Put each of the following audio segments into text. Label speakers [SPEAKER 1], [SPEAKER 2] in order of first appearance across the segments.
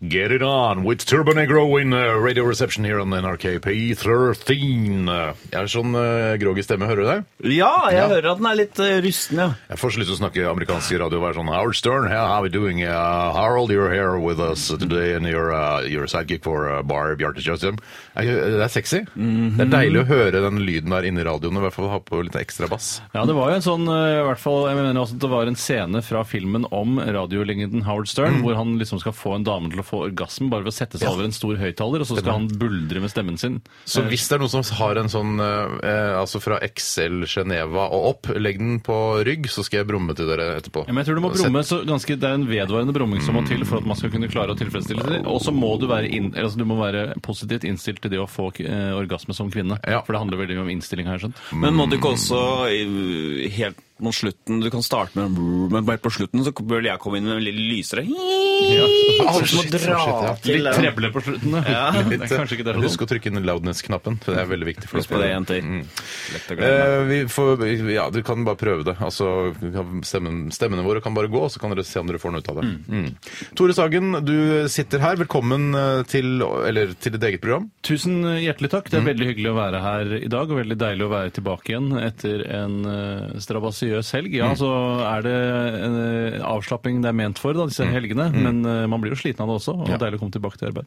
[SPEAKER 1] Get it on with Turbo Negro in uh, Radio Reception here on NRK P13. Uh, Jeg har sånn uh, groggy stemme, hører du det?
[SPEAKER 2] Ja, jeg
[SPEAKER 1] Ja.
[SPEAKER 2] hører at den er litt eh, rusten, ja.
[SPEAKER 1] Jeg får så lyst til å snakke amerikansk i radio og være sånn Howard Stern, how how are we doing? Uh, Harold, you're here with us today and you're, uh, you're a sidekick for uh, Bar Bjarte Kjøstheim. Er ikke- uh, Det er sexy.
[SPEAKER 3] Mhm.
[SPEAKER 1] Det er deilig å høre den lyden der inne i radioen, og i hvert fall ha på litt ekstra bass.
[SPEAKER 3] Ja, det var jo en sånn, eh, i hvert fall, jeg mener også at det var en scene fra filmen om radiolegenden Howard
[SPEAKER 2] Mm.
[SPEAKER 3] Stern, hvor han liksom skal få en dame til å få orgasme bare ved å sette seg over en stor høyttaler, og så skal han buldre med stemmen sin.
[SPEAKER 1] Så hvis det er noen som har en sånn eh, eh, altså fra Excel, Geneva og opp, legg den på rygg, så skal jeg brumme til dere etterpå.
[SPEAKER 3] Ja, men jeg tror du må brumme så ganske, Det er en vedvarende brumming som må til for at man skal kunne klare å tilfredsstille det. Og så må du være, inn, eller altså, du må være positivt innstilt til det å få eh, orgasme som kvinne.
[SPEAKER 1] Ja.
[SPEAKER 3] For det handler veldig mye om innstilling, har jeg skjønt.
[SPEAKER 2] Men må du ikke også eh, helt mot slutten Du kan starte med en Men bare på slutten så bør jeg komme inn med en litt lysere
[SPEAKER 1] Å,
[SPEAKER 2] Alle som må
[SPEAKER 1] shit,
[SPEAKER 2] dra
[SPEAKER 1] å, shit,
[SPEAKER 2] til
[SPEAKER 3] Litt
[SPEAKER 2] eh,
[SPEAKER 3] treble på slutten, da.
[SPEAKER 2] Ja.
[SPEAKER 3] Det er kanskje ikke det er så dumt.
[SPEAKER 1] Husk å trykke inn loudness-knappen, for det er veldig viktig for
[SPEAKER 2] Husk på det, jenter. Lett å glemme.
[SPEAKER 1] Eh, vi får, ja, du kan bare prøve det. Altså, vi kan- stemmen, stemmene våre kan bare gå, så kan dere se om dere får noe ut av det. Mm. Tore Sagen, du sitter her. Velkommen eh, til, eller, til ditt eget program.
[SPEAKER 3] Tusen eh, hjertelig takk.
[SPEAKER 2] Mm.
[SPEAKER 3] Det er veldig hyggelig å være her i dag, og veldig deilig å være tilbake igjen etter en eh, strabasiøs helg.
[SPEAKER 2] Mm.
[SPEAKER 3] Ja, så er det en eh, avslapping det er ment for, da, disse
[SPEAKER 2] Mm.
[SPEAKER 3] helgene, men eh, man blir jo sliten av det også, og deilig å komme tilbake til arbeid.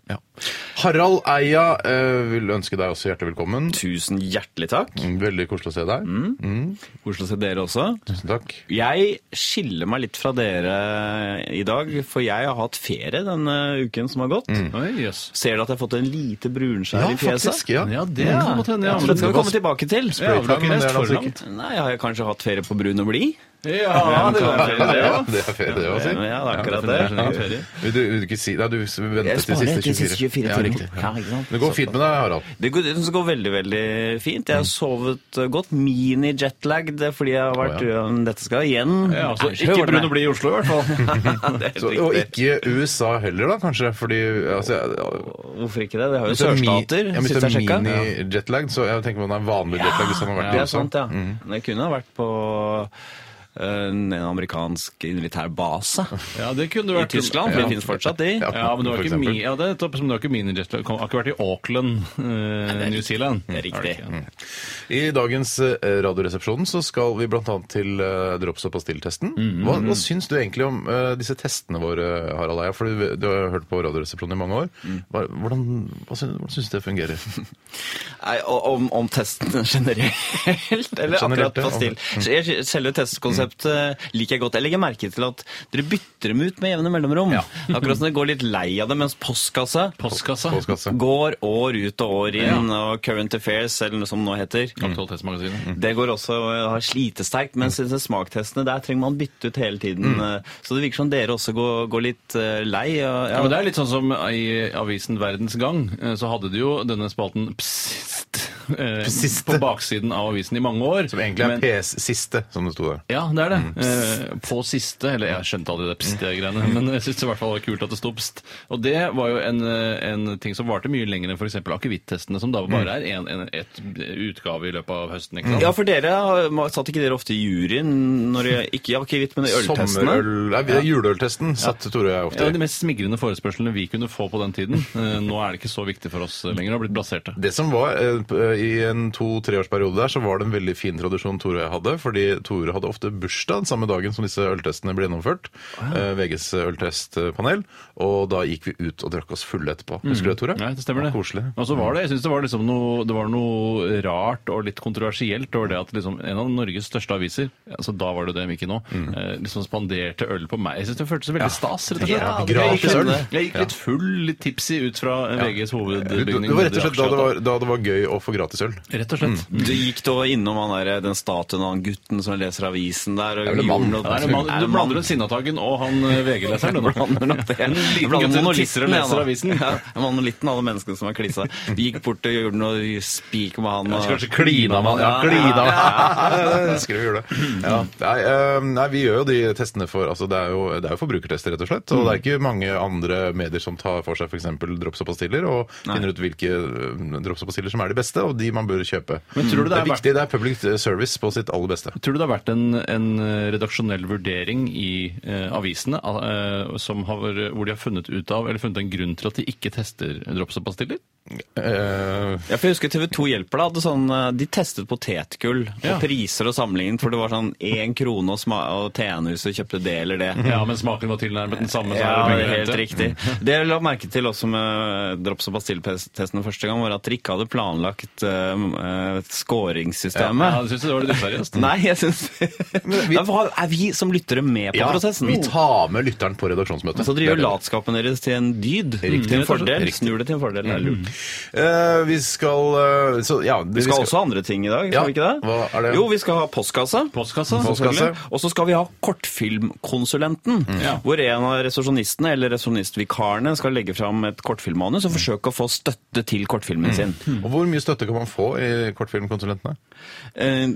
[SPEAKER 1] Harald Eia eh, vil ønske deg også hjertelig velkommen.
[SPEAKER 2] Tusen hjertelig takk.
[SPEAKER 1] Veldig koselig å se deg.
[SPEAKER 2] Mm. Koselig å se dere også.
[SPEAKER 1] Tusen takk.
[SPEAKER 2] Jeg skiller meg litt fra dere i dag, for jeg har hatt ferie denne uken som har gått.
[SPEAKER 3] Oi, jøss.
[SPEAKER 2] Ser dere at jeg har fått en lite brunskjær i fjeset?
[SPEAKER 1] ja.
[SPEAKER 3] Ja, det kan godt hende. Ja,
[SPEAKER 2] Så
[SPEAKER 3] men
[SPEAKER 2] det skal vi komme tilbake til.
[SPEAKER 3] Ja, men du
[SPEAKER 1] Men
[SPEAKER 3] har ikke
[SPEAKER 1] det
[SPEAKER 3] lest
[SPEAKER 1] er altså
[SPEAKER 3] fornavn?
[SPEAKER 1] ikke-
[SPEAKER 2] Nei, jeg har jeg kanskje hatt ferie på brun og blid?
[SPEAKER 3] Ja, det kan
[SPEAKER 2] kan være.
[SPEAKER 3] være.
[SPEAKER 1] Ja, det er ferie, det
[SPEAKER 2] Ja,
[SPEAKER 1] også.
[SPEAKER 2] det er
[SPEAKER 3] det
[SPEAKER 2] akkurat det.
[SPEAKER 3] er generell ferie.
[SPEAKER 1] Vil du, vil du ikke si Nei, du venter til siste 24. Ja, riktig.
[SPEAKER 2] Ja, ikke sant?
[SPEAKER 1] Det går fint med deg, Harald.
[SPEAKER 2] Det går, det går veldig, veldig fint. Jeg har sovet eh, godt. Mini-jetlagged fordi jeg har
[SPEAKER 1] Å,
[SPEAKER 2] vært
[SPEAKER 1] ja.
[SPEAKER 2] um, Dette skal igjen.
[SPEAKER 3] Ja, altså,
[SPEAKER 2] Æsj,
[SPEAKER 3] ikke brun
[SPEAKER 2] hører meg.
[SPEAKER 3] og blid i Oslo, i hvert fall.
[SPEAKER 2] Det er helt
[SPEAKER 1] Så, og
[SPEAKER 2] riktig.
[SPEAKER 1] ikke USA heller, da, kanskje? Fordi altså,
[SPEAKER 2] Hvorfor ikke det? Det har jo
[SPEAKER 1] Hvis det er mi-
[SPEAKER 2] sørstater,
[SPEAKER 1] Ja, men hvis
[SPEAKER 2] sist jeg
[SPEAKER 1] det er
[SPEAKER 2] sjekka.
[SPEAKER 1] mini-jetlag, så jeg tenker man er vanlig jetlag hvis man har vært
[SPEAKER 2] Det
[SPEAKER 1] i
[SPEAKER 2] er
[SPEAKER 1] USA.
[SPEAKER 2] sant, ja. Men jeg kunne ha vært på eh, en amerikansk militær base
[SPEAKER 3] Ja, det kunne
[SPEAKER 2] i
[SPEAKER 3] vært
[SPEAKER 2] Tyskland, for det finnes fortsatt de.
[SPEAKER 1] Ja.
[SPEAKER 3] Ja, men det var
[SPEAKER 1] For
[SPEAKER 3] ikke, mi,
[SPEAKER 1] eksempel.
[SPEAKER 3] ja, det er nettopp som det var ikke mini jetlag. Kom- Har ikke vært i Auckland, eh, New Zealand.
[SPEAKER 2] Det er riktig. Mm.
[SPEAKER 1] I dagens eh, Radioresepsjonen så skal vi bl.a. til eh, drops- og pastilltesten.
[SPEAKER 2] Mm-hmm.
[SPEAKER 1] Hva, hva syns du egentlig om eh, disse testene våre, Harald Eia? For du, du har jo hørt på Radioresepsjonen i mange år.
[SPEAKER 2] Mm.
[SPEAKER 1] Hva, hvordan hva syns, hvordan syns du det fungerer?
[SPEAKER 2] Nei, og- om, om testen generelt, eller
[SPEAKER 1] Generelt,
[SPEAKER 2] akkurat
[SPEAKER 1] ja.
[SPEAKER 2] pastill.
[SPEAKER 3] Mm.
[SPEAKER 2] Så jeg- Selve testkonseptet eh, liker jeg godt. Jeg legger merke til at dere bytter dem ut med jevne mellomrom. Akkurat som dere går litt lei av det, mens postkasse
[SPEAKER 3] Postkassa.
[SPEAKER 1] Postkasse.
[SPEAKER 2] går år ut og år inn, og Current Affairs, eller noe som det nå heter.
[SPEAKER 3] Aktualitetsmagasinet.
[SPEAKER 2] Det går også å slitesterkt, mens disse smaktestene der trenger man bytte ut hele tiden.
[SPEAKER 3] Mm.
[SPEAKER 2] eh, Så det virker som dere også går, går litt eh, lei. og-
[SPEAKER 3] Ja, men det er litt sånn som i avisen Verdens Gang, eh, så hadde de jo denne spalten psst, eh,
[SPEAKER 1] Psist.
[SPEAKER 3] på baksiden av avisen i mange år.
[SPEAKER 1] Som egentlig er
[SPEAKER 3] Men-
[SPEAKER 1] PS siste, som det sto der.
[SPEAKER 3] Ja, det er det. Eh, på siste, eller jeg skjønte aldri det pst-greiene, men jeg syntes i hvert fall det var kult at det sto pst. Og det var jo en, eh, en ting som varte mye lenger enn f.eks. akevitt-testene, som da bare er en, en, et utgave i løpet av høsten. ikke sant?
[SPEAKER 2] Ja, for dere har- satt ikke dere ofte i juryen når dere Ikke i akevitt, men i øltestene?
[SPEAKER 1] Sommerøl Nei, det er juleøltesten satt Tore og jeg ofte
[SPEAKER 3] Det
[SPEAKER 1] i.
[SPEAKER 3] var de mest smigrende forespørslene vi kunne få på den tiden. Eh, Nå er det ikke så viktig for oss lenger. Det har blitt blaserte.
[SPEAKER 1] Det som var eh, p- eh, I en to-treårsperiode der så var det en veldig fin tradisjon Tore og jeg hadde. Fordi Tore hadde ofte bursdag den samme dagen som disse øltestene ble gjennomført. eh, VGs øltestpanel. Og da gikk vi ut og drakk oss fulle etterpå. Husker du det, Tore?
[SPEAKER 3] Nei, Mm. det stemmer det.
[SPEAKER 1] var Koselig.
[SPEAKER 3] Og så var det, jeg synes det var liksom noe, det var noe rart og litt kontroversielt over det at liksom en av Norges største aviser, altså da var det det, men ikke nå,
[SPEAKER 1] Mm.
[SPEAKER 3] eh, liksom spanderte øl på meg. Jeg synes det føltes veldig stas, rett og slett.
[SPEAKER 1] Ja,
[SPEAKER 3] Jeg gikk- sånn.
[SPEAKER 1] gratis øl.
[SPEAKER 3] Jeg gikk litt full, litt tipsy ut fra eh, VGs
[SPEAKER 1] Det
[SPEAKER 3] hovedbygning.
[SPEAKER 1] det var rett og
[SPEAKER 3] nede i
[SPEAKER 1] slett da det
[SPEAKER 3] Akersgata.
[SPEAKER 1] var, Mm. da det var gøy å få gratis øl.
[SPEAKER 3] Rett og slett.
[SPEAKER 2] Du gikk da innom han der, den statuen av han gutten som leser avisen der. Og
[SPEAKER 1] vel en mann.
[SPEAKER 2] gjorde noe-
[SPEAKER 3] Ja, det er en mann-
[SPEAKER 2] Er det
[SPEAKER 3] du
[SPEAKER 2] en
[SPEAKER 3] blander
[SPEAKER 2] mann?
[SPEAKER 3] ut Sinnataggen og han eh, VG-leseren. du, nå.
[SPEAKER 2] Blander nok det.
[SPEAKER 3] En
[SPEAKER 2] Jeg
[SPEAKER 3] liten
[SPEAKER 2] blander
[SPEAKER 3] gutt som
[SPEAKER 2] monolitten,
[SPEAKER 3] tisser og
[SPEAKER 2] jeg, da.
[SPEAKER 3] leser avisen.
[SPEAKER 2] Ja, jeg blander monolitten av alle menneskene som er klissa. Vi gikk bort og gjorde noe spik med han. Og...
[SPEAKER 3] Kanskje klina man. Ja, klina man.
[SPEAKER 1] Jeg husker vi gjorde det. Ja. Nei, eh, nei, vi gjør jo de testene for altså, det, er jo, det er jo forbrukertester, rett og slett. Og det
[SPEAKER 3] Mm.
[SPEAKER 1] er ikke mange andre medier som tar for seg f.eks. drops og pastiller, og finner ut hvilke eh, drops og pastiller som er de beste. Og av de man bør kjøpe.
[SPEAKER 3] Men tror du det
[SPEAKER 1] det
[SPEAKER 3] er
[SPEAKER 1] er viktig, det er public service på sitt aller beste.
[SPEAKER 3] Tror du det har vært en, en eh, redaksjonell vurdering i eh, avisene eh, som har, hvor de har funnet ut av, eller funnet en grunn til at de ikke tester drops og pastiller?
[SPEAKER 1] Eh,
[SPEAKER 2] Ja, for jeg husker TV 2 hjelper deg. hadde Sånn, eh, de testet potetgull
[SPEAKER 3] Ja.
[SPEAKER 2] og priser og sammenlignet. For det var sånn én krone, og, sma- og TN-huset kjøpte det eller det.
[SPEAKER 3] Ja, men smaken var tilnærmet den samme. så
[SPEAKER 2] Ja,
[SPEAKER 3] er det
[SPEAKER 2] det er helt
[SPEAKER 3] penger å hente.
[SPEAKER 2] riktig. Det jeg la merke til også med eh, drops- og pastilltestene første gang, var at dere ikke hadde planlagt eh, eh, skåringssystemet.
[SPEAKER 3] Ja, jeg synes det var litt useriøst.
[SPEAKER 2] Nei, jeg syns Da var- Er vi som lyttere med på
[SPEAKER 1] ja,
[SPEAKER 2] prosessen?
[SPEAKER 1] vi tar med lytteren på redaksjonsmøtet.
[SPEAKER 2] Så
[SPEAKER 1] Det
[SPEAKER 2] dere gjør
[SPEAKER 1] er det.
[SPEAKER 2] latskapen deres til en dyd. Mm,
[SPEAKER 1] Riktig.
[SPEAKER 2] Til en fordel.
[SPEAKER 1] Riktig. Mm.
[SPEAKER 2] Snur det til en fordel. Det er lurt.
[SPEAKER 1] Eh, vi skal eh, så, ja,
[SPEAKER 2] Vi skal også ha andre ting i dag, skal
[SPEAKER 1] Ja,
[SPEAKER 2] vi ikke det?
[SPEAKER 1] hva er det?
[SPEAKER 2] Jo, vi skal ha postkassa.
[SPEAKER 3] Postkassa,
[SPEAKER 1] Postkassa.
[SPEAKER 3] selvfølgelig.
[SPEAKER 2] Og så skal vi ha Kortfilmkonsulenten,
[SPEAKER 3] Mm. Ja.
[SPEAKER 2] hvor en av resepsjonistene eller resepsjonistvikarene skal legge fram et
[SPEAKER 3] Mm.
[SPEAKER 2] kortfilmmanus og forsøke å få støtte til kortfilmen sin.
[SPEAKER 1] Og Hvor mye støtte kan man få i kortfilmkonsulentene?
[SPEAKER 2] Eh,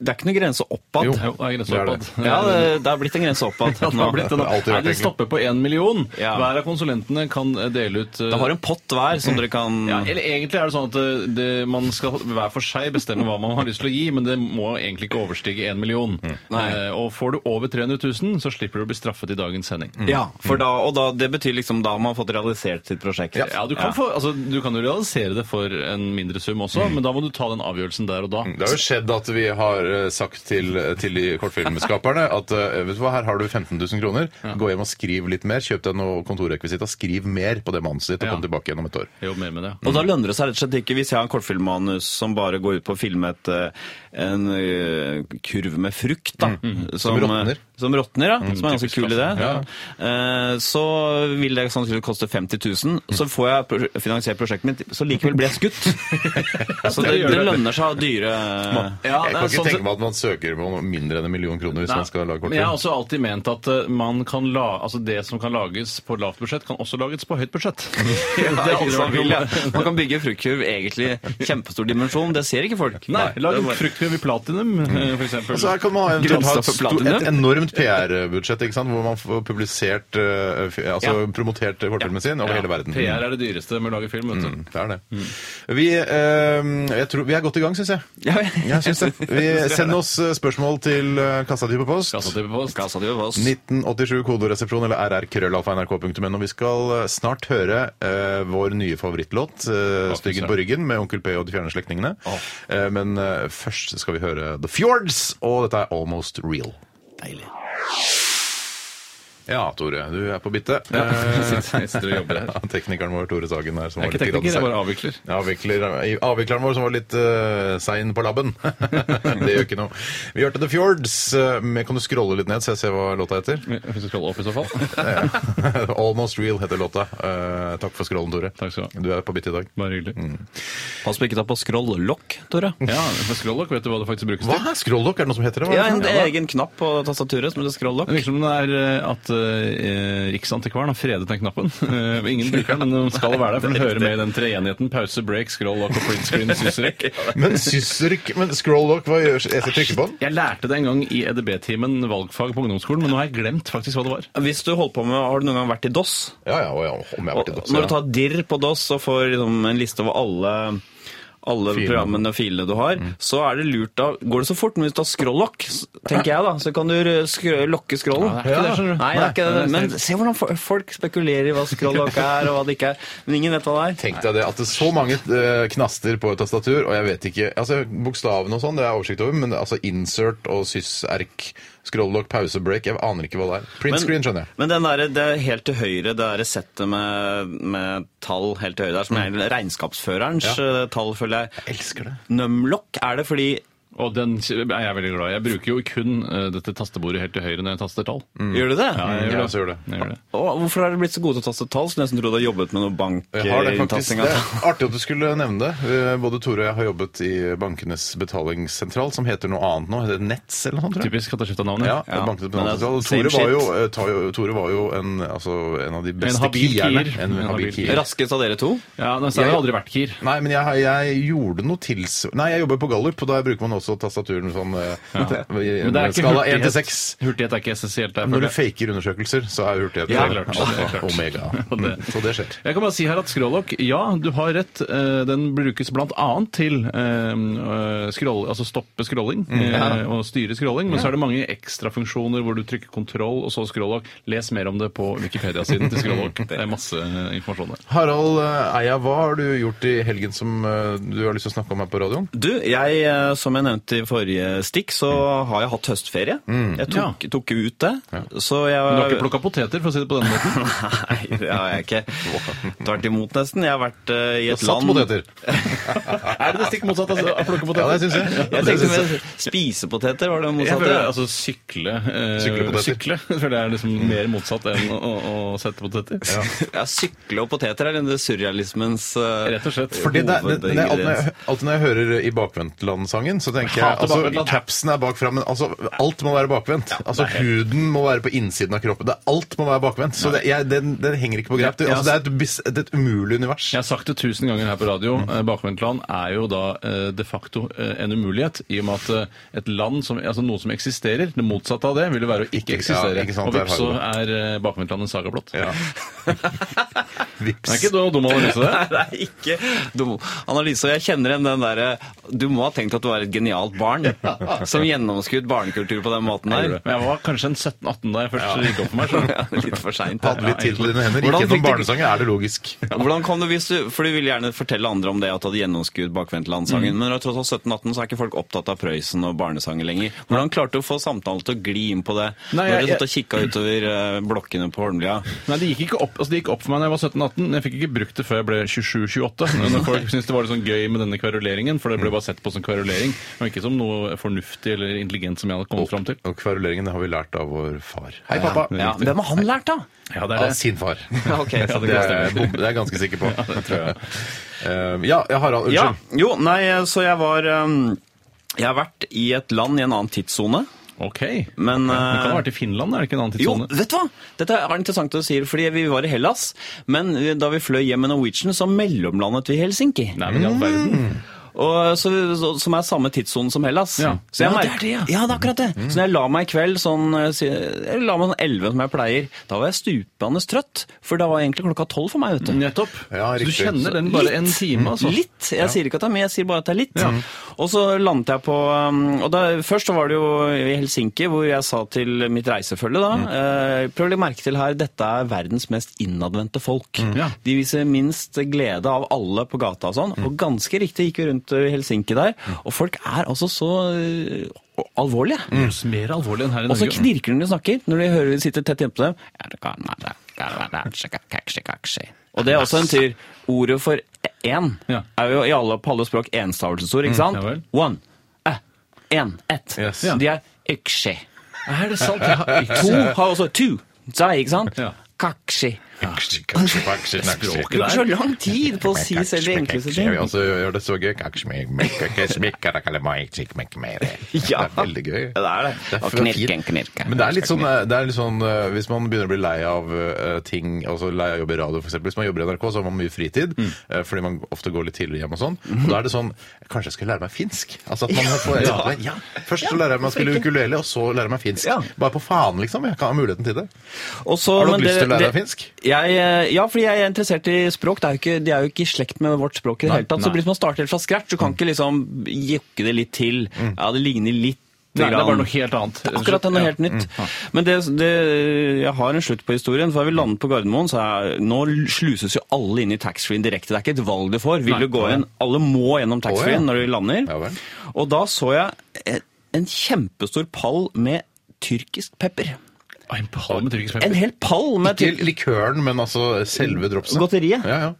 [SPEAKER 2] Det er ikke noe grense oppad.
[SPEAKER 1] Jo.
[SPEAKER 3] Jo, det er grensa
[SPEAKER 1] Det er
[SPEAKER 3] oppad.
[SPEAKER 1] det.
[SPEAKER 2] Ja, det, det har blitt en grense oppad.
[SPEAKER 3] Ja, det har blitt det nå.
[SPEAKER 1] Det har alltid vært,
[SPEAKER 3] Nei,
[SPEAKER 1] egentlig.
[SPEAKER 3] det stopper på én million.
[SPEAKER 2] Ja.
[SPEAKER 3] Hver av konsulentene kan eh, dele ut eh,
[SPEAKER 2] Da har en pott hver som dere kan
[SPEAKER 3] Mm. ja,
[SPEAKER 1] Mm.
[SPEAKER 3] eller Egentlig er det sånn at eh, det, man skal hver for seg bestemme hva man har lyst til å gi, men det må egentlig ikke overstige én million.
[SPEAKER 1] Mm.
[SPEAKER 2] Nei.
[SPEAKER 3] Eh, og får du over 300 000, så slipper du å bli straffet i dagens sending.
[SPEAKER 1] Mm.
[SPEAKER 2] Ja, for da, og da, det betyr liksom da har man fått realisert sitt prosjekt.
[SPEAKER 3] Mm. Ja, du kan, Få, altså, du kan jo realisere det for en mindre sum også,
[SPEAKER 1] Mm.
[SPEAKER 3] men da må du ta den avgjørelsen der og da.
[SPEAKER 1] Det har jo skjedd at vi har eh, sagt til, til de kortfilmskaperne at eh, vet du hva, her har du 15 000 kroner, gå hjem og skriv litt mer, kjøp deg noe kontorrekvisitt og skriv mer på det manuset ditt og kom
[SPEAKER 3] Ja.
[SPEAKER 1] tilbake igjen om et år.
[SPEAKER 3] Jeg jobber mer med det.
[SPEAKER 1] Mm.
[SPEAKER 2] Og da lønner det seg rett og slett ikke hvis jeg har en kortfilmmanus som bare går ut på å filme et, eh, en eh, kurv med frukt. da.
[SPEAKER 3] Mm,
[SPEAKER 1] Som
[SPEAKER 2] eh,
[SPEAKER 1] råtner.
[SPEAKER 2] Som råtner, ja. Som er ganske
[SPEAKER 3] typisk
[SPEAKER 2] kul i det.
[SPEAKER 3] klasse. Ja.
[SPEAKER 2] Eh, Så vil det sannsynligvis koste 50 000. Så får jeg pro- finansiert prosjektet mitt, så likevel blir jeg skutt. Så det,
[SPEAKER 3] gjør
[SPEAKER 2] det
[SPEAKER 3] det.
[SPEAKER 2] lønner seg å ha dyre
[SPEAKER 1] jeg
[SPEAKER 3] Ja, det
[SPEAKER 1] kan
[SPEAKER 3] er
[SPEAKER 1] ikke
[SPEAKER 3] sånn-
[SPEAKER 1] tenke meg at man søker om mindre enn en million kroner hvis
[SPEAKER 3] Nei,
[SPEAKER 1] man skal lage
[SPEAKER 3] Men jeg har
[SPEAKER 1] kortfilm.
[SPEAKER 3] også alltid ment at eh, man kan la, altså det som kan lages på lavt budsjett, kan også lages på høyt budsjett. Det er
[SPEAKER 2] Det er
[SPEAKER 3] aldri
[SPEAKER 2] ikke så
[SPEAKER 1] altså,
[SPEAKER 3] vært
[SPEAKER 2] vill,
[SPEAKER 3] noe-
[SPEAKER 2] ja. Man kan bygge fruktkurv egentlig kjempestor dimensjon. Det ser ikke folk.
[SPEAKER 3] Nei, lag
[SPEAKER 2] Det
[SPEAKER 3] en
[SPEAKER 2] er bare-
[SPEAKER 3] fruktkurv i platinum, eh, for eksempel.
[SPEAKER 1] Og så her kan man ha eventuelt ha et,
[SPEAKER 2] Grunnstoff for
[SPEAKER 1] stort-
[SPEAKER 2] platinum.
[SPEAKER 1] et enormt PR-budsjett ikke sant, hvor man får publisert, eh, f- altså
[SPEAKER 2] Ja.
[SPEAKER 1] promotert kortfilmen sin over
[SPEAKER 3] Ja,
[SPEAKER 1] hele verden. Mm.
[SPEAKER 3] PR er det dyreste med å lage film, vet du.
[SPEAKER 1] Det er det. Vi, eh, jeg tror, vi er godt i gang, syns jeg.
[SPEAKER 2] Ja,
[SPEAKER 1] jeg synes det. Vi Send oss eh, spørsmål til eh, kassa di på post.
[SPEAKER 3] Kassatype post.
[SPEAKER 2] Kassa di var oss.
[SPEAKER 1] 1987 kodoresepsjon eller rrkrøllalfa.nrk.no. Vi skal eh, snart høre eh, vår nye favorittlåt, eh, 'Styggen på ryggen', med Onkel P og de fjerne slektningene. Eh, men eh, først skal vi høre The Fjords, og dette er 'Almost Real'. Ja, Tore, du er på bittet. Eh,
[SPEAKER 3] Jeg sitter og jobber her.
[SPEAKER 1] ja, teknikeren vår, Tore Sagen, her. Som
[SPEAKER 3] Jeg er
[SPEAKER 1] var
[SPEAKER 3] ikke
[SPEAKER 1] litt
[SPEAKER 3] tekniker, jeg
[SPEAKER 1] grann
[SPEAKER 3] bare avvikler.
[SPEAKER 1] Avvikler, avvikleren vår som var litt uh, sein på labben. det gjør ikke noe. Vi hørte The Fjords. eh, men kan du scrolle litt ned, så jeg ser hva låta heter?
[SPEAKER 3] Hvis du scroller opp i så fall.
[SPEAKER 1] Eh, Almost Real heter låta. Eh, takk for scrollen, Tore.
[SPEAKER 3] Takk skal du
[SPEAKER 1] Du er på bitt i dag.
[SPEAKER 3] Bare hyggelig.
[SPEAKER 2] Pass på ikke ta på scroll-lokk, Tore.
[SPEAKER 3] Ja, for scrolllock, vet du hva det faktisk brukes
[SPEAKER 1] Hva
[SPEAKER 3] til?
[SPEAKER 1] er scrolllock? Er det noe som heter det? Hva er
[SPEAKER 2] Ja,
[SPEAKER 1] det for
[SPEAKER 2] en
[SPEAKER 1] noe?
[SPEAKER 2] egen knapp på tastaturet som heter scroll-lock.
[SPEAKER 3] Det virker som det er eh, at eh, Riksantikvaren har fredet den knappen. Eh, ingen bruker den, men den skal være der, for den hører med i den treenigheten pause, break, scroll, lock og print screen sysrekk.
[SPEAKER 1] Men sysrykk Men scrolllock, hva gjør jeg? Skal trykke på den?
[SPEAKER 3] Jeg lærte det en gang i EDB-timen valgfag på ungdomsskolen, men nå har jeg glemt faktisk hva det var.
[SPEAKER 2] Hvis du holder på med, Har du noen gang vært i DOS?
[SPEAKER 1] Ja, ja, å, ja. Om jeg har
[SPEAKER 2] Og
[SPEAKER 1] vært i DOS.
[SPEAKER 2] når du
[SPEAKER 1] ja.
[SPEAKER 2] tar dirr på DOS og får liksom en liste over alle, alle
[SPEAKER 1] Filene. Mm.
[SPEAKER 2] programmene og filene du har, så er det lurt da, går det så fort. Men hvis du har scroll-lock, s- tenker jeg da, så kan du eh, skr lokke scrollen.
[SPEAKER 3] det er ikke det, skjønner du.
[SPEAKER 2] Nei, det er ikke det.
[SPEAKER 3] Nei,
[SPEAKER 2] Men se hvordan fo- folk spekulerer i hva scroll-lock er, og hva det ikke er. Men ingen vet hva det er.
[SPEAKER 1] Tenk deg det, at det er så mange eh, knaster på et tastatur, og jeg vet ikke altså Bokstavene og sånn, det har jeg oversikt over, men det, er altså insert og sys-erk, scrolllock, pause, break, jeg aner ikke hva det er. Print screen, skjønner jeg.
[SPEAKER 2] Men den der, det er helt til høyre, det der settet med, med tall helt til høyre der, som
[SPEAKER 1] Mm.
[SPEAKER 2] er regnskapsførerens eh, tall, føler jeg.
[SPEAKER 1] elsker det.
[SPEAKER 2] Numlock er det fordi
[SPEAKER 3] Og den er jeg veldig glad i. Jeg bruker jo kun eh, dette tastebordet helt til høyre når jeg taster tall.
[SPEAKER 2] Gjør du det?
[SPEAKER 3] Jeg
[SPEAKER 1] Mm. Ja, så gjør det.
[SPEAKER 3] Jeg Mm, gjør det.
[SPEAKER 2] Og hvorfor har dere blitt så gode til å taste tall? Skulle nesten tro du har jobbet med noe
[SPEAKER 1] Jeg har det faktisk.
[SPEAKER 2] bankinntasting.
[SPEAKER 1] Det er artig at du skulle nevne det. Eh, Både Tore og jeg har jobbet i Bankenes betalingssentral, som heter noe annet nå. Heter det Nets eller noe sånt? tror jeg.
[SPEAKER 3] Typisk at jeg skifter navn.
[SPEAKER 1] Ja,
[SPEAKER 3] ja.
[SPEAKER 2] Ja,
[SPEAKER 1] Bankenes
[SPEAKER 2] men det er
[SPEAKER 1] betalingssentral. Og
[SPEAKER 2] same
[SPEAKER 1] Tore var jo,
[SPEAKER 2] shit.
[SPEAKER 1] eh, ta- jo- Tore var jo en, altså, en av de beste
[SPEAKER 3] habil
[SPEAKER 1] keerne.
[SPEAKER 3] keer.
[SPEAKER 1] En,
[SPEAKER 3] En habil
[SPEAKER 1] habil
[SPEAKER 3] keer.
[SPEAKER 1] keer.
[SPEAKER 2] Raskest av dere to?
[SPEAKER 3] Ja, nesten har jeg
[SPEAKER 1] Jeg-
[SPEAKER 3] aldri vært keer.
[SPEAKER 1] Nei, men jeg, har- jeg gjorde noe tilsvarende Nei, jeg jobber på Gallup, og der bruker man også også tastaturen sånn eh,
[SPEAKER 3] Men
[SPEAKER 1] i
[SPEAKER 3] det er
[SPEAKER 1] en
[SPEAKER 3] ikke
[SPEAKER 1] skala 1 til
[SPEAKER 3] hurtighet.
[SPEAKER 1] 6.
[SPEAKER 3] Hurtighet er ikke essensielt der.
[SPEAKER 1] Når
[SPEAKER 3] føler
[SPEAKER 1] du faker undersøkelser, så er hurtigheten
[SPEAKER 3] Ja,
[SPEAKER 1] veldig
[SPEAKER 3] klart, det er klart.
[SPEAKER 1] omega.
[SPEAKER 3] Og det-
[SPEAKER 1] Mm, Så det skjer.
[SPEAKER 3] Jeg kan bare si her at Skrollock, ja, du har rett. eh, Den brukes bl.a. til eh, scroll, altså stoppe scrolling eh, og styre scrolling. Men så er det mange ekstrafunksjoner hvor du trykker kontroll og så Skrollock. Les mer om det på Wikipedia-siden til Skrollock. Det er masse eh, informasjon der.
[SPEAKER 1] Harald eh, Eia, hva har du gjort i helgen som eh, du har lyst til å snakke om her på radioen?
[SPEAKER 2] Du, jeg, eh, som jeg nevnte i forrige stikk, så
[SPEAKER 1] Mm.
[SPEAKER 2] har jeg hatt høstferie. Jeg tok, tok ut det. Så jeg
[SPEAKER 3] Men du har ikke plukka poteter, for å si det på den måten?
[SPEAKER 2] Nei, det har jeg ikke. Tvert imot, nesten. Jeg har vært eh,
[SPEAKER 1] Du
[SPEAKER 2] i
[SPEAKER 1] har
[SPEAKER 2] et
[SPEAKER 1] satt
[SPEAKER 2] land
[SPEAKER 1] poteter.
[SPEAKER 3] er det det stikk motsatte altså, av plukke
[SPEAKER 1] Ja,
[SPEAKER 3] poteter?
[SPEAKER 1] det syns jeg.
[SPEAKER 2] Jeg tenkte med spisepoteter var det
[SPEAKER 3] Jeg
[SPEAKER 2] motsatte.
[SPEAKER 3] føler altså sykle, eh,
[SPEAKER 1] Sykle poteter.
[SPEAKER 3] sykle føler jeg er liksom mer motsatt enn å, å, å sette poteter.
[SPEAKER 2] Ja, sykle og poteter er denne surrealismens eh,
[SPEAKER 3] Rett og slett.
[SPEAKER 1] Fordi det, er- det, det, er alt når
[SPEAKER 2] Hovedingrediens.
[SPEAKER 1] jeg- alltid når jeg hører i Bakvendtland-sangen, så tenker jeg
[SPEAKER 3] Hater
[SPEAKER 1] altså,
[SPEAKER 3] Bakvendtland.
[SPEAKER 1] Capsen er bakfra, men altså, alt må være bakvendt. Altså, huden må være på innsiden av kroppen. Det, alt må være bakvendt. Så det, jeg, den, den henger ikke på greip. Det,
[SPEAKER 3] Ja,
[SPEAKER 1] altså, det, er et, bis- det er et umulig univers.
[SPEAKER 3] Jeg har sagt det tusen ganger her på radio.
[SPEAKER 1] Mm.
[SPEAKER 3] eh, Bakvendtland er jo da eh, de facto eh, en umulighet, i og med at eh, et land som, altså noe som eksisterer, det motsatte av det, vil jo være å ikke
[SPEAKER 1] Ikke-
[SPEAKER 3] eksistere.
[SPEAKER 1] ja, ikke sant,
[SPEAKER 3] og
[SPEAKER 1] der
[SPEAKER 3] vips så
[SPEAKER 1] har
[SPEAKER 3] er eh, Bakvendtland en saga blott.
[SPEAKER 1] Ja. Vips.
[SPEAKER 3] Er ikke du dum analyse, det?
[SPEAKER 2] Nei, det er ikke dum analyse. og Jeg kjenner igjen den derre Du må ha tenkt at du var et genialt barn som gjennomskuet barnekultur på den måten
[SPEAKER 3] Nei.
[SPEAKER 2] der.
[SPEAKER 3] Men jeg var kanskje en 17-18 da jeg først gikk opp for meg. Så.
[SPEAKER 2] Ja, Litt for seint.
[SPEAKER 1] Hadde litt tid på dine hender. Gikk
[SPEAKER 2] Hvordan fikk
[SPEAKER 1] gjennom
[SPEAKER 2] du-
[SPEAKER 1] barnesangen, er det logisk.
[SPEAKER 2] Hvordan kom det hvis du, For du ville gjerne fortelle andre om det at du hadde gjennomskuet bakvendtlandsangen. Men når du er tross alt 17-18, så er ikke folk opptatt av Prøysen og barnesanger lenger. Hvordan klarte du å få samtalen til å gli inn på det?
[SPEAKER 3] Nei,
[SPEAKER 2] når
[SPEAKER 3] jeg-
[SPEAKER 2] du satt og kikka utover eh, blokkene på Holmlia.
[SPEAKER 3] Nei, det gikk ikke opp, altså det gikk opp for meg da jeg var 17-18. men Jeg fikk ikke brukt det før jeg ble 27-28. Når folk syntes det var litt sånn gøy med denne kveruleringen, for det ble bare sett på som kverulering, og ikke som noe fornuftig eller intelligent som jeg hadde kommet fram til.
[SPEAKER 1] Og kveruleringen det har vi lært av vår far. Hei, pappa!
[SPEAKER 2] Ja, men Hvem har han lært, da?
[SPEAKER 3] Ja,
[SPEAKER 1] Av sin far.
[SPEAKER 2] Ja, ok, så
[SPEAKER 1] det,
[SPEAKER 2] det
[SPEAKER 1] er, jeg bom- det er jeg ganske sikker på. ja, det tror jeg. ja, Harald,
[SPEAKER 2] Ja,
[SPEAKER 1] unnskyld.
[SPEAKER 2] jo, nei, så jeg var eh, Jeg har vært i et land i en annen tidssone.
[SPEAKER 3] Ok.
[SPEAKER 2] Men,
[SPEAKER 3] det kan
[SPEAKER 2] eh,
[SPEAKER 3] ha vært i Finland, er det ikke en annen
[SPEAKER 2] Jo,
[SPEAKER 3] tidssone?
[SPEAKER 2] vet du hva? Dette er interessant å si, fordi vi var i Hellas, men eh, da vi fløy hjem med Norwegian, så mellomlandet vi i Helsinki. Mm.
[SPEAKER 3] Nei, men i all verden.
[SPEAKER 2] og, så, så- som er samme tidssone som Hellas.
[SPEAKER 3] Ja. Ja,
[SPEAKER 2] Så jeg
[SPEAKER 3] det
[SPEAKER 2] merker-
[SPEAKER 3] er det, ja. Mm.
[SPEAKER 2] ja, det er akkurat det. Så når jeg la meg i kveld sånn, eh, si- jeg la meg sånn 11 som jeg pleier, da var jeg stupende trøtt, for da var egentlig klokka 12 for meg, vet du.
[SPEAKER 3] Nettopp.
[SPEAKER 1] Ja,
[SPEAKER 3] så du
[SPEAKER 1] riktig.
[SPEAKER 3] kjenner den bare en time, altså?
[SPEAKER 2] Litt. Jeg sier ikke at det er mye, jeg sier bare at det er litt. Og så landet jeg på um, og da, Først så var det jo i Helsinki, hvor jeg sa til mitt reisefølge da
[SPEAKER 3] Mm.
[SPEAKER 2] eh, Prøv å legge merke til her, dette er verdens mest innadvendte folk.
[SPEAKER 3] Mm. Ja. Mm.
[SPEAKER 2] De viser minst glede av alle på gata og sånn. Og ganske riktig gikk vi rundt eh, i Helsinki der, og folk er altså så eh, alvorlige.
[SPEAKER 3] Det er Mer alvorlig enn her i
[SPEAKER 2] Og så
[SPEAKER 3] Norge.
[SPEAKER 2] knirker de når de snakker, når de hører de sitter tett innpå dem. Og det er også en tur. Ordet for én
[SPEAKER 3] Ja.
[SPEAKER 2] er jo i alle, på alle språk enstavelsesord, ikke sant?
[SPEAKER 3] ja vel.
[SPEAKER 2] One, æ, en, ett.
[SPEAKER 1] Yes.
[SPEAKER 2] De er øksje.
[SPEAKER 3] Er det sant? Jeg har ikke
[SPEAKER 2] To har også two, zai, ikke sant?
[SPEAKER 3] Ja.
[SPEAKER 2] Kakshi.
[SPEAKER 1] Språket
[SPEAKER 3] Språket
[SPEAKER 2] Bruker så
[SPEAKER 3] der.
[SPEAKER 2] lang tid på å si selv de enkleste ting.
[SPEAKER 1] Jeg vil også gjøre altså, det så gøy. Det er veldig gøy. Det
[SPEAKER 2] Ja, det er det.
[SPEAKER 1] er
[SPEAKER 2] Og
[SPEAKER 1] fint.
[SPEAKER 2] knirken, knirken.
[SPEAKER 1] Men det er litt sånn, eh, det er litt sånn eh, hvis man begynner å bli lei av eh, ting, altså lei av å jobbe i radio f.eks. Hvis man jobber i NRK, så har man mye fritid,
[SPEAKER 2] Mm.
[SPEAKER 1] eh, fordi man ofte går litt tidligere hjem og sånn. Og da er det sånn Kanskje jeg skal lære meg finsk? Altså at man får, ja, Først så lærer jeg meg å spille ukulele, og så lærer jeg meg finsk.
[SPEAKER 2] Ja.
[SPEAKER 1] Bare på faen, liksom. Jeg kan ha muligheten til det.
[SPEAKER 2] Og så-
[SPEAKER 1] Har du
[SPEAKER 2] men
[SPEAKER 1] hatt lyst til
[SPEAKER 2] det-
[SPEAKER 1] å lære deg
[SPEAKER 2] det-
[SPEAKER 1] finsk?
[SPEAKER 2] Jeg, eh, ja, fordi jeg er interessert i språk. Det er jo ikke, de er jo ikke i slekt med vårt språk i det
[SPEAKER 3] Nei,
[SPEAKER 2] hele tatt. Så
[SPEAKER 3] nei.
[SPEAKER 2] hvis man starter helt fra scratch, du
[SPEAKER 1] Mm.
[SPEAKER 2] kan ikke liksom jukke det litt til. Ja, det ligner litt.
[SPEAKER 3] Nei, det er
[SPEAKER 2] grann.
[SPEAKER 3] bare noe helt annet.
[SPEAKER 2] Det er Akkurat det er noe helt
[SPEAKER 1] Mm,
[SPEAKER 2] nytt. Men det, det, jeg har en slutt på historien. For jeg vil lande på Gardermoen, så er, nå sluses jo alle inn i taxfree-en direkte. Det er ikke et valg du får. Vil
[SPEAKER 3] Nei,
[SPEAKER 2] du gå inn? Alle må gjennom
[SPEAKER 1] Å, ja.
[SPEAKER 2] taxfree-en når de
[SPEAKER 1] Ja vel.
[SPEAKER 2] lander. Og da så jeg eh, en kjempestor pall med tyrkisk pepper.
[SPEAKER 3] Å, En pall med tyrkisk
[SPEAKER 2] En
[SPEAKER 3] pepper.
[SPEAKER 2] hel pall med
[SPEAKER 1] Ikke likøren, men altså selve dropset.
[SPEAKER 2] Godteriet.
[SPEAKER 1] Ja, ja.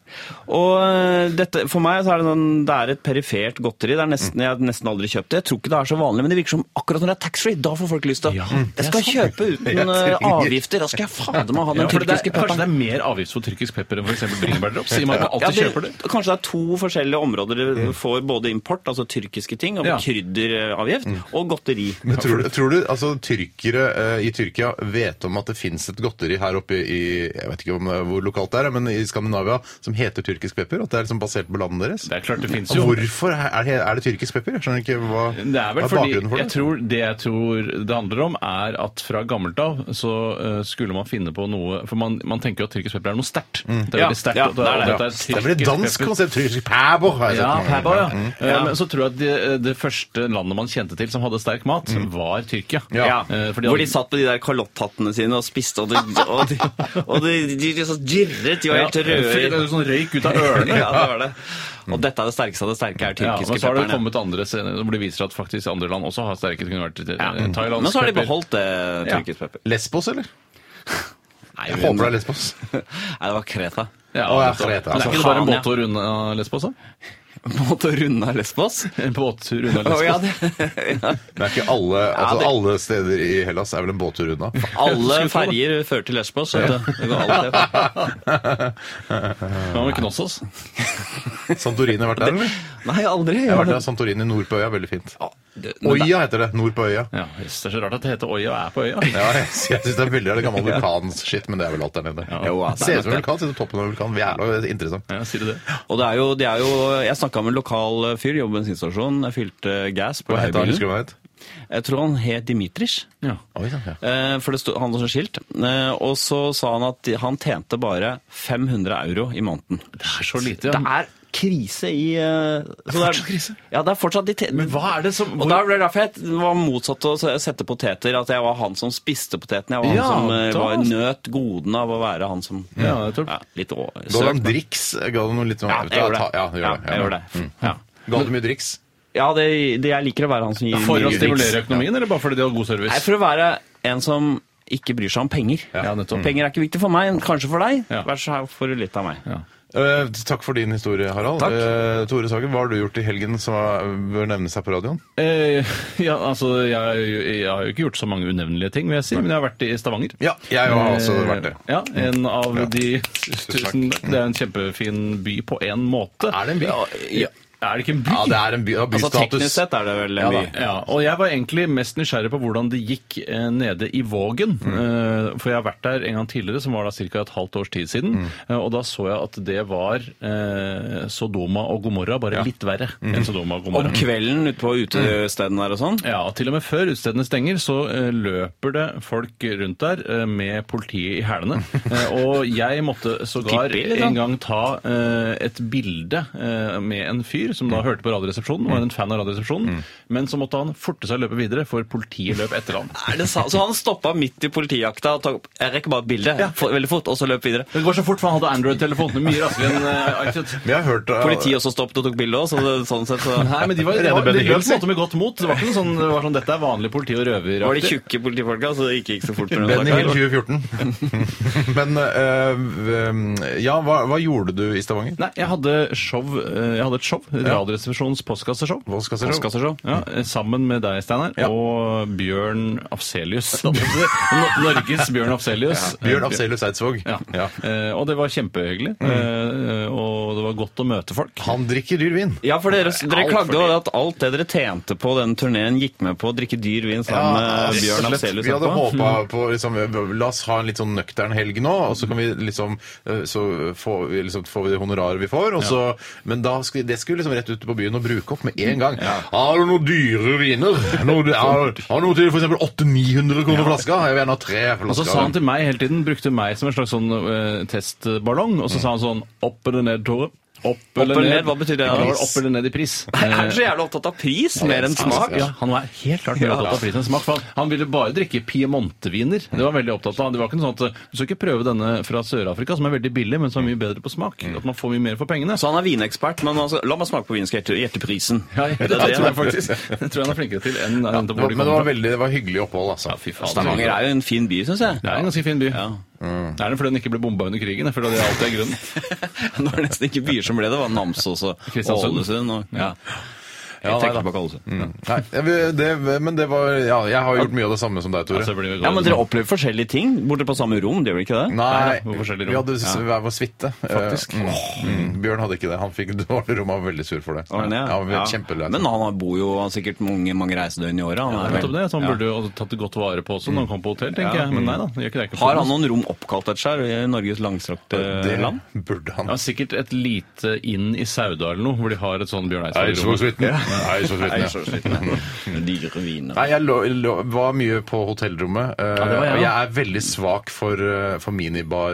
[SPEAKER 2] Og øh, dette, for meg så er det, sånn, det er et perifert godteri. Det er nesten, jeg har nesten aldri kjøpt det. Jeg tror ikke det er så vanlig, men det virker som akkurat når det er taxfree. Da får folk lyst til å
[SPEAKER 3] Ja, det
[SPEAKER 2] Jeg skal kjøpe
[SPEAKER 1] Jeg
[SPEAKER 2] uten
[SPEAKER 1] trenger-
[SPEAKER 2] øh, avgifter. Da skal jeg fader meg ha
[SPEAKER 3] Ja, for
[SPEAKER 2] den
[SPEAKER 3] det er,
[SPEAKER 2] tyrkiske
[SPEAKER 3] kanskje det
[SPEAKER 2] pepperen.
[SPEAKER 3] er mer avgift for tyrkisk pepper enn f.eks. bringebærdrops? Sier man at man
[SPEAKER 2] Ja,
[SPEAKER 3] alltid
[SPEAKER 2] det,
[SPEAKER 3] kjøper det?
[SPEAKER 2] kanskje det er to forskjellige områder du får både import, altså tyrkiske ting, og
[SPEAKER 3] Ja. Mm.
[SPEAKER 2] krydderavgift, og godteri.
[SPEAKER 1] Men tror du, tror du altså, tyrkere eh, i Tyrkia vet om at det fins et godteri her oppe i Jeg vet ikke om, eh, hvor lokalt det er, men i Skandinavia som heter tyrkisk pepper? At det er liksom basert på landet deres?
[SPEAKER 3] Det er klart det fins
[SPEAKER 1] Og
[SPEAKER 3] jo.
[SPEAKER 1] Hvorfor er det, er det tyrkisk pepper? Jeg skjønner ikke hva
[SPEAKER 3] Det er vel
[SPEAKER 1] hva
[SPEAKER 3] fordi
[SPEAKER 1] bakgrunnen for det.
[SPEAKER 3] jeg tror Det jeg tror det handler om, er at fra gammelt av så eh, skulle man finne på noe For man, man tenker jo at tyrkisk pepper er noe sterkt. Det er
[SPEAKER 2] Ja,
[SPEAKER 3] veldig sterkt.
[SPEAKER 2] ja,
[SPEAKER 3] og det, er-
[SPEAKER 2] det er det.
[SPEAKER 3] og
[SPEAKER 1] Mm.
[SPEAKER 3] dette
[SPEAKER 1] det er vel et
[SPEAKER 3] tyrkisk
[SPEAKER 1] dansk
[SPEAKER 3] pepper.
[SPEAKER 1] konsept? Tyrkisk pæbo! har jeg
[SPEAKER 3] Ja,
[SPEAKER 1] sett mange
[SPEAKER 3] pæbo, ja.
[SPEAKER 1] ganger. Mm.
[SPEAKER 3] Eh, Men så tror jeg at det, det første landet man kjente til som hadde sterk mat,
[SPEAKER 1] Mm.
[SPEAKER 3] var Tyrkia.
[SPEAKER 2] Ja.
[SPEAKER 3] Eh, for de
[SPEAKER 2] Hvor de
[SPEAKER 3] hadde-
[SPEAKER 2] satt på de der kalotthattene sine og spiste, og de, og de, og de, de, liksom girret. De var helt røde.
[SPEAKER 3] Det
[SPEAKER 2] i-
[SPEAKER 3] er jo sånn røyk ut av ørene.
[SPEAKER 2] ja, det var det. Og dette er det sterkeste av det sterke, er
[SPEAKER 3] Ja, men
[SPEAKER 2] tyrkiske
[SPEAKER 3] så har det
[SPEAKER 2] pepperne.
[SPEAKER 3] kommet andre scener hvor det viser at faktisk andre land også har sterke. Det kunne vært eh, thailandsk
[SPEAKER 2] Men så har de
[SPEAKER 3] pepper.
[SPEAKER 2] beholdt det tyrkisk pepper.
[SPEAKER 1] Lesbos, eller?
[SPEAKER 2] Nei,
[SPEAKER 1] Jeg
[SPEAKER 2] men-
[SPEAKER 1] håper det er Lesbos.
[SPEAKER 2] Nei, det var Kreta.
[SPEAKER 3] Ja,
[SPEAKER 1] Å, ja,
[SPEAKER 3] nettopp.
[SPEAKER 1] Kreta,
[SPEAKER 3] Men
[SPEAKER 1] altså.
[SPEAKER 3] er ikke det bare en
[SPEAKER 2] Faen, ja.
[SPEAKER 3] båttur unna Lesbos, da?
[SPEAKER 2] Måtte runde av Lesbos.
[SPEAKER 3] En båttur unna
[SPEAKER 2] Å,
[SPEAKER 3] Lesbos?
[SPEAKER 2] ja, det, ja.
[SPEAKER 1] Det er ikke alle, altså,
[SPEAKER 2] det-
[SPEAKER 1] alle steder i Hellas er vel en båttur unna.
[SPEAKER 2] Alle
[SPEAKER 3] Skulle tro det.
[SPEAKER 2] ferger fører til Lesbos. vet du. Det går alltid.
[SPEAKER 3] Hva med Knossos?
[SPEAKER 1] Santorini har vært der, eller?
[SPEAKER 2] Nei, aldri.
[SPEAKER 1] Jeg har vært der, Santorini nord på øya, veldig fint.
[SPEAKER 2] Ja, det- men det-
[SPEAKER 1] Oia heter det. Nord på øya.
[SPEAKER 3] Ja, yes, det er så rart at det heter Oia og er på øya.
[SPEAKER 1] Ja, jeg sy- jeg syns det er veldig av det gamle vulkanskitt, men det er vel alt der nede.
[SPEAKER 2] Jo, ja, det er
[SPEAKER 1] Ser
[SPEAKER 2] nok
[SPEAKER 1] ut som en vulkan, ser ut som toppen av en vulkan. Jævla interessant.
[SPEAKER 3] Ja, sier du det?
[SPEAKER 2] Og det er jo, det er jo Jeg snakka med en lokal fyr, jobber på bensinstasjon. Jeg fylte gass på
[SPEAKER 1] Hva het han?
[SPEAKER 2] leiebilen.
[SPEAKER 1] Husker du hva han het?
[SPEAKER 2] Jeg tror han het Dimitris.
[SPEAKER 3] Ja.
[SPEAKER 1] Oi, sant, ja.
[SPEAKER 2] Eh, For det sto, han hadde sånn skilt. Eh, Og så sa han at de- han tjente bare 500 euro i måneden.
[SPEAKER 3] Det er så lite,
[SPEAKER 2] Det
[SPEAKER 3] ja.
[SPEAKER 2] er krise i eh, så Det er
[SPEAKER 3] fortsatt krise.
[SPEAKER 2] Ja, det er fortsatt de te-
[SPEAKER 3] Men hva er det som-
[SPEAKER 2] Og da ble det derfor jeg var motsatt til å se- sette poteter. At jeg var han som spiste potetene. Jeg var
[SPEAKER 3] Ja,
[SPEAKER 2] han som eh,
[SPEAKER 3] da-
[SPEAKER 2] var nøt godene av å være han som
[SPEAKER 3] Ja, jeg tror-
[SPEAKER 2] Ja, Litt å-
[SPEAKER 1] Ga du
[SPEAKER 2] søkt,
[SPEAKER 1] ham
[SPEAKER 2] da.
[SPEAKER 1] driks? Ga du noe litt sånn
[SPEAKER 2] Ja, jeg gjorde det.
[SPEAKER 1] Ta- Ja, gjør det.
[SPEAKER 2] jeg
[SPEAKER 1] Ja. Mm.
[SPEAKER 2] gjorde det. Ja.
[SPEAKER 1] Ga du mye driks?
[SPEAKER 2] Ja, det, det jeg liker å være han som gir
[SPEAKER 3] For å
[SPEAKER 2] mye
[SPEAKER 3] stimulere
[SPEAKER 2] driks.
[SPEAKER 3] økonomien, eller bare fordi de har god
[SPEAKER 2] Nei,
[SPEAKER 3] service?
[SPEAKER 2] for å være en som ikke bryr seg om penger.
[SPEAKER 3] Ja, nettopp.
[SPEAKER 2] Penger er ikke viktig for meg, men kanskje for deg.
[SPEAKER 3] Ja.
[SPEAKER 2] Vær så her får du litt av meg.
[SPEAKER 1] Eh, takk for din historie, Harald.
[SPEAKER 2] Takk.
[SPEAKER 1] Eh, Tore Sagen, hva har du gjort i helgen som er, bør nevnes her på radioen?
[SPEAKER 3] Eh, ja, altså, jeg, jeg har jo ikke gjort så mange unevnelige ting, vil jeg si, men jeg har vært i Stavanger.
[SPEAKER 1] Ja, jeg har også
[SPEAKER 3] Eh,
[SPEAKER 1] vært det. Mm.
[SPEAKER 3] Ja, en av
[SPEAKER 1] Ja. Mm.
[SPEAKER 3] de
[SPEAKER 1] takk.
[SPEAKER 3] tusen Det er en kjempefin by på en måte.
[SPEAKER 1] Er det en by?
[SPEAKER 3] Ja, ja. Er det ikke en by?
[SPEAKER 1] Ja, det er en by, har
[SPEAKER 2] Altså
[SPEAKER 1] bystatus.
[SPEAKER 2] Teknisk sett er det vel
[SPEAKER 3] Ja,
[SPEAKER 2] en by.
[SPEAKER 3] da. ja, og jeg var egentlig mest nysgjerrig på hvordan det gikk eh, nede i Vågen.
[SPEAKER 1] Mm.
[SPEAKER 3] Eh, for jeg har vært der en gang tidligere, som var da ca. et halvt års tid
[SPEAKER 1] Mm.
[SPEAKER 3] siden. Eh, og da så jeg at det var eh, Sodoma og Gomorra, bare litt verre
[SPEAKER 1] Mm.
[SPEAKER 3] enn Sodoma og Gomorra.
[SPEAKER 2] Om kvelden ute på utestedene der og sånn.
[SPEAKER 3] Ja, og til og med før utestedene stenger, så eh, løper det folk rundt der eh, med politiet i hælene. Eh, og jeg måtte sågar
[SPEAKER 2] Tipper, liksom.
[SPEAKER 3] en gang ta eh, et bilde eh, med en fyr som da hørte på Radioresepsjonen, var en fan av Radioresepsjonen, men så måtte han forte seg å løpe videre, for politiet løp etter han.
[SPEAKER 2] Er det sant? Så han stoppa midt i politijakta og tok Jeg rekker bare et bilde for, veldig fort, og så løp videre.
[SPEAKER 3] Det går så fort, for han hadde Android-telefonene mye raskere enn eh, iTunes.
[SPEAKER 1] Men jeg har hørt eh,
[SPEAKER 2] Politiet også stoppet og tok bilde òg, så det, sånn sett så
[SPEAKER 3] Nei, men de var, de
[SPEAKER 1] Rene
[SPEAKER 3] var, de
[SPEAKER 1] Benny
[SPEAKER 3] løp på
[SPEAKER 1] Hils,
[SPEAKER 3] en måte med godt mot. Det var ikke noe sånn, det var sånn dette er vanlig politi og røver.
[SPEAKER 2] var de tjukke politifolka, så det gikk ikke så fort. med
[SPEAKER 1] Benny
[SPEAKER 2] den
[SPEAKER 1] Hill
[SPEAKER 2] saken.
[SPEAKER 1] 2014. Men eh, eh, ja, hva, hva gjorde du i Stavanger?
[SPEAKER 3] Nei, jeg hadde, show, eh, jeg hadde et show. Radioresepsjonens postkasseshow.
[SPEAKER 1] Hva skal jeg si?
[SPEAKER 2] Postkasseshow.
[SPEAKER 3] Ja, eh, sammen med deg, Steinar,
[SPEAKER 1] Ja.
[SPEAKER 3] og Bjørn Afselius. Nå- Norges Bjørn Afselius.
[SPEAKER 1] Bjørn Afselius Eidsvåg.
[SPEAKER 3] Ja.
[SPEAKER 1] Ja.
[SPEAKER 3] Eh, Og det var kjempehyggelig. eh, Og det var godt å møte folk.
[SPEAKER 1] Han drikker dyr vin.
[SPEAKER 2] Ja, for dere, dere
[SPEAKER 3] Alt for
[SPEAKER 2] klagde jo
[SPEAKER 3] dyrt.
[SPEAKER 2] at alt det dere tjente på den turneen, gikk med på å drikke dyr vin sammen
[SPEAKER 3] eh,
[SPEAKER 2] med Bjørn Afselius.
[SPEAKER 1] eh, Vi hadde
[SPEAKER 2] etterpå.
[SPEAKER 1] håpa på liksom, La oss ha en litt sånn nøktern helg nå, og så kan vi liksom eh, Så får vi, liksom, får vi det honoraret vi får, og så Men da skulle, det skulle liksom rett ut på byen og bruke opp med en gang. Har du noen dyre viner? Noe, har, har noe til f.eks. 800-900 kroner flaska? Jeg vil gjerne ha tre
[SPEAKER 3] Og så
[SPEAKER 1] flasker.
[SPEAKER 3] sa han til meg hele tiden, brukte meg som en slags sånn eh, testballong, og så sa han sånn opp eller ned, Tore. Opp eller
[SPEAKER 2] eller
[SPEAKER 3] ned.
[SPEAKER 2] ned, hva betyr det?
[SPEAKER 3] Ja, var opp eller ned i pris.
[SPEAKER 2] Er dere så jævlig opptatt av pris altså. mer enn smak?
[SPEAKER 3] Ja, han var helt klart mer opptatt av prisen enn smak. for han- Han ville bare drikke piemonteviner. Det var han veldig opptatt av. Det var ikke noe sånn at Du skal ikke prøve denne fra Sør-Afrika, som er veldig billig, men som er mye bedre på smak.
[SPEAKER 2] Mm.
[SPEAKER 3] At man får mye mer for pengene.
[SPEAKER 2] Så han er vinekspert, men altså, la meg smake på vinen, skal jeg gjette- gjette prisen.
[SPEAKER 3] Ja, jeg,
[SPEAKER 2] Det
[SPEAKER 3] det,
[SPEAKER 2] er det,
[SPEAKER 3] tror jeg
[SPEAKER 2] ja.
[SPEAKER 3] faktisk. Det tror jeg han er flinkere til enn enn hvor
[SPEAKER 1] Men
[SPEAKER 3] de
[SPEAKER 1] det
[SPEAKER 3] kommer
[SPEAKER 1] var
[SPEAKER 3] fra.
[SPEAKER 1] veldig det var hyggelig opphold, altså.
[SPEAKER 3] Ja, fy faen.
[SPEAKER 2] Stavanger er jo en fin by, syns jeg.
[SPEAKER 3] Det er en ganske fin by. Mm.
[SPEAKER 2] Ja.
[SPEAKER 3] Det er den fordi den ikke ble bomba under krigen. For det er alltid er grunnen.
[SPEAKER 2] Nå er det nesten ikke byer som ble det. Det var Namsos og
[SPEAKER 3] Kristiansund.
[SPEAKER 2] Ålesund. Og, ja. Mm.
[SPEAKER 3] Ja,
[SPEAKER 4] Jeg
[SPEAKER 3] nei
[SPEAKER 4] trekker
[SPEAKER 3] da.
[SPEAKER 4] tilbake alle. Ja.
[SPEAKER 1] Nei, jeg vil- det, men det var Ja, jeg har gjort mye av det samme som deg, Tore.
[SPEAKER 3] Så blir vi
[SPEAKER 2] Ja, men Dere
[SPEAKER 3] glad.
[SPEAKER 2] opplever forskjellige ting borte på samme rom, det gjør dere ikke det?
[SPEAKER 1] Nei,
[SPEAKER 3] Nei, da, på forskjellige
[SPEAKER 1] vi
[SPEAKER 3] rom.
[SPEAKER 1] hadde s- hver vår suite.
[SPEAKER 3] Faktisk.
[SPEAKER 1] Eh, Mm, mm. Bjørn hadde ikke det. Han fikk dårlig rom og var veldig sur for det.
[SPEAKER 2] Var han det,
[SPEAKER 1] Ja, han var kjempelei.
[SPEAKER 2] Men han bor jo sikkert mange, mange reisedøgn i året. Han
[SPEAKER 3] Ja,
[SPEAKER 2] er
[SPEAKER 3] nettopp
[SPEAKER 2] vel-
[SPEAKER 3] det, så han burde jo tatt det godt vare på også når han kom på hotell, tenker jeg. Men nei da. Gjør ikke det. Ikke
[SPEAKER 2] Mm. Har han noen rom oppkalt etter seg i Norges langstrakte
[SPEAKER 1] det
[SPEAKER 2] land?
[SPEAKER 1] burde han.
[SPEAKER 3] eh, ja, Sikkert et lite inn i Sauda eller noe, hvor de har et sånn Bjørn Eidsvåg-rom.
[SPEAKER 1] Eidsvåg-suiten. Eidsvåg-suiten, ja.
[SPEAKER 2] Dyre viner.
[SPEAKER 1] Nei, jeg lå, lå, var mye på hotellrommet. eh,
[SPEAKER 3] det var jeg
[SPEAKER 1] og jeg
[SPEAKER 3] også.
[SPEAKER 1] er veldig svak for, eh, for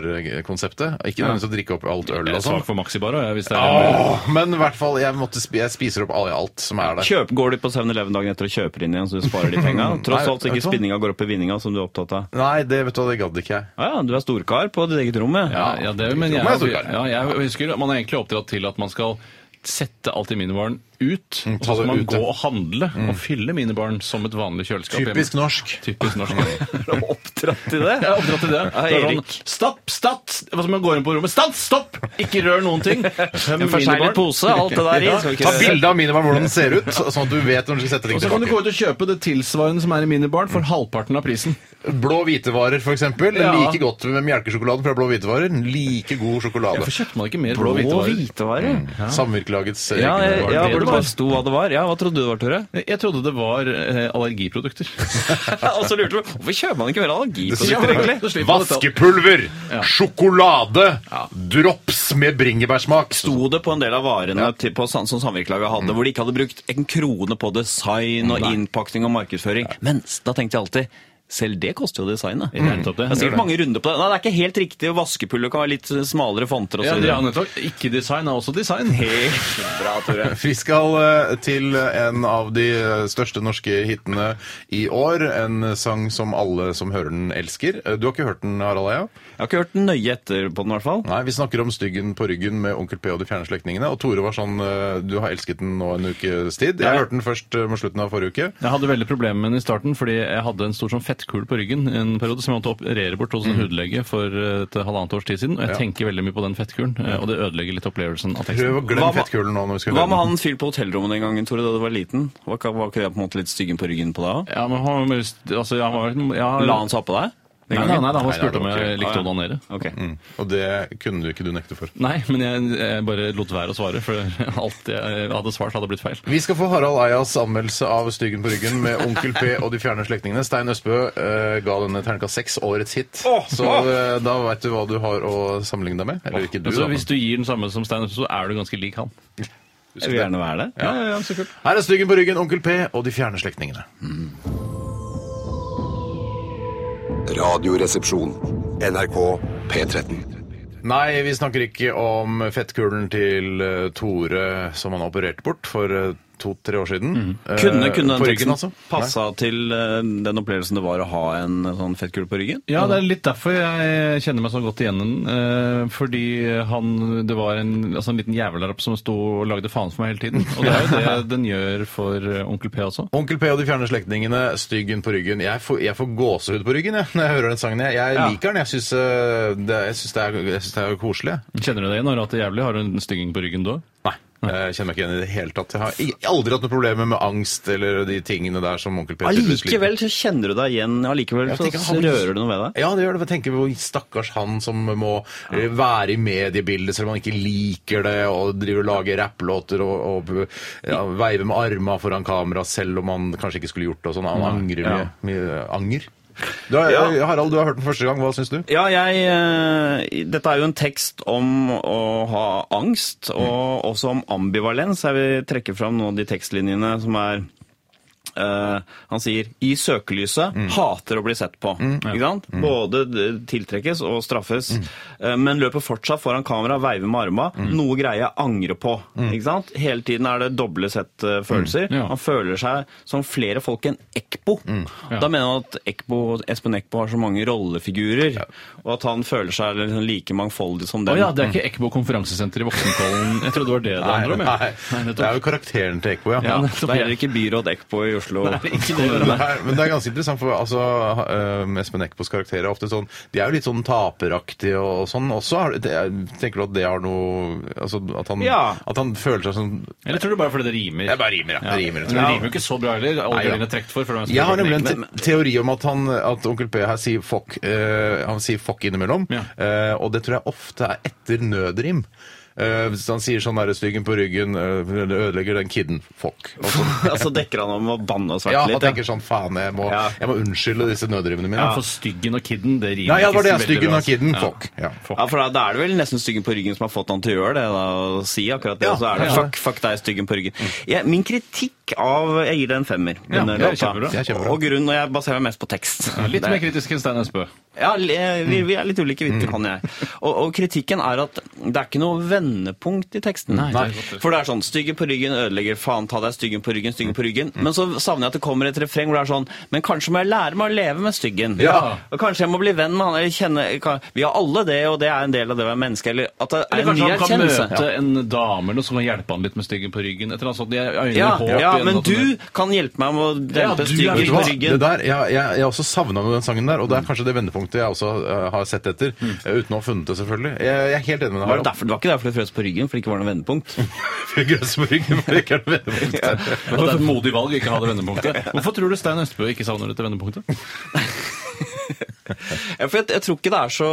[SPEAKER 1] minibar-konseptet. Ikke nødvendigvis å drikke opp alt øl
[SPEAKER 3] Jeg
[SPEAKER 1] og
[SPEAKER 3] er svak
[SPEAKER 1] sånn.
[SPEAKER 3] for Maxibar òg, hvis det er
[SPEAKER 1] Åh, men i hvert fall, jeg, måtte, spi- jeg spiser opp alle- alt som er der.
[SPEAKER 2] Kjøp, går de på 7-Eleven dagen etter og kjøper inn igjen, så du sparer de penga? Tross alt
[SPEAKER 1] vet
[SPEAKER 2] ikke
[SPEAKER 1] du hva?
[SPEAKER 2] spinninga går opp i vinninga, som du er opptatt av.
[SPEAKER 1] Nei, det vet du hva, det gadd ikke jeg.
[SPEAKER 2] Ja, ja, du er storkar på ditt eget rom,
[SPEAKER 3] ja, ja, det, men jeg,
[SPEAKER 1] Men jeg tror
[SPEAKER 3] ja,
[SPEAKER 1] ikke det.
[SPEAKER 3] jeg husker at Man er egentlig oppdratt til at man skal sette alt i minibaren ut,
[SPEAKER 2] Mm,
[SPEAKER 3] og
[SPEAKER 1] ta
[SPEAKER 2] altså
[SPEAKER 3] så skal
[SPEAKER 1] det
[SPEAKER 3] man
[SPEAKER 1] ut, ja.
[SPEAKER 3] gå og handle og fylle minibaren som et vanlig kjøleskap. hjemme.
[SPEAKER 1] Typisk norsk.
[SPEAKER 3] Typisk norsk. Jeg
[SPEAKER 2] Oppdratt til det?
[SPEAKER 3] er oppdratt til det.
[SPEAKER 2] Ja,
[SPEAKER 3] det er
[SPEAKER 2] Erik.
[SPEAKER 3] sånn, stopp, statt! Hva som går inn på rommet? Statt, stopp! Ikke rør noen ting. Tøm minibaren.
[SPEAKER 2] Forseglet pose, alt det der i. skal ikke-
[SPEAKER 1] Ta bilde av minibaren, hvordan den ser ut, sånn at du vet når du skal sette ting
[SPEAKER 3] Og så kan du
[SPEAKER 1] tilbake.
[SPEAKER 3] gå ut og kjøpe det tilsvarende som er i minibaren
[SPEAKER 2] Mm.
[SPEAKER 3] for halvparten av prisen.
[SPEAKER 1] Blå hvitevarer, for eksempel.
[SPEAKER 3] Ja.
[SPEAKER 1] Like godt med melkesjokolade fra blå hvitevarer. Like god sjokolade.
[SPEAKER 3] Hvorfor kjøpte man ikke mer
[SPEAKER 2] Blå
[SPEAKER 3] blå hvitevarer?
[SPEAKER 2] hvitevare.
[SPEAKER 1] Samvirkelagets eh,
[SPEAKER 2] Ja,
[SPEAKER 1] egen
[SPEAKER 2] jeg-
[SPEAKER 1] vare.
[SPEAKER 2] ja,
[SPEAKER 3] det det
[SPEAKER 2] hvor det
[SPEAKER 3] var?
[SPEAKER 2] bare sto hva det var. Ja, Hva trodde du det var, Tore?
[SPEAKER 3] Jeg trodde det var eh, allergiprodukter.
[SPEAKER 2] Og så lurte du hvorfor kjøper man ikke mer allergiprodukter, egentlig?
[SPEAKER 3] Så slipper man dette.
[SPEAKER 1] Vaskepulver, sjokolade, drops med bringebærsmak.
[SPEAKER 2] sto
[SPEAKER 3] sånn.
[SPEAKER 2] det på en del av varene til, på, sam- som Samvirkelaget hadde,
[SPEAKER 3] Mm.
[SPEAKER 2] hvor de ikke hadde brukt en krone på design og innpakning og markedsføring. Men s- da tenkte jeg alltid selv det koster jo designet.
[SPEAKER 3] er nettopp det. Gjør
[SPEAKER 2] Det er
[SPEAKER 3] det.
[SPEAKER 2] sikkert mange runder på det. Nei, det er ikke helt riktig, og vaskepulver kan være litt eh, smalere fonter og
[SPEAKER 3] Ja,
[SPEAKER 2] så
[SPEAKER 3] ja,
[SPEAKER 2] videre.
[SPEAKER 3] nettopp. Ikke design er også design.
[SPEAKER 2] Bra, Tore.
[SPEAKER 1] Vi skal eh, til en av de eh, største norske hitene i år. En sang som alle som hører den, elsker. Eh, Du har ikke hørt den, Harald Eia?
[SPEAKER 2] Jeg har ikke hørt den nøye etter på den, i hvert fall.
[SPEAKER 1] Nei, vi snakker om Styggen på ryggen med Onkel P og de fjerne slektningene. Og Tore var sånn eh, Du har elsket den nå en ukes tid. Jeg hørte den først eh, mot slutten av forrige uke.
[SPEAKER 3] Jeg hadde veldig problemer med den i starten, fordi jeg hadde en stor sånn fettkul på ryggen en periode som jeg måtte operere bort hos en
[SPEAKER 2] Mm.
[SPEAKER 3] hudlege for eh, et halvannet års tid siden. Og jeg tenker veldig mye på den fettkulen, eh, og det ødelegger litt opplevelsen av teksten.
[SPEAKER 1] Prøv å glemme
[SPEAKER 2] Hva med-
[SPEAKER 1] fettkulen nå når vi skal
[SPEAKER 2] Hva
[SPEAKER 1] høre
[SPEAKER 2] med
[SPEAKER 1] den.
[SPEAKER 2] han fyren på hotellrommet den gangen, Tore, da du var liten? Var ikke, var ikke det på en måte litt styggen på ryggen på deg òg?
[SPEAKER 3] Ja, men han, var- altså, jeg har, jeg har,
[SPEAKER 2] La han sånn. seg ha på deg? den
[SPEAKER 3] Nei, Mm. nei,
[SPEAKER 2] gangen?
[SPEAKER 3] nei, han
[SPEAKER 1] Nei,
[SPEAKER 3] spurte om
[SPEAKER 1] nei, det var
[SPEAKER 3] jeg
[SPEAKER 1] ikke-
[SPEAKER 3] likte å onanere.
[SPEAKER 2] Ok.
[SPEAKER 1] Og det kunne du ikke du nekte for.
[SPEAKER 3] Nei, men jeg, jeg bare lot være å svare, for alt jeg hadde svart, hadde blitt feil.
[SPEAKER 1] Vi skal få Harald Eias anmeldelse av Styggen på ryggen med Onkel P og De fjerne slektningene. Stein Østbø eh, ga denne terningkast seks, årets hit. så eh, da veit du hva du har å sammenligne deg med. Eller
[SPEAKER 2] altså,
[SPEAKER 1] ikke du,
[SPEAKER 3] så
[SPEAKER 1] da.
[SPEAKER 3] Altså, hvis du gir den samme som Stein, så er du ganske lik han.
[SPEAKER 2] Jeg vil gjerne være det.
[SPEAKER 3] Ja, ja, ja, så kult.
[SPEAKER 1] Her er Styggen på ryggen, Onkel P og De fjerne slektningene.
[SPEAKER 5] Radioresepsjon. NRK P13.
[SPEAKER 1] Nei, vi snakker ikke om fettkulen til eh, Tore som han opererte bort for eh, to-tre år siden. Eh,
[SPEAKER 2] Mhm. Kunne, kunne den
[SPEAKER 1] på ryggen,
[SPEAKER 2] teksten
[SPEAKER 1] altså. Nei.
[SPEAKER 2] passa til eh, den opplevelsen det var å ha en eh, sånn fettkule på ryggen?
[SPEAKER 3] Ja, det er litt derfor jeg kjenner meg så godt igjen i den. eh, Fordi han, det var en, altså en liten jævel der oppe som sto og lagde faen for meg hele tiden. Og det er jo det den gjør for eh, Onkel P også.
[SPEAKER 1] Onkel P og de fjerne slektningene, styggen på ryggen. Jeg får, jeg får gåsehud på ryggen jeg, når jeg hører den sangen. Jeg, jeg
[SPEAKER 3] Ja.
[SPEAKER 1] liker den. Jeg syns eh, det, jeg synes det, er- jeg synes det er koselig.
[SPEAKER 3] Kjenner du deg igjen når det er jævlig? Har du en stygging på ryggen da?
[SPEAKER 1] Nei. Jeg kjenner meg ikke igjen i det hele tatt. Jeg har i- aldri hatt noe problemer med angst eller de tingene der som Onkel P tydeligvis liker.
[SPEAKER 2] Allikevel så kjenner du deg igjen, allikevel
[SPEAKER 1] Jeg
[SPEAKER 2] så
[SPEAKER 1] tenker han-
[SPEAKER 2] rører du noe ved deg.
[SPEAKER 1] Ja, det gjør det. Jeg tenker på stakkars han som må eh, være i mediebildet selv om han ikke liker det, og driver og lager rapplåter og, og ja, veiver med arma foran kamera selv om han kanskje ikke skulle gjort det og sånn. Han angrer mye. mye anger. Du har,
[SPEAKER 2] Ja.
[SPEAKER 1] Harald, du har hørt den første gang. Hva syns du?
[SPEAKER 2] Ja, jeg, eh, dette er jo en tekst om å ha angst, og også om ambivalens. Jeg vil trekke fram noen av de tekstlinjene som er eh, Han sier 'i søkelyset',
[SPEAKER 3] Mm.
[SPEAKER 2] hater å bli sett på. Ikke sant? Både d- tiltrekkes og straffes,
[SPEAKER 3] Mm.
[SPEAKER 2] eh, men løper fortsatt foran kamera, veiver med arma. Noe greie jeg angrer på. Ikke sant? Hele tiden er det doble sett eh, følelser.
[SPEAKER 3] Mm. Ja. Mm.
[SPEAKER 2] Han føler seg som flere folk enn Ekbo. Da mener han at Ekbo, Espen Ekbo har så mange rollefigurer, og at han føler seg liksom like mangfoldig som
[SPEAKER 3] Å
[SPEAKER 2] dem.
[SPEAKER 3] ja, det er ikke Ekbo konferansesenter i Voksenkollen. Jeg trodde det var det det handler om. ja.
[SPEAKER 1] Nei,
[SPEAKER 3] Nei, nettopp.
[SPEAKER 1] det er jo karakteren til Ekko, ja.
[SPEAKER 3] Ja.
[SPEAKER 2] Det er heller ikke byråd Ekbo i
[SPEAKER 4] Oslo.
[SPEAKER 1] Nei, men det er ganske interessant, for altså, eh, Espen Eckbos karakterer er ofte sånn De er jo litt sånn taperaktige og sånn også. Har- Det, er- tenker du at det har noe altså, at, han,
[SPEAKER 2] Ja.
[SPEAKER 1] at han føler seg sånn
[SPEAKER 3] Eller tror du bare fordi det rimer?
[SPEAKER 1] Jeg bare rimer, ja. Det rimer, jeg
[SPEAKER 3] Men
[SPEAKER 1] tror.
[SPEAKER 3] det rimer jo ikke så bra heller. Alle
[SPEAKER 1] Nei, ja.
[SPEAKER 3] blir trukket for. for hvem som
[SPEAKER 1] Jeg har
[SPEAKER 3] bruker
[SPEAKER 1] nemlig
[SPEAKER 3] den
[SPEAKER 1] en
[SPEAKER 3] ekte.
[SPEAKER 1] te teori om at, han, at onkel P her sier fuck, eh, han sier fuck innimellom,
[SPEAKER 3] Ja.
[SPEAKER 1] eh, og det tror jeg ofte er etter nødrim. Eh, hvis han sier sånn derre styggen på ryggen, eh, ødelegger den kidden, fuck. Og så,
[SPEAKER 2] altså dekker han om å banne og sverte
[SPEAKER 1] ja, han
[SPEAKER 2] litt.
[SPEAKER 1] tenker sånn faen, jeg må,
[SPEAKER 2] Ja.
[SPEAKER 1] jeg må unnskylde disse nødrimene mine.
[SPEAKER 3] Ja, for styggen og kidden, det rimer
[SPEAKER 1] Nei, ja, det var
[SPEAKER 3] ikke
[SPEAKER 1] det.
[SPEAKER 3] så veldig
[SPEAKER 1] Styggen
[SPEAKER 3] bra,
[SPEAKER 1] av
[SPEAKER 3] altså.
[SPEAKER 1] kidden.
[SPEAKER 3] Ja.
[SPEAKER 1] Fuck. Ja.
[SPEAKER 2] Ja, for da, da er det vel nesten styggen på ryggen som har fått han til å gjøre det, da, og si akkurat det.
[SPEAKER 1] Ja,
[SPEAKER 2] og så er det
[SPEAKER 1] ja.
[SPEAKER 2] fuck, fuck deg, styggen på ryggen. Jeg, min kritikk av Jeg gir det en femmer.
[SPEAKER 3] Ja,
[SPEAKER 2] denne
[SPEAKER 3] det er
[SPEAKER 2] låta.
[SPEAKER 3] kjempebra.
[SPEAKER 1] Det er kjempebra.
[SPEAKER 2] Og grunn, og jeg baserer meg mest på tekst.
[SPEAKER 3] Ja, Litt
[SPEAKER 2] Det-
[SPEAKER 3] mer Mm. kritisk enn Stein Espe.
[SPEAKER 2] Ja, li- eh, vi, vi er litt ulike, vi, han og jeg. Og, og kritikken er at det er ikke noe vendepunkt i teksten.
[SPEAKER 3] det er godt. Mm.
[SPEAKER 2] For det er sånn Styggen på ryggen ødelegger, faen ta deg styggen på ryggen, styggen på ryggen. Men så savner jeg at det kommer et refreng hvor det er sånn Men kanskje må jeg lære meg å leve med styggen.
[SPEAKER 3] Ja.
[SPEAKER 2] Og kanskje jeg må bli venn med han, eller kjenne kan, Vi har alle det, og det er en del av det å være menneske, eller at det er
[SPEAKER 3] Eller
[SPEAKER 2] en ny
[SPEAKER 3] kanskje han kan
[SPEAKER 2] erkjennelse.
[SPEAKER 3] møte en dame eller noe som kan hjelpe han litt med styggen på ryggen. Et eller annet sånt. Jeg øyner
[SPEAKER 2] Ja,
[SPEAKER 3] håp
[SPEAKER 2] ja,
[SPEAKER 3] igjen,
[SPEAKER 2] men
[SPEAKER 3] at han-
[SPEAKER 2] du kan hjelpe meg med å dempe
[SPEAKER 3] du er sånn.
[SPEAKER 2] styggen
[SPEAKER 3] vel-
[SPEAKER 2] på
[SPEAKER 1] Det
[SPEAKER 2] ryggen.
[SPEAKER 1] der, jeg, jeg, jeg også savna den sangen der, og det er kanskje det vendepunktet jeg også eh, har sett etter. eh, Uten å ha funnet det, selvfølgelig. Jeg, jeg er helt enig med deg.
[SPEAKER 2] Var Mm. det, derfor, det var ikke derfor du frøs på ryggen, for det ikke var noe vendepunkt.
[SPEAKER 1] derfor grøss på ryggen? for det ikke er noe vendepunkt der.
[SPEAKER 3] At det er et modig valg å ikke ha det vendepunktet. Hvorfor tror du Stein Østbø ikke savner dette vendepunktet?
[SPEAKER 2] Ja, for jeg, jeg tror ikke det er så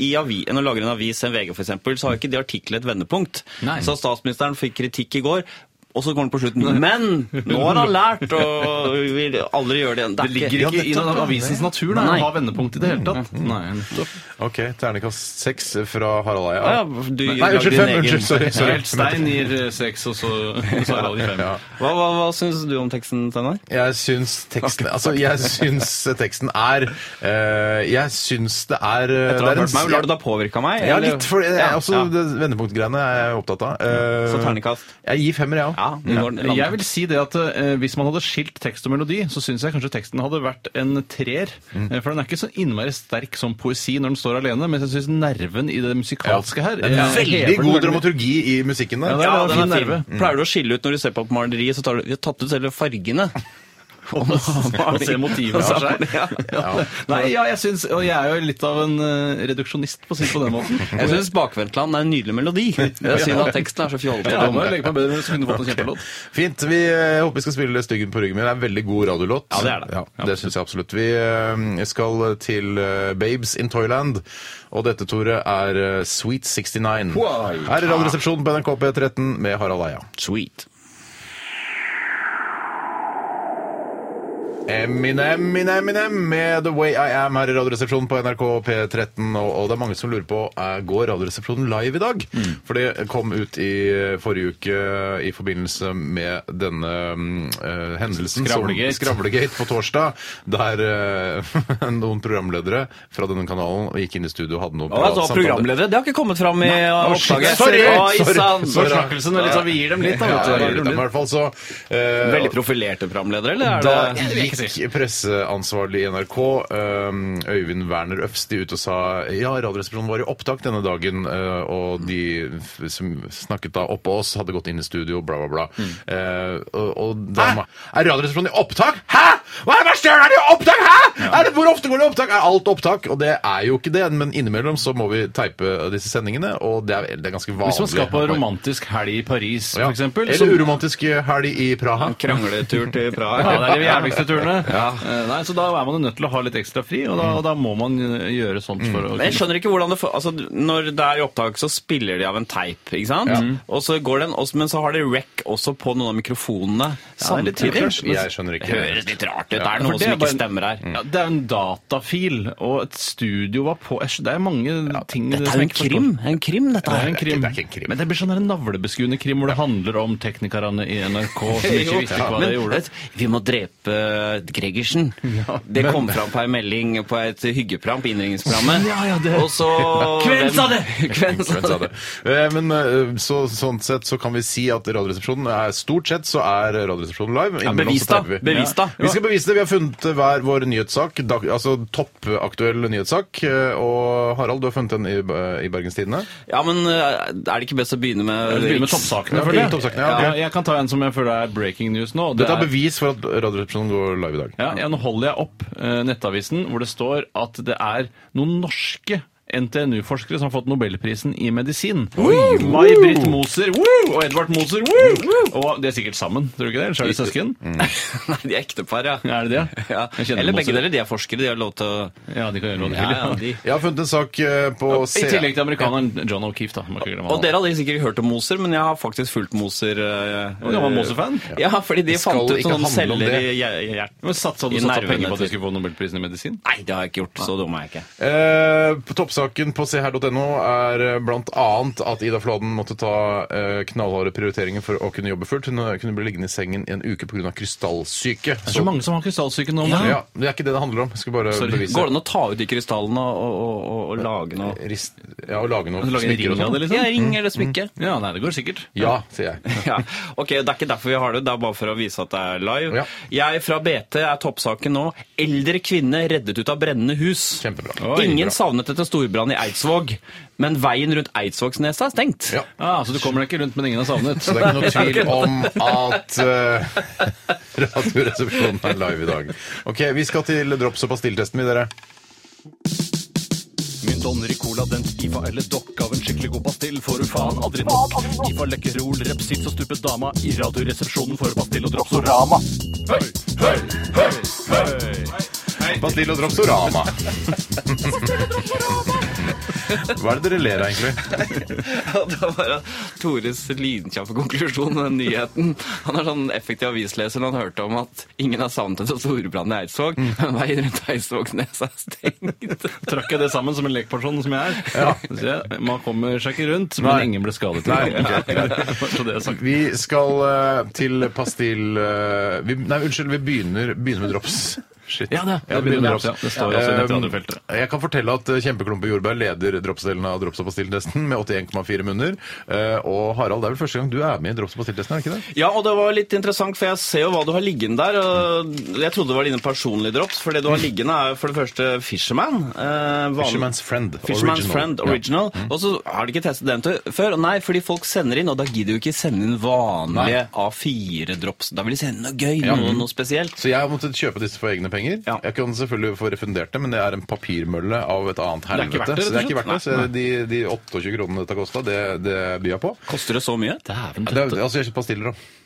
[SPEAKER 2] i avi, Når du lager en avis, en VG for eksempel, så har ikke de artiklene et vendepunkt.
[SPEAKER 3] Nei.
[SPEAKER 2] Så statsministeren fikk kritikk i går, og så går den på slutten. Men nå har han lært, og vi vil aldri gjøre det igjen.
[SPEAKER 3] Det ligger ikke i den avisens natur da,
[SPEAKER 2] Nei.
[SPEAKER 3] å ha vendepunkt i det hele tatt. Nei, nettopp.
[SPEAKER 1] OK, terningkast seks fra Harald Eia.
[SPEAKER 2] Ja, du
[SPEAKER 1] Nei,
[SPEAKER 2] lagde
[SPEAKER 1] unnskyld,
[SPEAKER 2] din
[SPEAKER 1] fem.
[SPEAKER 2] egen-
[SPEAKER 1] Unnskyld, sorry.
[SPEAKER 3] Så
[SPEAKER 1] sorry.
[SPEAKER 3] helt Stein gir eh, seks, og så, og så er det de fem.
[SPEAKER 1] Ja.
[SPEAKER 2] Hva, hva, hva syns du om teksten, Steinar?
[SPEAKER 1] Jeg syns teksten Altså, jeg syns teksten er eh, Jeg syns det er eh,
[SPEAKER 2] Etter å
[SPEAKER 1] det
[SPEAKER 2] ha
[SPEAKER 1] er en-
[SPEAKER 2] hørt meg, Lar du da påvirke av meg?
[SPEAKER 1] Ja,
[SPEAKER 2] eller?
[SPEAKER 1] litt. For det er
[SPEAKER 2] Ja,
[SPEAKER 1] også
[SPEAKER 2] ja.
[SPEAKER 1] det vendepunktgreiene er jeg opptatt av. Eh,
[SPEAKER 2] Så terningkast?
[SPEAKER 1] Jeg gir femmer, jeg òg.
[SPEAKER 2] Ja, det går den
[SPEAKER 3] Jeg vil si det at eh, Hvis man hadde skilt tekst og melodi, så syns jeg kanskje teksten hadde vært en treer. Eh, For den er ikke så innmari sterk som poesi når den står alene, men jeg syns nerven i det musikalske her
[SPEAKER 1] Det er
[SPEAKER 3] eh,
[SPEAKER 1] Veldig
[SPEAKER 3] hever den
[SPEAKER 1] god
[SPEAKER 3] veldig.
[SPEAKER 1] dramaturgi i musikken der.
[SPEAKER 3] Ja, det
[SPEAKER 2] Ja,
[SPEAKER 3] var
[SPEAKER 2] den
[SPEAKER 3] fin
[SPEAKER 2] er fin.
[SPEAKER 3] nerve.
[SPEAKER 2] Pleier du å skille ut når du ser på på maleriet, så tar du, vi har tatt ut selve fargene.
[SPEAKER 3] Og se motivet for seg.
[SPEAKER 2] Ja.
[SPEAKER 3] Ja. Nei, ja, jeg syns Og jeg er jo litt av en eh, reduksjonist, på å si det på den måten.
[SPEAKER 2] Jeg syns Bakvendtland er en nydelig melodi. Det er synd at teksten er så fjollete.
[SPEAKER 3] Jeg må jo legge meg bedre, men så kunne du fått en kjempelåt.
[SPEAKER 1] Fint. Vi eh, håper vi skal spille 'Styggen på ryggen min'. Det er en veldig god radiolåt.
[SPEAKER 2] Ja, det er det.
[SPEAKER 1] det syns jeg absolutt. Vi eh, skal til eh, Babes in Toyland, og dette, Tore, er eh, Sweet 69. Her er Radioresepsjonen på NRK P13 med Harald Eia.
[SPEAKER 2] Sweet.
[SPEAKER 1] Eminem, Eminem med The Way I Am her i Radioresepsjonen på NRK P13. Og, og det er mange som lurer på eh, går Radioresepsjonen live i dag.
[SPEAKER 3] Mm.
[SPEAKER 1] For det kom ut i eh, forrige uke i forbindelse med denne mm, eh, hendelsen. som-
[SPEAKER 3] Skravlegate.
[SPEAKER 1] Skravlegate på torsdag. Der eh, noen programledere fra denne kanalen gikk inn i studio og hadde noen
[SPEAKER 2] Altså, programledere, det har ikke kommet fram i uh, oppslaget.
[SPEAKER 1] sorry,
[SPEAKER 2] Å, i
[SPEAKER 1] sorry,
[SPEAKER 2] sann.
[SPEAKER 1] sorry.
[SPEAKER 3] Forsnakkelsen er litt sånn, vi gir dem litt, da.
[SPEAKER 1] Ja,
[SPEAKER 3] Vet du. Vi gir
[SPEAKER 1] men
[SPEAKER 3] dem
[SPEAKER 1] I
[SPEAKER 3] litt.
[SPEAKER 1] hvert fall så eh,
[SPEAKER 2] Veldig profilerte programledere, eller
[SPEAKER 1] Da
[SPEAKER 2] er det
[SPEAKER 1] gikk presseansvarlig i NRK, øhm, Øyvind Werner Øfsti, ut og sa ja, Radioresepsjonen var i opptak denne dagen, øh, og de f- som snakket da oppå oss, hadde gått inn i studio, bla, bla, bla.
[SPEAKER 3] Mm.
[SPEAKER 1] Eh, og, og da, er Radioresepsjonen i opptak?! Hæ?! Hva er det verste jeg har hørt? Er det i opptak?! Hæ?! Er det, hvor ofte går det i opptak?! Er alt opptak? Og det er jo ikke det, men innimellom så må vi teipe disse sendingene, og det er, det er ganske vanlig.
[SPEAKER 3] Hvis man skal på romantisk helg i Paris,
[SPEAKER 1] Ja.
[SPEAKER 3] for eksempel så-
[SPEAKER 1] Eller uromantisk helg i Praha.
[SPEAKER 2] krangletur til Praha?
[SPEAKER 3] Ja, det er de jævligste turene. Eh, Nei, så da er man jo nødt til å ha litt ekstra fri, og da, og da må man eh, gjøre sånt for å
[SPEAKER 2] Men jeg skjønner ikke hvordan det for, altså, Når det er i opptak, så spiller de av en teip, ikke sant? Og så går den, også, men så har de rec også på noen av mikrofonene samtidig.
[SPEAKER 1] Jeg skjønner ikke.
[SPEAKER 2] Det høres litt rart ut. Det
[SPEAKER 3] Ja,
[SPEAKER 2] er Mm.
[SPEAKER 3] for
[SPEAKER 2] noe
[SPEAKER 3] det
[SPEAKER 2] som
[SPEAKER 3] er bare
[SPEAKER 2] ikke
[SPEAKER 3] en- Mm.
[SPEAKER 2] stemmer her.
[SPEAKER 3] Ja, det er en datafil, og et studio var på jeg skj- Det er mange ting
[SPEAKER 2] Dette
[SPEAKER 3] som
[SPEAKER 2] er
[SPEAKER 3] jeg
[SPEAKER 2] jo en
[SPEAKER 3] ikke forstår.
[SPEAKER 2] krim. En krim, dette
[SPEAKER 3] Det er
[SPEAKER 2] her.
[SPEAKER 3] en krim.
[SPEAKER 1] det er ikke en krim.
[SPEAKER 3] Men det blir sånn der en navlebeskuende krim hvor det handler om teknikerne i NRK som ikke visste hva de
[SPEAKER 2] Men,
[SPEAKER 3] gjorde.
[SPEAKER 2] vet, vi må drepe eh, Gregersen. det kom fram på ei melding på et hyggeprogram på innringningsprogrammet.
[SPEAKER 3] Ja, ja, det-
[SPEAKER 2] Og så
[SPEAKER 3] Kven sa det!
[SPEAKER 2] Kven sa
[SPEAKER 1] Hvem sa
[SPEAKER 2] det!
[SPEAKER 1] det? Eh, Men eh, så, sånn sett så kan vi si at Radioresepsjonen er stort sett så er Radioresepsjonen live. Innimellom
[SPEAKER 2] bevis
[SPEAKER 1] så
[SPEAKER 2] da.
[SPEAKER 1] teiper vi.
[SPEAKER 2] Bevis da.
[SPEAKER 1] Vi skal bevise det. Vi har funnet hver vår nyhetssak, dag, altså toppaktuell nyhetssak. eh, Og Harald, du har funnet en i, eh, i Bergens Tidende.
[SPEAKER 2] Ja, men eh, er det ikke best å begynne med
[SPEAKER 3] Vi begynner med
[SPEAKER 2] Riks-
[SPEAKER 3] toppsakene.
[SPEAKER 1] Ja,
[SPEAKER 3] føler
[SPEAKER 1] begynn
[SPEAKER 3] jeg.
[SPEAKER 1] med toppsakene, ja, ok.
[SPEAKER 3] Ja, jeg kan ta en som jeg føler er breaking news nå. og det
[SPEAKER 1] Dette er
[SPEAKER 3] er-
[SPEAKER 1] bevis for at Radioresepsjonen går live i dag.
[SPEAKER 3] Ja, ja, nå holder jeg opp eh, nettavisen hvor det står at det er noen norske NTNU-forskere som har fått Nobelprisen i medisin. May-Britt Moser woo, og Edvard Moser. Woo, og de er sikkert sammen, tror du ikke det? Eller så er de søsken?
[SPEAKER 2] Nei, de er ektepar, ja.
[SPEAKER 3] Er det det?
[SPEAKER 2] ja.
[SPEAKER 3] Jeg kjenner Moser.
[SPEAKER 2] Eller begge deler. De er forskere, de har lov til å
[SPEAKER 3] Ja, de kan gjøre hva de
[SPEAKER 2] ja,
[SPEAKER 3] vil.
[SPEAKER 2] ja, de.
[SPEAKER 1] Jeg har funnet en sak eh, på
[SPEAKER 3] I tillegg til amerikaneren John O'Keefe, da. Må ikke glemme
[SPEAKER 2] Og
[SPEAKER 3] han.
[SPEAKER 2] dere hadde sikkert hørt om Moser, men jeg har faktisk fulgt Moser. eh,
[SPEAKER 3] Du var Moser-fan?
[SPEAKER 2] Ja, fordi de
[SPEAKER 1] Det skal
[SPEAKER 2] fant ut
[SPEAKER 1] ikke handle
[SPEAKER 2] noen
[SPEAKER 1] om
[SPEAKER 2] celler i
[SPEAKER 1] det.
[SPEAKER 2] hjer- hjertet.
[SPEAKER 3] Men satsa du
[SPEAKER 2] I
[SPEAKER 3] satsa
[SPEAKER 2] nervene
[SPEAKER 3] penger på at
[SPEAKER 2] til-
[SPEAKER 3] de skulle få Nobelprisen i medisin?
[SPEAKER 2] Nei, det har jeg ikke gjort. Så dum er jeg ikke.
[SPEAKER 1] Eh, på toppsaken på seher.no er eh, blant annet at Ida Fladen måtte ta eh, knallharde prioriteringer for å kunne jobbe fullt. Hun eh, kunne bli liggende i sengen i en uke pga. krystallsyke.
[SPEAKER 3] Det er så mange som har krystallsyke nå om dagen.
[SPEAKER 1] ja, det er ikke det det handler om. Jeg skal bare
[SPEAKER 3] Sorry.
[SPEAKER 1] bevise.
[SPEAKER 2] Går det an å ta ut de krystallene og, og, og, og lage noe
[SPEAKER 1] Rist, ja, å lage noe
[SPEAKER 3] Så lager de
[SPEAKER 1] smykker og
[SPEAKER 3] ring av
[SPEAKER 1] sånn.
[SPEAKER 3] det,
[SPEAKER 2] Mm. Ja,
[SPEAKER 3] liksom?
[SPEAKER 2] ring eller smykke.
[SPEAKER 3] Ja, nei, det går sikkert.
[SPEAKER 1] Ja, sier jeg.
[SPEAKER 2] Ja, ok, Det er ikke derfor vi har det, det er bare for å vise at det er live.
[SPEAKER 1] Ja.
[SPEAKER 2] Jeg fra BT er toppsaken nå. Eldre kvinne reddet ut av brennende hus.
[SPEAKER 1] Kjempebra.
[SPEAKER 3] Oi,
[SPEAKER 2] Ingen
[SPEAKER 3] bra.
[SPEAKER 2] savnet etter storbrann i Eidsvåg, men veien rundt Eidsvågsnesa er stengt.
[SPEAKER 1] Ja.
[SPEAKER 3] Ah, så du kommer deg ikke rundt, men ingen har savnet.
[SPEAKER 1] Så det er ikke noe tvil om at eh, Radioresepsjonen er live i dag. Ok, Vi skal til drops- og pastilltesten, vi, dere.
[SPEAKER 4] Min donner i cola, den skifa eller dokk av en skikkelig god pastill får du faen aldri nok. Skifa lekkerol, repsits og stupet dama i radioresepsjonen for pastill og dropsorama. Høy, høy, høy, høy.
[SPEAKER 1] Pastill og Dropsorama. Hva er det dere ler av, egentlig?
[SPEAKER 2] Ja, Det var Tores lynkjappe konklusjon med den nyheten. Han er sånn effektiv avisleser når han hørte om at ingen har savnet en så storbrann i Eidsvåg, men veien rundt Eidsvågsnesa er stengt.
[SPEAKER 3] Trakk jeg det sammen som en lekperson som jeg er? Så jeg- Man kommer seg ikke rundt, men
[SPEAKER 1] Nei.
[SPEAKER 3] ingen ble skadet.
[SPEAKER 1] Nei,
[SPEAKER 3] Så det er sagt.
[SPEAKER 1] Vi skal eh, til pastill... eh, vi, nei, unnskyld, vi begynner, begynner med drops. Shit.
[SPEAKER 3] Ja, det-
[SPEAKER 1] vi begynner med drops.
[SPEAKER 3] Ja, det står jo også i
[SPEAKER 1] Eh,
[SPEAKER 3] nettradiofeltet.
[SPEAKER 1] Jeg kan fortelle at eh, Kjempeklumpe jordbær leder dropsdelen av drops- og pastilltesten med 81,4 munner. Eh, og Harald, det er vel første gang du er med i drops- og pastilltesten, er det ikke det?
[SPEAKER 2] Ja, og det var litt interessant, for jeg ser jo hva du har liggende der. og Jeg trodde det var dine personlige drops, for det du har liggende er jo for det første Fisherman. eh, vanlig-
[SPEAKER 1] Fisherman's Friend
[SPEAKER 2] Fisherman's
[SPEAKER 1] Original.
[SPEAKER 2] Friend Original. Og så har de ikke testet den til- før. Nei, fordi folk sender inn, og da gidder du ikke sende inn vanlige A4-drops. Da vil de sende noe gøy, noe, noe spesielt.
[SPEAKER 1] Så jeg har måttet kjøpe disse for egne penger.
[SPEAKER 2] Ja.
[SPEAKER 1] Jeg kan selvfølgelig få refundert det, men det er en papirmølle av et annet
[SPEAKER 3] er ikke
[SPEAKER 1] helvete.
[SPEAKER 3] verdt det,
[SPEAKER 1] så det er ikke
[SPEAKER 3] rett og
[SPEAKER 1] verdt det. Så de, de 28 kronene dette kosta, det, det byr jeg på.
[SPEAKER 2] Koster det så mye?
[SPEAKER 3] Dæven
[SPEAKER 1] Det, er- altså, jeg kjøper pastiller, da.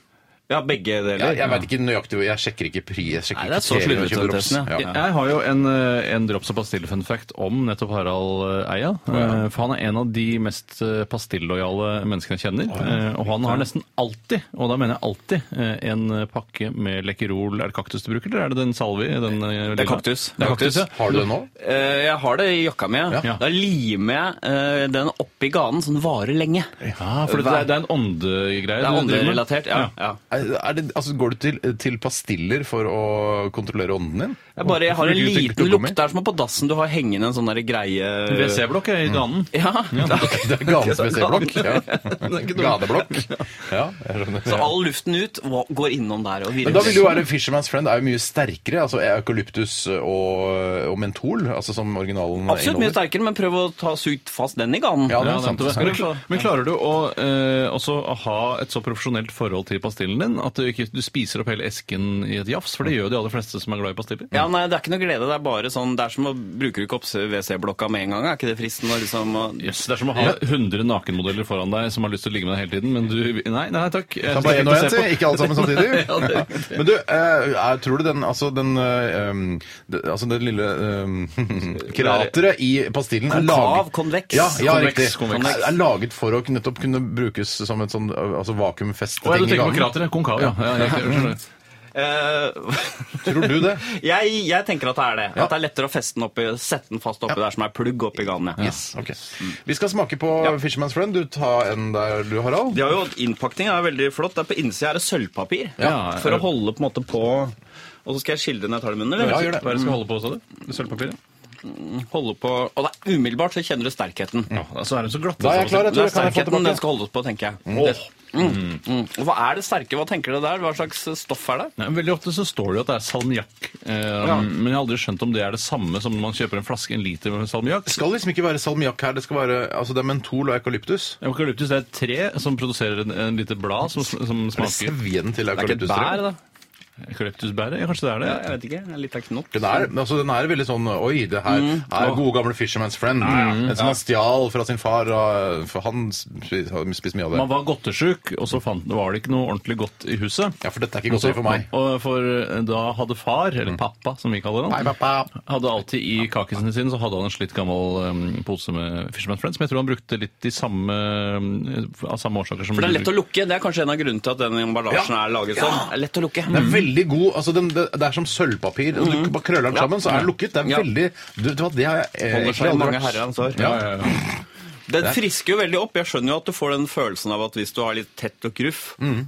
[SPEAKER 2] Ja, begge
[SPEAKER 1] Ja,
[SPEAKER 2] deler.
[SPEAKER 1] jeg vet ikke nøyaktig Jeg sjekker ikke pri. Jeg sjekker
[SPEAKER 2] Nei, det er
[SPEAKER 1] ikke
[SPEAKER 2] så
[SPEAKER 1] tele-
[SPEAKER 2] slurvete,
[SPEAKER 1] jeg kjøper drops.
[SPEAKER 2] Thorsten, ja.
[SPEAKER 1] Ja.
[SPEAKER 3] Jeg har jo en, eh, en drops- og pastille-fun-fact om nettopp Harald eh, Eia. Eh, For han er en av de mest eh, pastillojale menneskene jeg kjenner. Eh, Og han har nesten alltid, og da mener jeg alltid, eh, en pakke med Lekkerol. Er det kaktus du bruker, eller er det den salvi? Den, eh,
[SPEAKER 2] Det er
[SPEAKER 3] lilla?
[SPEAKER 2] kaktus.
[SPEAKER 3] Det er kaktus, ja.
[SPEAKER 1] Har du det nå?
[SPEAKER 2] Eh, Jeg har det i jakka mi. ja.
[SPEAKER 3] Ja.
[SPEAKER 2] Da limer jeg eh, den oppi ganen, så den varer lenge.
[SPEAKER 3] Ja, for det er, det er en åndegreie.
[SPEAKER 2] Det er
[SPEAKER 3] du driver med.
[SPEAKER 2] ånderelatert. Ja. Ja.
[SPEAKER 1] Er er det, altså, går du til, til pastiller for å kontrollere ånden din?
[SPEAKER 2] Jeg bare jeg har en
[SPEAKER 1] Bruker du
[SPEAKER 2] liten
[SPEAKER 1] tykkelommegummi?
[SPEAKER 2] lukt. Det er som på dassen du har hengende en sånn der greie
[SPEAKER 3] WC-blokk
[SPEAKER 2] Mm.
[SPEAKER 3] er i ganen.
[SPEAKER 2] Ja.
[SPEAKER 1] Det er ganens WC-blokk. Ja.
[SPEAKER 2] ikke dumt.
[SPEAKER 1] Gadeblokk. Ja, jeg skjønner.
[SPEAKER 2] Så all luften ut og går innom der og
[SPEAKER 1] Men da
[SPEAKER 2] virrer.
[SPEAKER 1] vil jo være Fisherman's Friend er jo mye sterkere. altså Eukalyptus og, og mentol, altså som originalen
[SPEAKER 2] Absolutt mye sterkere, men prøv å ta sugt fast den i ganen.
[SPEAKER 1] Ja, det
[SPEAKER 3] Ja,
[SPEAKER 1] er sant.
[SPEAKER 3] nettopp.
[SPEAKER 1] sant.
[SPEAKER 3] Men, kla- men klarer du å eh, også ha et så profesjonelt forhold til pastillen din at du ikke du spiser opp hele esken i et jafs? For det gjør jo de aller fleste som er glad i pastiller.
[SPEAKER 2] Ja, nei, Det er ikke noe glede. Det er bare sånn, det er som å bruke opp WC-blokka med en gang. Er ikke det fristende? å Liksom, å-
[SPEAKER 3] Yes, det er som å ha 100 nakenmodeller foran deg som har lyst til å ligge med deg hele tiden, men du Nei, nei takk. Jeg
[SPEAKER 1] Kan
[SPEAKER 3] skal
[SPEAKER 1] bare en og en,
[SPEAKER 3] se på-
[SPEAKER 1] si. Ikke alle sammen samtidig.
[SPEAKER 3] Ja, det er
[SPEAKER 1] Ja. Men du, eh, er- tror du den altså den, eh, um, det, altså den lille eh, krateret i pastillen er
[SPEAKER 2] Konkav,
[SPEAKER 1] laget
[SPEAKER 2] konveks.
[SPEAKER 1] ja, ja,
[SPEAKER 3] Konveks,
[SPEAKER 1] riktig.
[SPEAKER 3] konveks.
[SPEAKER 1] Er, er laget for å nettopp kunne brukes som et sånn eh, altså vakuumfeste
[SPEAKER 3] Å, ja, du
[SPEAKER 1] ting i
[SPEAKER 3] tenker på
[SPEAKER 1] gangen.
[SPEAKER 3] krateret? Konkav, ja. ja, jeg- jeg skjønner det.
[SPEAKER 2] Eh,
[SPEAKER 1] Tror du det?
[SPEAKER 2] jeg, jeg tenker at det er det.
[SPEAKER 1] Ja.
[SPEAKER 2] At det er lettere å feste den oppi, sette den fast oppi der som er plugg oppi ganen. Ja.
[SPEAKER 1] Yes, ok. Vi skal smake på Fisherman's Friend. Du tar en der, du, Harald.
[SPEAKER 2] De har jo, Innpakningen er veldig flott. Der på innsida er det sølvpapir
[SPEAKER 3] Ja.
[SPEAKER 2] for å holde på en måte på Og så skal jeg skille det når jeg tar det i munnen? eller?
[SPEAKER 1] Ja, gjør det.
[SPEAKER 3] Hva er det jeg skal holde på, sa du? Sølvpapiret?
[SPEAKER 2] Holde på, og det er umiddelbart så kjenner du sterkheten.
[SPEAKER 3] Ja, så er de så glatte.
[SPEAKER 1] Da er jeg
[SPEAKER 3] altså.
[SPEAKER 1] klar, jeg
[SPEAKER 2] Det
[SPEAKER 1] tror jeg kan jeg
[SPEAKER 2] er
[SPEAKER 1] få
[SPEAKER 2] sterkheten den
[SPEAKER 1] tilbake.
[SPEAKER 2] skal holdes på, tenker jeg. Det, mm, mm. Og Hva er det sterke? Hva tenker du der? Hva slags stoff er det?
[SPEAKER 3] Nei, men veldig ofte så står det jo at det er salmiakk. Eh, Men jeg har aldri skjønt om det er det samme som når man kjøper en flaske, en liter med salmiakk.
[SPEAKER 1] Det skal liksom ikke være salmiakk her, det skal være altså det er mentol og eukalyptus.
[SPEAKER 3] Eukalyptus det er et tre som produserer en, en lite blad som, som
[SPEAKER 1] Er det
[SPEAKER 3] smaker
[SPEAKER 1] Sevjen til
[SPEAKER 2] Det er ikke et bær,
[SPEAKER 1] eukalyptustreet.
[SPEAKER 2] da?
[SPEAKER 3] Eukalyptusbæret? Ja, kanskje det er det?
[SPEAKER 2] Ja, jeg vet ikke. Jeg er litt av knott.
[SPEAKER 1] Den er, men altså, den er veldig sånn Oi, det her er gode gamle Fisherman's Friend. En som han stjal fra sin far, og for han spiste spist mye av det.
[SPEAKER 3] Man var godtesjuk, og så fant, var det ikke noe ordentlig godt i huset.
[SPEAKER 1] Ja, for dette er ikke godteri for meg. Mm.
[SPEAKER 3] Og for eh, da hadde far, eller pappa som vi kaller
[SPEAKER 1] Nei,
[SPEAKER 3] han,
[SPEAKER 1] pappa.
[SPEAKER 3] hadde alltid i kakisene sine så hadde han en slitt gammel um, pose med Fisherman's Friends, som jeg tror han brukte litt de samme, um, av samme årsaker som
[SPEAKER 2] For det er lett å lukke. Det er kanskje en av grunnene til at den emballasjen er laget sånn. Det er lett å lukke.
[SPEAKER 1] Den er veldig god. altså den, det, det er som sølvpapir. Altså, Du bare krøller den sammen, så er den lukket. Det er
[SPEAKER 2] Ja.
[SPEAKER 1] veldig du, vet du hva, Det har jeg eh,
[SPEAKER 2] Holder
[SPEAKER 1] egentlig
[SPEAKER 2] seg i
[SPEAKER 1] aldri
[SPEAKER 2] mange
[SPEAKER 1] vært-
[SPEAKER 2] herrens år.
[SPEAKER 1] Ja.
[SPEAKER 2] Det frisker jo veldig opp. Jeg skjønner jo at du får den følelsen av at hvis du har litt tett og gruff,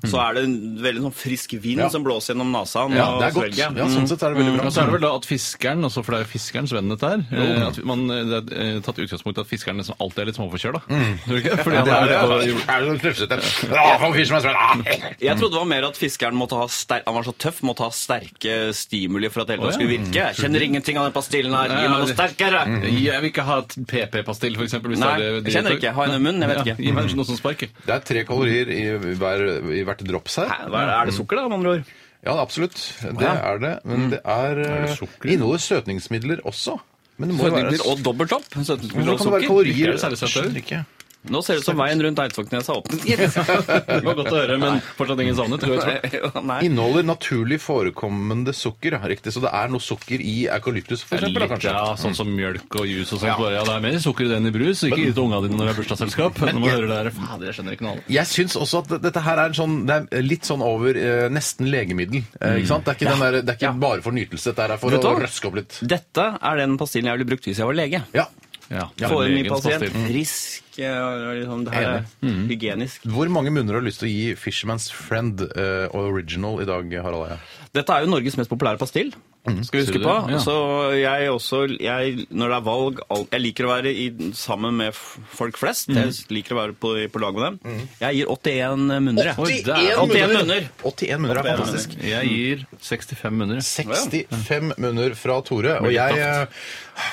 [SPEAKER 2] så er det en veldig sånn frisk vind
[SPEAKER 1] Mm, Ja.
[SPEAKER 2] som blåser gjennom nesa.
[SPEAKER 1] ja, det er godt.
[SPEAKER 2] svelget. Mm.
[SPEAKER 1] Ja, sånn sett er det veldig
[SPEAKER 3] Ja,
[SPEAKER 1] bra.
[SPEAKER 3] så er det vel da at fiskeren, altså for det er jo fiskerens venn dette her eh, at man, eh, Det er eh, tatt utgangspunkt i at fiskeren nesten alltid er litt småforkjøla. Tror du ikke? Fordi han
[SPEAKER 1] Mm. Det er
[SPEAKER 3] er
[SPEAKER 1] det.
[SPEAKER 3] litt på-
[SPEAKER 1] Er det noe kløfsete? Ja, for Fisherman's Friend. Ah.
[SPEAKER 2] Jeg trodde det var mer at fiskeren måtte ha ster han var så tøff, måtte ha sterke stimuli for at det hele tatt skulle virke. Jeg kjenner
[SPEAKER 1] Mm.
[SPEAKER 2] ingenting av den pastillen her. Gi meg noe sterkere!
[SPEAKER 3] Jeg vil ikke ha et PP-pastill, for eksempel. Hvis
[SPEAKER 2] Nei,
[SPEAKER 3] det er det-
[SPEAKER 2] jeg kjenner ikke. Har jeg den i munnen? Jeg vet
[SPEAKER 3] Ja,
[SPEAKER 2] ikke.
[SPEAKER 3] Gi meg noe som sparker.
[SPEAKER 1] Det er tre kalorier i, hver, i hvert drops her.
[SPEAKER 2] Hæ, hva Er det- er det sukker, da, med andre ord?
[SPEAKER 1] Ja, absolutt. Det
[SPEAKER 2] ja.
[SPEAKER 1] er det. Men det er,
[SPEAKER 3] det
[SPEAKER 1] eh,
[SPEAKER 3] sukker?
[SPEAKER 1] inneholder søtningsmidler også. Men det må jo være
[SPEAKER 2] Søtningsmidler og dobbelt opp? Søtningsmidler
[SPEAKER 1] Hvordan
[SPEAKER 2] og
[SPEAKER 1] kan det være
[SPEAKER 2] sukker?
[SPEAKER 1] kalorier?
[SPEAKER 3] Ikke er det særlig søtt,
[SPEAKER 1] Skjønner
[SPEAKER 3] er det?
[SPEAKER 1] ikke.
[SPEAKER 2] Nå ser det ut som veien rundt Eidsvågnes er åpen.
[SPEAKER 3] Det var godt å høre, men fortsatt ingen savnet. tror jeg, tror jeg.
[SPEAKER 2] Nei.
[SPEAKER 1] Inneholder naturlig forekommende sukker, ja, riktig. Så det er noe sukker i eukalyptus, for eksempel, da,
[SPEAKER 3] Litt,
[SPEAKER 1] kanskje.
[SPEAKER 3] ja, sånn som mjølk og juice og sånt. Bare, ja, det er mer sukker i den i brus. Ikke gi det til unga dine når vi har bursdagsselskap. Når man hører det her, fader, jeg skjønner ikke noe av det.
[SPEAKER 1] Jeg syns også at dette her er, en sånn, det er litt sånn over eh, nesten legemiddel. Eh, ikke sant? Det er ikke, den der, det er ikke bare for nytelse, dette her er for
[SPEAKER 2] Vet du
[SPEAKER 1] å
[SPEAKER 2] hva?
[SPEAKER 1] røske opp litt.
[SPEAKER 2] Dette er den pastillen jeg ville brukt hvis jeg var lege.
[SPEAKER 1] Ja.
[SPEAKER 3] Ja,
[SPEAKER 2] Får en ny
[SPEAKER 3] legens
[SPEAKER 2] pasient.
[SPEAKER 3] pastill.
[SPEAKER 2] Frisk. eh, og Liksom, det her er
[SPEAKER 1] Mm.
[SPEAKER 2] hygienisk.
[SPEAKER 1] Hvor mange munner har lyst til å gi Fisherman's Friend eh, original i dag, Harald Eia?
[SPEAKER 2] Dette er jo Norges mest populære pastill. Skal vi
[SPEAKER 3] Ser
[SPEAKER 2] huske
[SPEAKER 3] du
[SPEAKER 2] på.
[SPEAKER 3] det? Ja.
[SPEAKER 2] Så jeg også, jeg, når det er valg al- Jeg liker å være i, sammen med f- folk flest. Jeg liker å være på, på lag med dem. Jeg gir 81 munner. jeg.
[SPEAKER 1] 81
[SPEAKER 2] 81 munner!
[SPEAKER 1] munner! 81 munner er fantastisk.
[SPEAKER 3] Jeg gir 65 munner.
[SPEAKER 1] 65 munner fra Tore. Og jeg, eh,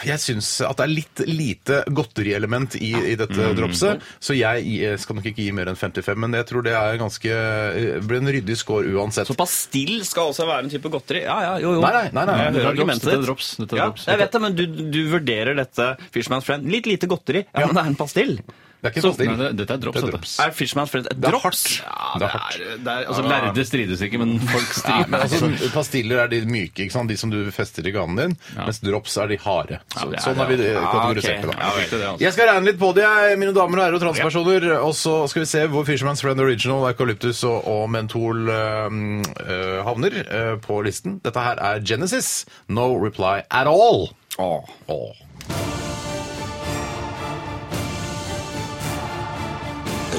[SPEAKER 1] jeg syns at det er litt lite godterielement i, i dette dropset, så jeg gi- skal nok ikke gi mer enn 55, men jeg tror det er ganske eh, blir en ryddig score uansett.
[SPEAKER 2] Så pastill skal altså være en type godteri? Ja, ja, jo, jo.
[SPEAKER 1] Nei, nei, nei, nei.
[SPEAKER 2] Jeg
[SPEAKER 1] Dette
[SPEAKER 3] er
[SPEAKER 2] hører
[SPEAKER 3] drops,
[SPEAKER 2] argumentet
[SPEAKER 3] dette er
[SPEAKER 2] ditt.
[SPEAKER 3] drops, dette er
[SPEAKER 2] ja,
[SPEAKER 3] drops.
[SPEAKER 2] jeg vet det, men du, du vurderer dette Fishman's Friend. Litt lite godteri. Ja, men det er en pastill.
[SPEAKER 1] Det er ikke
[SPEAKER 2] Så-
[SPEAKER 1] pastill.
[SPEAKER 3] Nei, det- dette er drops,
[SPEAKER 1] Det er
[SPEAKER 3] dette.
[SPEAKER 1] drops.
[SPEAKER 2] Er Fishman's Friend et
[SPEAKER 1] Det er
[SPEAKER 2] drops?
[SPEAKER 1] hardt. Det er hardt.
[SPEAKER 3] Altså,
[SPEAKER 2] Ah.
[SPEAKER 3] Lærde strides ikke, men folk
[SPEAKER 1] Nei,
[SPEAKER 3] strider.
[SPEAKER 1] men altså, pastiller er de myke, ikke sant? de som du fester i ganen din, mens drops er de harde. Så,
[SPEAKER 3] det er
[SPEAKER 1] sånn er vi
[SPEAKER 2] Ja,
[SPEAKER 1] kategorisert
[SPEAKER 2] ok.
[SPEAKER 1] det, da.
[SPEAKER 2] Ja,
[SPEAKER 3] Fikk det, det, altså.
[SPEAKER 1] Jeg skal regne litt på det, jeg, mine damer og herrer og transpersoner. Og så skal vi se hvor Fisherman's Friend Original, Eucalyptus og, og Mentol øhm, øh, havner øh, på listen. Dette her er Genesis. No reply at all. Åh.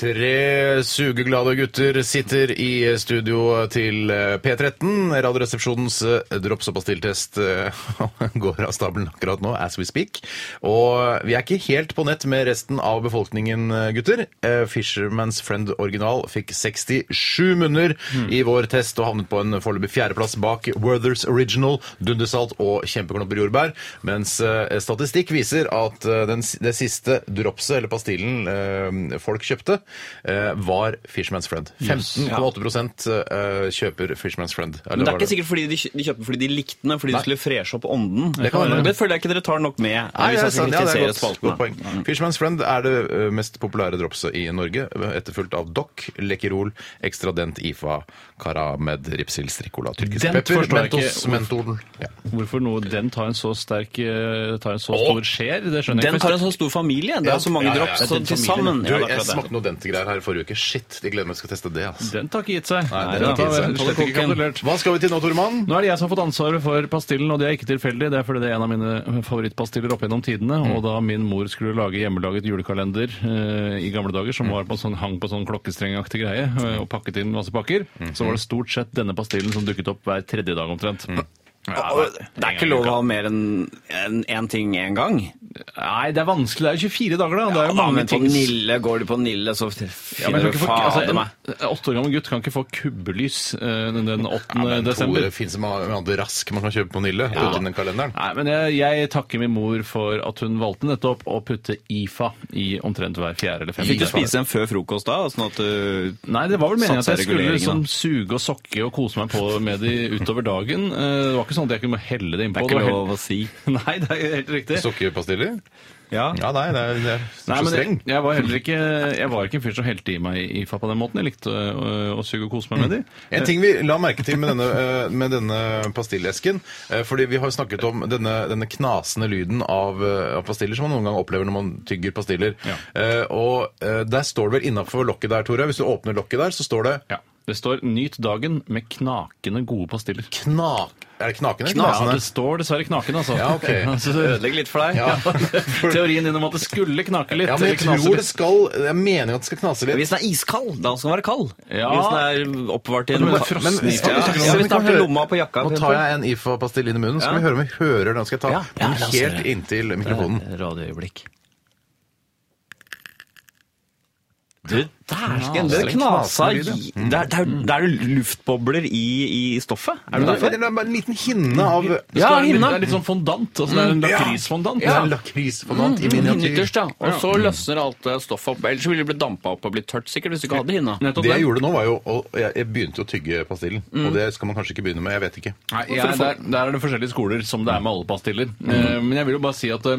[SPEAKER 1] Tre sugeglade gutter sitter i studio til eh, P13. Radioresepsjonens eh, drops- og pastilltest eh, går av stabelen akkurat nå, as we speak. Og vi er ikke helt på nett med resten av befolkningen, eh, gutter. Eh, Fisherman's Friend original fikk 67 munner i vår test og havnet på en foreløpig fjerdeplass bak Werthers Original, Dundersalt og Kjempeklumper jordbær. Mens eh, statistikk viser at eh, den, s- det siste dropset, eller pastillen, eh, folk kjøpte, eh, var Fishman's Friend. 15,8 eh, kjøper Fishman's Friend. Eller
[SPEAKER 2] Men det
[SPEAKER 1] var
[SPEAKER 2] er ikke sikkert fordi de, kjø- de kjøpte den fordi de likte den, fordi de skulle freshe opp ånden. Det,
[SPEAKER 1] kan være.
[SPEAKER 2] føler jeg ikke dere tar nok med.
[SPEAKER 1] Nei,
[SPEAKER 2] hvis
[SPEAKER 1] ja,
[SPEAKER 2] jeg skal
[SPEAKER 1] sant, ja, det er
[SPEAKER 2] kritisere
[SPEAKER 1] godt,
[SPEAKER 2] spaltene.
[SPEAKER 1] godt poeng. Fishman's Friend er det eh, mest populære dropset i Norge, etterfulgt av Doc, Lekkerol, Extra Dent, IFA, Karamed, Ripsil, Stricola, tyrkisk
[SPEAKER 3] Dent
[SPEAKER 1] pepper,
[SPEAKER 3] forstår jeg
[SPEAKER 1] Mentos,
[SPEAKER 3] ikke.
[SPEAKER 1] Mentolen. Ja.
[SPEAKER 3] Hvorfor noe, den tar en så sterk eh, Tar en så stor skjer? Det skjønner jeg
[SPEAKER 2] Den
[SPEAKER 3] ikke.
[SPEAKER 2] tar en så stor familie. Det er så mange
[SPEAKER 1] ja, ja, ja,
[SPEAKER 2] drops
[SPEAKER 1] det er
[SPEAKER 2] så
[SPEAKER 1] den
[SPEAKER 2] til
[SPEAKER 3] familien.
[SPEAKER 2] sammen.
[SPEAKER 1] Du,
[SPEAKER 2] Ja, det er
[SPEAKER 1] jeg
[SPEAKER 2] akkurat det.
[SPEAKER 1] smakte noe studentegreier her i forrige uke. Shit, de gleder meg til å teste det. altså.
[SPEAKER 3] Den tar ikke gitt seg.
[SPEAKER 1] Nei,
[SPEAKER 3] den
[SPEAKER 1] den
[SPEAKER 3] tar
[SPEAKER 1] er
[SPEAKER 3] vel
[SPEAKER 1] ikke
[SPEAKER 3] slett ikke
[SPEAKER 1] interessant.
[SPEAKER 3] kapitulert.
[SPEAKER 1] Hva skal vi til nå, Tormann?
[SPEAKER 3] Nå er det jeg som har fått ansvaret for pastillen, og det er ikke tilfeldig. Det er fordi det er en av mine favorittpastiller opp gjennom tidene.
[SPEAKER 2] Mm.
[SPEAKER 3] Og da min mor skulle lage hjemmelaget julekalender eh, i gamle dager,
[SPEAKER 2] Mm.
[SPEAKER 3] som var på sånn, hang på sånn klokkestrengaktig greie, eh, og pakket inn masse pakker,
[SPEAKER 2] Mm-hmm.
[SPEAKER 3] så var det stort sett denne pastillen som dukket opp hver tredje dag omtrent.
[SPEAKER 2] Mm.
[SPEAKER 3] Ja,
[SPEAKER 2] Og Det er ikke lov å ha mer enn en- en ting én gang.
[SPEAKER 3] Nei, det er vanskelig. Det er jo 24 dager, da. Det er jo
[SPEAKER 2] Ja,
[SPEAKER 3] mange
[SPEAKER 2] men på
[SPEAKER 3] ting.
[SPEAKER 2] Nille, går du på Nille, så
[SPEAKER 3] Ja, men jeg
[SPEAKER 2] finner du
[SPEAKER 3] tror ikke folk- altså,
[SPEAKER 2] fader
[SPEAKER 3] en
[SPEAKER 2] meg.
[SPEAKER 3] en åtte år gammel gutt kan ikke få kubbelys eh, den den 8. desember.
[SPEAKER 1] Det finnes mange andre rask man kan kjøpe på Nille. Putte inn den kalenderen.
[SPEAKER 3] Nei, men jeg, jeg takker min mor for at hun valgte nettopp å putte IFA i omtrent hver fjerde eller femte.
[SPEAKER 2] Fikk du spise den før frokost da? Sånn at du
[SPEAKER 3] Nei, det var vel meningen at
[SPEAKER 2] Satser
[SPEAKER 3] jeg skulle liksom
[SPEAKER 2] reguleringen,
[SPEAKER 3] suge og sokke og kose meg på med de utover dagen. Eh, Det var ikke sånn at jeg kunne helle det innpå.
[SPEAKER 2] Det er ikke
[SPEAKER 3] var
[SPEAKER 2] lov å si.
[SPEAKER 3] helt- Nei, det er helt riktig.
[SPEAKER 1] Sukkerpastiller?
[SPEAKER 2] Ja.
[SPEAKER 1] Ja, nei, det er, det er så
[SPEAKER 3] Nei, men
[SPEAKER 1] streng.
[SPEAKER 3] jeg, jeg var heller ikke Jeg var ikke en fyr som helte i meg IFA på den måten. Jeg likte å, å suge og kose meg med
[SPEAKER 2] Mm.
[SPEAKER 3] de.
[SPEAKER 1] En ting vi la merke til med denne, eh, med denne pastillesken eh, Fordi vi har jo snakket om denne, denne knasende lyden av, eh, av pastiller som man noen gang opplever når man tygger pastiller.
[SPEAKER 3] Ja.
[SPEAKER 1] Eh, Og eh, der står det vel innafor lokket der, Tore. Hvis du åpner lokket der, så står det
[SPEAKER 3] Ja. Det står 'Nyt dagen med knakende gode pastiller'.
[SPEAKER 1] knak... Er det knakende?
[SPEAKER 3] Ja,
[SPEAKER 1] Knasende.
[SPEAKER 3] det står dessverre knakende, altså.
[SPEAKER 1] Ja, ok.
[SPEAKER 3] Altså,
[SPEAKER 2] Ødelegg litt for deg.
[SPEAKER 1] Ja.
[SPEAKER 3] Teorien din om at det skulle knake litt.
[SPEAKER 1] Ja, men
[SPEAKER 3] eller
[SPEAKER 1] jeg
[SPEAKER 3] knase
[SPEAKER 1] tror det
[SPEAKER 3] litt.
[SPEAKER 1] skal Jeg mener jo at det skal knase litt.
[SPEAKER 2] Hvis den er iskald, da skal den være kald.
[SPEAKER 3] Ja.
[SPEAKER 2] Hvis den er oppbevart i en
[SPEAKER 3] Men-
[SPEAKER 2] Ja,
[SPEAKER 3] men-
[SPEAKER 2] ja,
[SPEAKER 1] vi skal- vi skal-
[SPEAKER 2] Hvis den er i lomma på jakka
[SPEAKER 1] Nå tar jeg en IFA-pastill inn i munnen, så skal
[SPEAKER 2] Ja.
[SPEAKER 1] vi høre om vi hører den. Skal jeg ta
[SPEAKER 2] Ja. Ja,
[SPEAKER 1] den
[SPEAKER 2] la oss
[SPEAKER 1] helt
[SPEAKER 2] høre.
[SPEAKER 1] inntil mikrofonen?
[SPEAKER 2] Radioøyeblikk. Du, dæsken!
[SPEAKER 1] det
[SPEAKER 2] Det
[SPEAKER 1] er
[SPEAKER 2] knasa
[SPEAKER 1] knasende
[SPEAKER 2] i
[SPEAKER 1] lyd, ja.
[SPEAKER 2] Det er- det er- det er jo luftbobler i, i stoffet. Er det
[SPEAKER 1] Det
[SPEAKER 2] derfor?
[SPEAKER 1] er bare en liten hinne av
[SPEAKER 3] Det skal
[SPEAKER 2] Ja,
[SPEAKER 3] være litt-
[SPEAKER 2] hinna.
[SPEAKER 3] Det er litt sånn fondant. Altså, det er en
[SPEAKER 1] Mm. Ja.
[SPEAKER 3] lakrisfondant.
[SPEAKER 1] Ja, lakrisfondant i miniatyr.
[SPEAKER 6] Hinnytterst, ja. Og så løsner alt det stoffet opp. Ellers ville det blitt dampa opp og blitt tørt, sikkert, hvis du ikke hadde hinna.
[SPEAKER 3] Nettopp
[SPEAKER 1] Det jeg
[SPEAKER 3] det.
[SPEAKER 1] gjorde nå, var jo å- Jeg, jeg begynte jo å tygge pastillen. Og det skal man kanskje ikke begynne med. Jeg vet ikke.
[SPEAKER 3] Nei, jeg, der, der er det forskjellige skoler, som det er med alle pastiller. Eh, men jeg vil jo bare si at eh,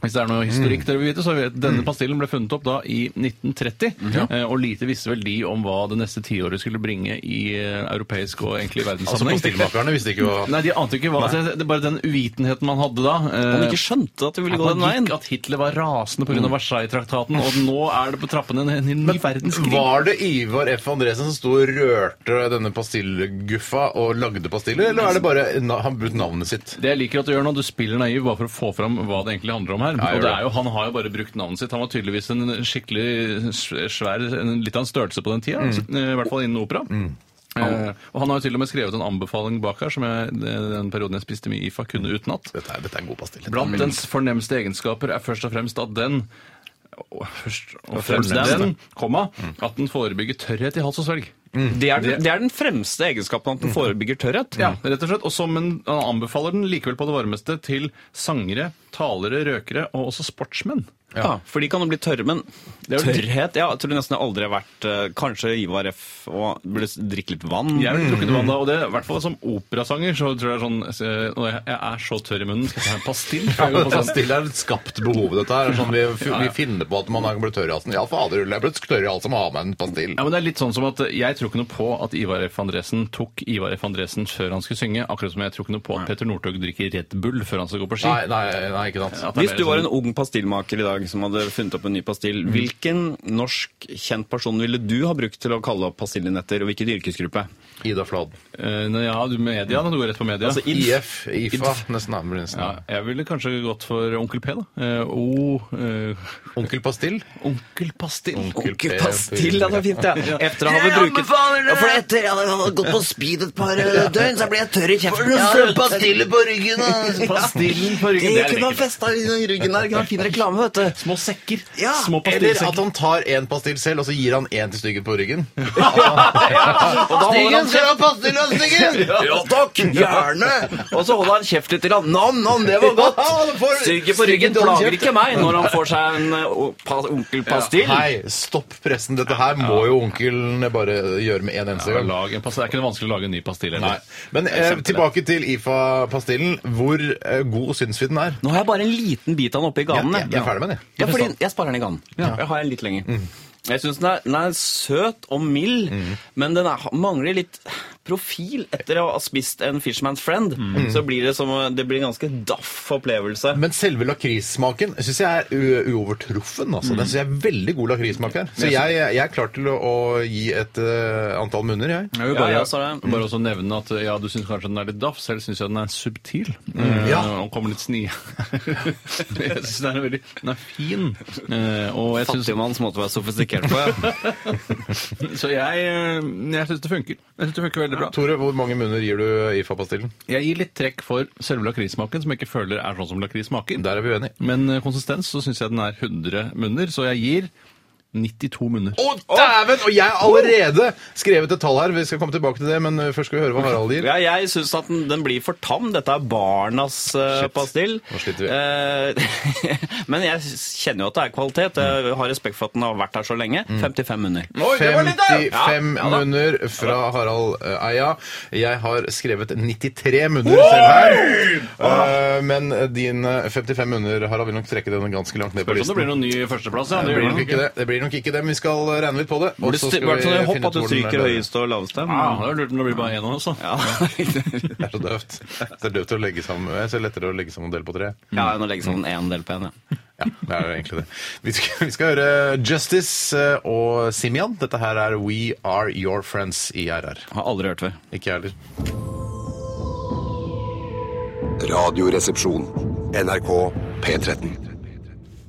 [SPEAKER 3] hvis det er noe
[SPEAKER 1] Mm.
[SPEAKER 3] historikk dere vil vite, så vet denne pastillen ble funnet opp da i 1930.
[SPEAKER 1] Mm,
[SPEAKER 3] eh, Og lite visste vel de om hva det neste tiåret skulle bringe i eh, europeisk og egentlig i
[SPEAKER 1] Altså,
[SPEAKER 3] verdenssammenheng.
[SPEAKER 1] Pastillmakerne visste ikke hva
[SPEAKER 3] Nei, de ante ikke hva altså, det er Bare den uvitenheten man hadde da. eh,
[SPEAKER 2] Man ikke skjønte at det ville
[SPEAKER 3] At,
[SPEAKER 2] gå den
[SPEAKER 3] man
[SPEAKER 2] veien.
[SPEAKER 3] gikk, Mm. at Hitler var rasende pga. Versailles-traktaten, og nå er det på trappene en, en ny verdenskrig.
[SPEAKER 1] Var det Ivar F. Andresen som sto og rørte denne pastillguffa og lagde pastiller, eller er det bare na- han brukte navnet sitt?
[SPEAKER 3] Det jeg liker at du gjør nå, du spiller naiv bare for å få fram hva det egentlig handler om her.
[SPEAKER 1] jeg
[SPEAKER 3] og det
[SPEAKER 1] gjør
[SPEAKER 3] er jo, Han har jo bare brukt navnet sitt. Han var tydeligvis en skikkelig svær, en, litt av en størrelse på den tida. I hvert fall innen opera. Eh, og Han har jo til og med skrevet en anbefaling bak her, som jeg, den perioden jeg spiste mye IFA, kunne utenat. Mm.
[SPEAKER 1] Dette er, dette er en god pastill.
[SPEAKER 3] Blant dens fornemste egenskaper er først og fremst at den Å, Først og Mm. fremst
[SPEAKER 2] fremst
[SPEAKER 3] den, komma, at den forebygger tørrhet i hals og svelg.
[SPEAKER 2] Det er, det er den fremste egenskapen at den forebygger tørrhet.
[SPEAKER 3] Ja, rett og slett. Og som en, han anbefaler den likevel på det varmeste til sangere, talere, røkere og også sportsmenn.
[SPEAKER 2] Ja. For de kan jo bli tørre, men
[SPEAKER 3] er jo-
[SPEAKER 2] tørrhet Ja, jeg tror nesten jeg aldri har vært eh, Kanskje Ivar F. og burde drikke litt vann.
[SPEAKER 3] Jeg
[SPEAKER 1] Mm,
[SPEAKER 3] ville trukket vann da, og det, i hvert fall som operasanger, så tror jeg sånn eh, Når jeg, jeg er så tørr i munnen, skal jeg ta en pastill? Skal jeg gå på sånn?
[SPEAKER 1] Pastill er et skapt behov, dette her. Sånn vi, vi finner på at man har blitt tørr i halsen. Ja, fader, jeg ble tørr i halsen, må ha meg en pastill.
[SPEAKER 3] Ja, men det er litt sånn som at eh, Jeg tror ikke noe på at Ivar F. Andresen tok Ivar F. Andresen før han skulle synge, akkurat som jeg tror ikke noe på at Petter Northug drikker Red Bull før han skal gå på ski.
[SPEAKER 1] Nei, nei, nei, ikke sant.
[SPEAKER 3] At det er
[SPEAKER 2] Hvis
[SPEAKER 3] mer
[SPEAKER 2] du var
[SPEAKER 3] sånn- Mm.
[SPEAKER 2] en ung pastillmaker i dag som hadde funnet opp en ny pastill, hvilken norsk kjent person ville du ha brukt til å kalle opp pastillen etter, og hvilken yrkesgruppe?
[SPEAKER 1] Ida Fladen.
[SPEAKER 3] Eh, nei, Ja, du
[SPEAKER 1] Mm.
[SPEAKER 3] media, nå, du går rett på media.
[SPEAKER 2] Altså, IF.
[SPEAKER 1] IF, IFA, nesten. er det nesten.
[SPEAKER 3] ja, jeg ville kanskje gått for Onkel P, da. Eh, O eh,
[SPEAKER 1] Onkel Pastill?
[SPEAKER 3] Onkel Pastill.
[SPEAKER 1] Onkel P.
[SPEAKER 2] Pastill, ja, det er fint, ja. Etter å ha brukt
[SPEAKER 7] Ja, for etter jeg hadde gått på speed et par eh, døgn, så ble jeg tørr i kjeften. Ja, pastiller på ryggen.
[SPEAKER 3] Pastillen på ryggen, det er lekkert.
[SPEAKER 7] festa i ryggen der. Kunne ha fin reklame, vet du.
[SPEAKER 3] Små sekker.
[SPEAKER 7] Ja,
[SPEAKER 3] Små
[SPEAKER 1] Eller at
[SPEAKER 3] pastillsekker.
[SPEAKER 1] han tar en pastill selv, og så gir han én til styggen på ryggen.
[SPEAKER 7] Stigen skal ha pastiller av Stigen! Ja takk, gjerne.
[SPEAKER 6] Og så holder han kjeft litt. grann. Nam, nam, det var godt! Stygge på ryggen plager ikke meg når han får seg en eh, o- pa- onkel Pastill.
[SPEAKER 1] Hei, stopp pressen. Dette her må jo onkelen bare gjøre med en eneste
[SPEAKER 3] Ja,
[SPEAKER 1] gang.
[SPEAKER 3] lag en pastill. Det er ikke noe vanskelig å lage en ny pastille.
[SPEAKER 1] Nei. Men eh, tilbake til IFA-pastillen. Hvor eh, god syns vi den er?
[SPEAKER 2] Nå har jeg bare en liten bit av den oppi
[SPEAKER 1] Jeg,
[SPEAKER 2] ganen.
[SPEAKER 1] jeg, jeg er ferdig med den, jeg.
[SPEAKER 2] Ja, fordi jeg sparer den i ganen. Jeg har en litt lenger. Jeg syns den, er- den er søt og mild, men den er, mangler litt profil. Etter å ha spist en Fishman's Friend, så blir det som å- det blir en ganske daff opplevelse.
[SPEAKER 1] Men selve lakrissmaken syns jeg er u- uovertruffen. Altså. Den synes jeg er veldig god lakrissmak her. Så jeg, eh, jeg er klar til å, å gi et eh, antall munner, jeg.
[SPEAKER 3] Jeg vil bare,
[SPEAKER 2] Ja, ja, så er det-
[SPEAKER 3] bare også nevne at ja, du syns kanskje den er litt daff. Selv syns jeg den er subtil. Eh,
[SPEAKER 1] Ja.
[SPEAKER 3] Og kommer litt sni. jeg syns den er veldig Den er fin. Eh, og jeg synes,
[SPEAKER 2] Fattigmanns måte å være sofistikert på. Ja.
[SPEAKER 3] så jeg, eh, jeg syns det funker. Jeg synes det funker veldig bra.
[SPEAKER 1] Tore, hvor mange munner gir du IFA-pastillen?
[SPEAKER 3] Jeg gir litt trekk for selve lakrissmaken, som jeg ikke føler er sånn som lakris smaker.
[SPEAKER 1] Der er vi uenige.
[SPEAKER 3] Men eh, konsistens så syns jeg den er 100 munner, så jeg gir 92 munner.
[SPEAKER 1] Å, dæven! Og jeg har allerede skrevet et tall her. Vi skal komme tilbake til det, men eh, først skal vi høre hva Harald gir.
[SPEAKER 2] Ja, jeg syns at den, den blir for tam. Dette er barnas eh,
[SPEAKER 1] Shit.
[SPEAKER 2] pastill.
[SPEAKER 1] Nå sliter vi.
[SPEAKER 2] Eh, men jeg kjenner jo at det er kvalitet. Jeg har respekt for at den har vært her så lenge.
[SPEAKER 1] Mm.
[SPEAKER 2] 55 munner.
[SPEAKER 1] 55 munner fra Harald eh, Eia. Jeg har skrevet 93 munner selv her. Eh, men dine 55 munner, Harald, vil nok trekke den ganske langt ned på
[SPEAKER 3] Spørs om det
[SPEAKER 1] listen.
[SPEAKER 3] blir noen ny førsteplass. Ja,
[SPEAKER 1] Det blir, nok ikke det. det blir nok ikke det, men vi skal eh, regne litt på det. og
[SPEAKER 2] Det
[SPEAKER 1] så
[SPEAKER 2] styr-
[SPEAKER 1] skal
[SPEAKER 2] hvert fall
[SPEAKER 1] vi
[SPEAKER 2] hopp
[SPEAKER 1] finne ut
[SPEAKER 2] at du
[SPEAKER 1] hvor den er Ah,
[SPEAKER 2] stryker
[SPEAKER 1] bedre.
[SPEAKER 2] høyeste og laveste. men-
[SPEAKER 3] Ja, det er lurt om det blir bare én av oss. da.
[SPEAKER 2] Ja.
[SPEAKER 1] Det er så døvt. Det er døvt å legge sammen Det er så lettere å legge sammen del på tre.
[SPEAKER 2] Ja, enn å legge sånn én del på én. Ja.
[SPEAKER 1] Ja, det er egentlig det. Vi skal, vi skal høre Justice eh, og Simian. Dette her er We Are Your Friends i RR.
[SPEAKER 2] Har aldri hørt før.
[SPEAKER 1] Ikke jeg heller.
[SPEAKER 5] Radioresepsjon. NRK P13.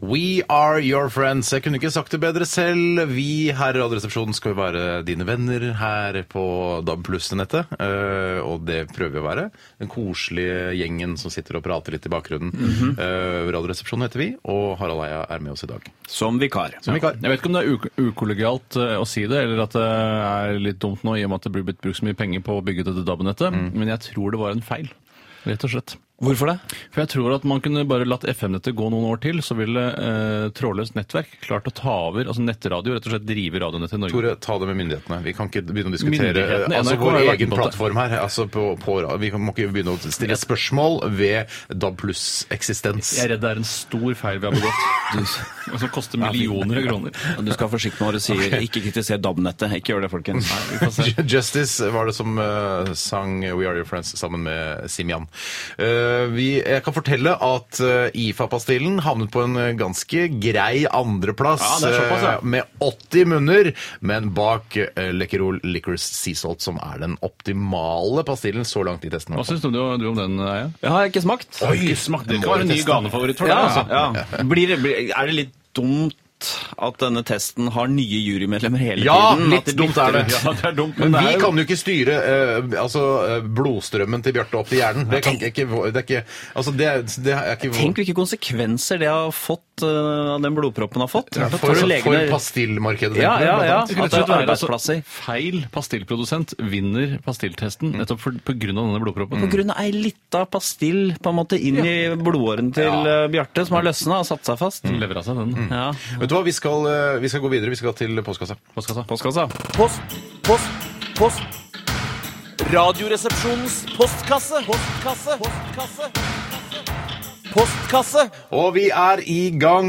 [SPEAKER 1] We are your friends. Jeg kunne ikke sagt det bedre selv. Vi her i Radioresepsjonen skal jo være dine venner her på DAB pluss-nettet. eh, Og det prøver vi å være. Den koselige gjengen som sitter og prater litt i bakgrunnen. Eh, Radioresepsjonen heter vi, og Harald Eia er med oss i dag.
[SPEAKER 2] Som vikar.
[SPEAKER 1] Som vikar.
[SPEAKER 3] Jeg vet ikke om det er uk ukollegialt eh, å si det, eller at det er litt dumt nå i og med at det blir blitt brukt så mye penger på å bygge ut dette DAB-nettet,
[SPEAKER 1] Mm.
[SPEAKER 3] men jeg tror det var en feil. Rett og slett.
[SPEAKER 2] Hvorfor det?
[SPEAKER 3] For jeg tror at man kunne bare latt FM-nettet gå noen år til, så ville eh, trådløst nettverk klart å ta over, altså nettradio, rett og slett drive radionettet i Norge.
[SPEAKER 1] Tore, ta det med myndighetene. Vi kan ikke begynne å diskutere eh,
[SPEAKER 3] Myndighetene,
[SPEAKER 1] altså,
[SPEAKER 3] NRK har
[SPEAKER 1] vår
[SPEAKER 3] jo vært
[SPEAKER 1] egen
[SPEAKER 3] på det.
[SPEAKER 1] plattform her. Altså på, på, ra- vi kan- må ikke begynne å stille spørsmål ved DAB pluss-eksistens.
[SPEAKER 3] Jeg er redd det er en stor feil vi har begått, og som koster millioner av kroner.
[SPEAKER 2] Du skal være forsiktig med hva du sier. Ikke kritiser DAB-nettet. Ikke gjør det, folkens.
[SPEAKER 3] Nei, vi får se.
[SPEAKER 1] Justice var det som eh, sang We Are Your Friends sammen med Simian. Eh, vi, jeg kan fortelle at eh, IFA-pastillen havnet på en eh, ganske grei andreplass
[SPEAKER 3] Ja, det er såpass, ja.
[SPEAKER 1] eh, med 80 munner, men bak uh, Lekkerol Liquors Sea Salt, som er den optimale pastillen så langt i testen.
[SPEAKER 3] Hva syns du, du om den, Eia?
[SPEAKER 2] Jeg har ikke smakt.
[SPEAKER 1] Oi,
[SPEAKER 3] Det kan være en ny ganefavoritt for deg,
[SPEAKER 2] Ja,
[SPEAKER 3] altså.
[SPEAKER 2] ja. Blir det, blir, er det litt dumt at denne testen har nye jurymedlemmer hele
[SPEAKER 1] Ja,
[SPEAKER 2] tiden?
[SPEAKER 1] litt
[SPEAKER 2] At de
[SPEAKER 1] dumt
[SPEAKER 2] bytter
[SPEAKER 1] er det.
[SPEAKER 2] ut?
[SPEAKER 3] Ja, det er dumt,
[SPEAKER 1] Men
[SPEAKER 3] men, det
[SPEAKER 1] vi
[SPEAKER 3] er jo
[SPEAKER 1] kan jo ikke styre eh, altså, eh, blodstrømmen til Bjarte opp til hjernen. Det, kan ikke, det er ikke altså, det, er- det er ikke
[SPEAKER 2] Tenk hvilke konsekvenser det har fått, eh, av den blodproppen har fått.
[SPEAKER 1] Ja,
[SPEAKER 2] At
[SPEAKER 1] for,
[SPEAKER 2] også
[SPEAKER 1] for
[SPEAKER 2] legene-
[SPEAKER 1] pastillmarkedet.
[SPEAKER 2] Ja,
[SPEAKER 1] tenker jeg,
[SPEAKER 2] ja,
[SPEAKER 1] blant annet.
[SPEAKER 3] Rett
[SPEAKER 2] ja.
[SPEAKER 3] og slett
[SPEAKER 2] At det er
[SPEAKER 3] være altså,
[SPEAKER 2] arbeidsplasser.
[SPEAKER 3] Feil pastillprodusent vinner pastilltesten nettopp for- på grunn av denne blodproppen.
[SPEAKER 2] På grunn av ei lita pastill på en måte inn i blodårene til eh, Bjarte, som har løsna og satt seg fast.
[SPEAKER 3] Den lever av seg, den.
[SPEAKER 2] Ja.
[SPEAKER 1] Vet du hva, vi skal, eh, vi skal gå videre. Vi skal til postkassa.
[SPEAKER 3] Postkassa.
[SPEAKER 2] Postkassa.
[SPEAKER 4] Post, post, post. Radioresepsjonens postkasse. Postkasse. Postkasse. Postkasse.
[SPEAKER 1] Og vi er i gang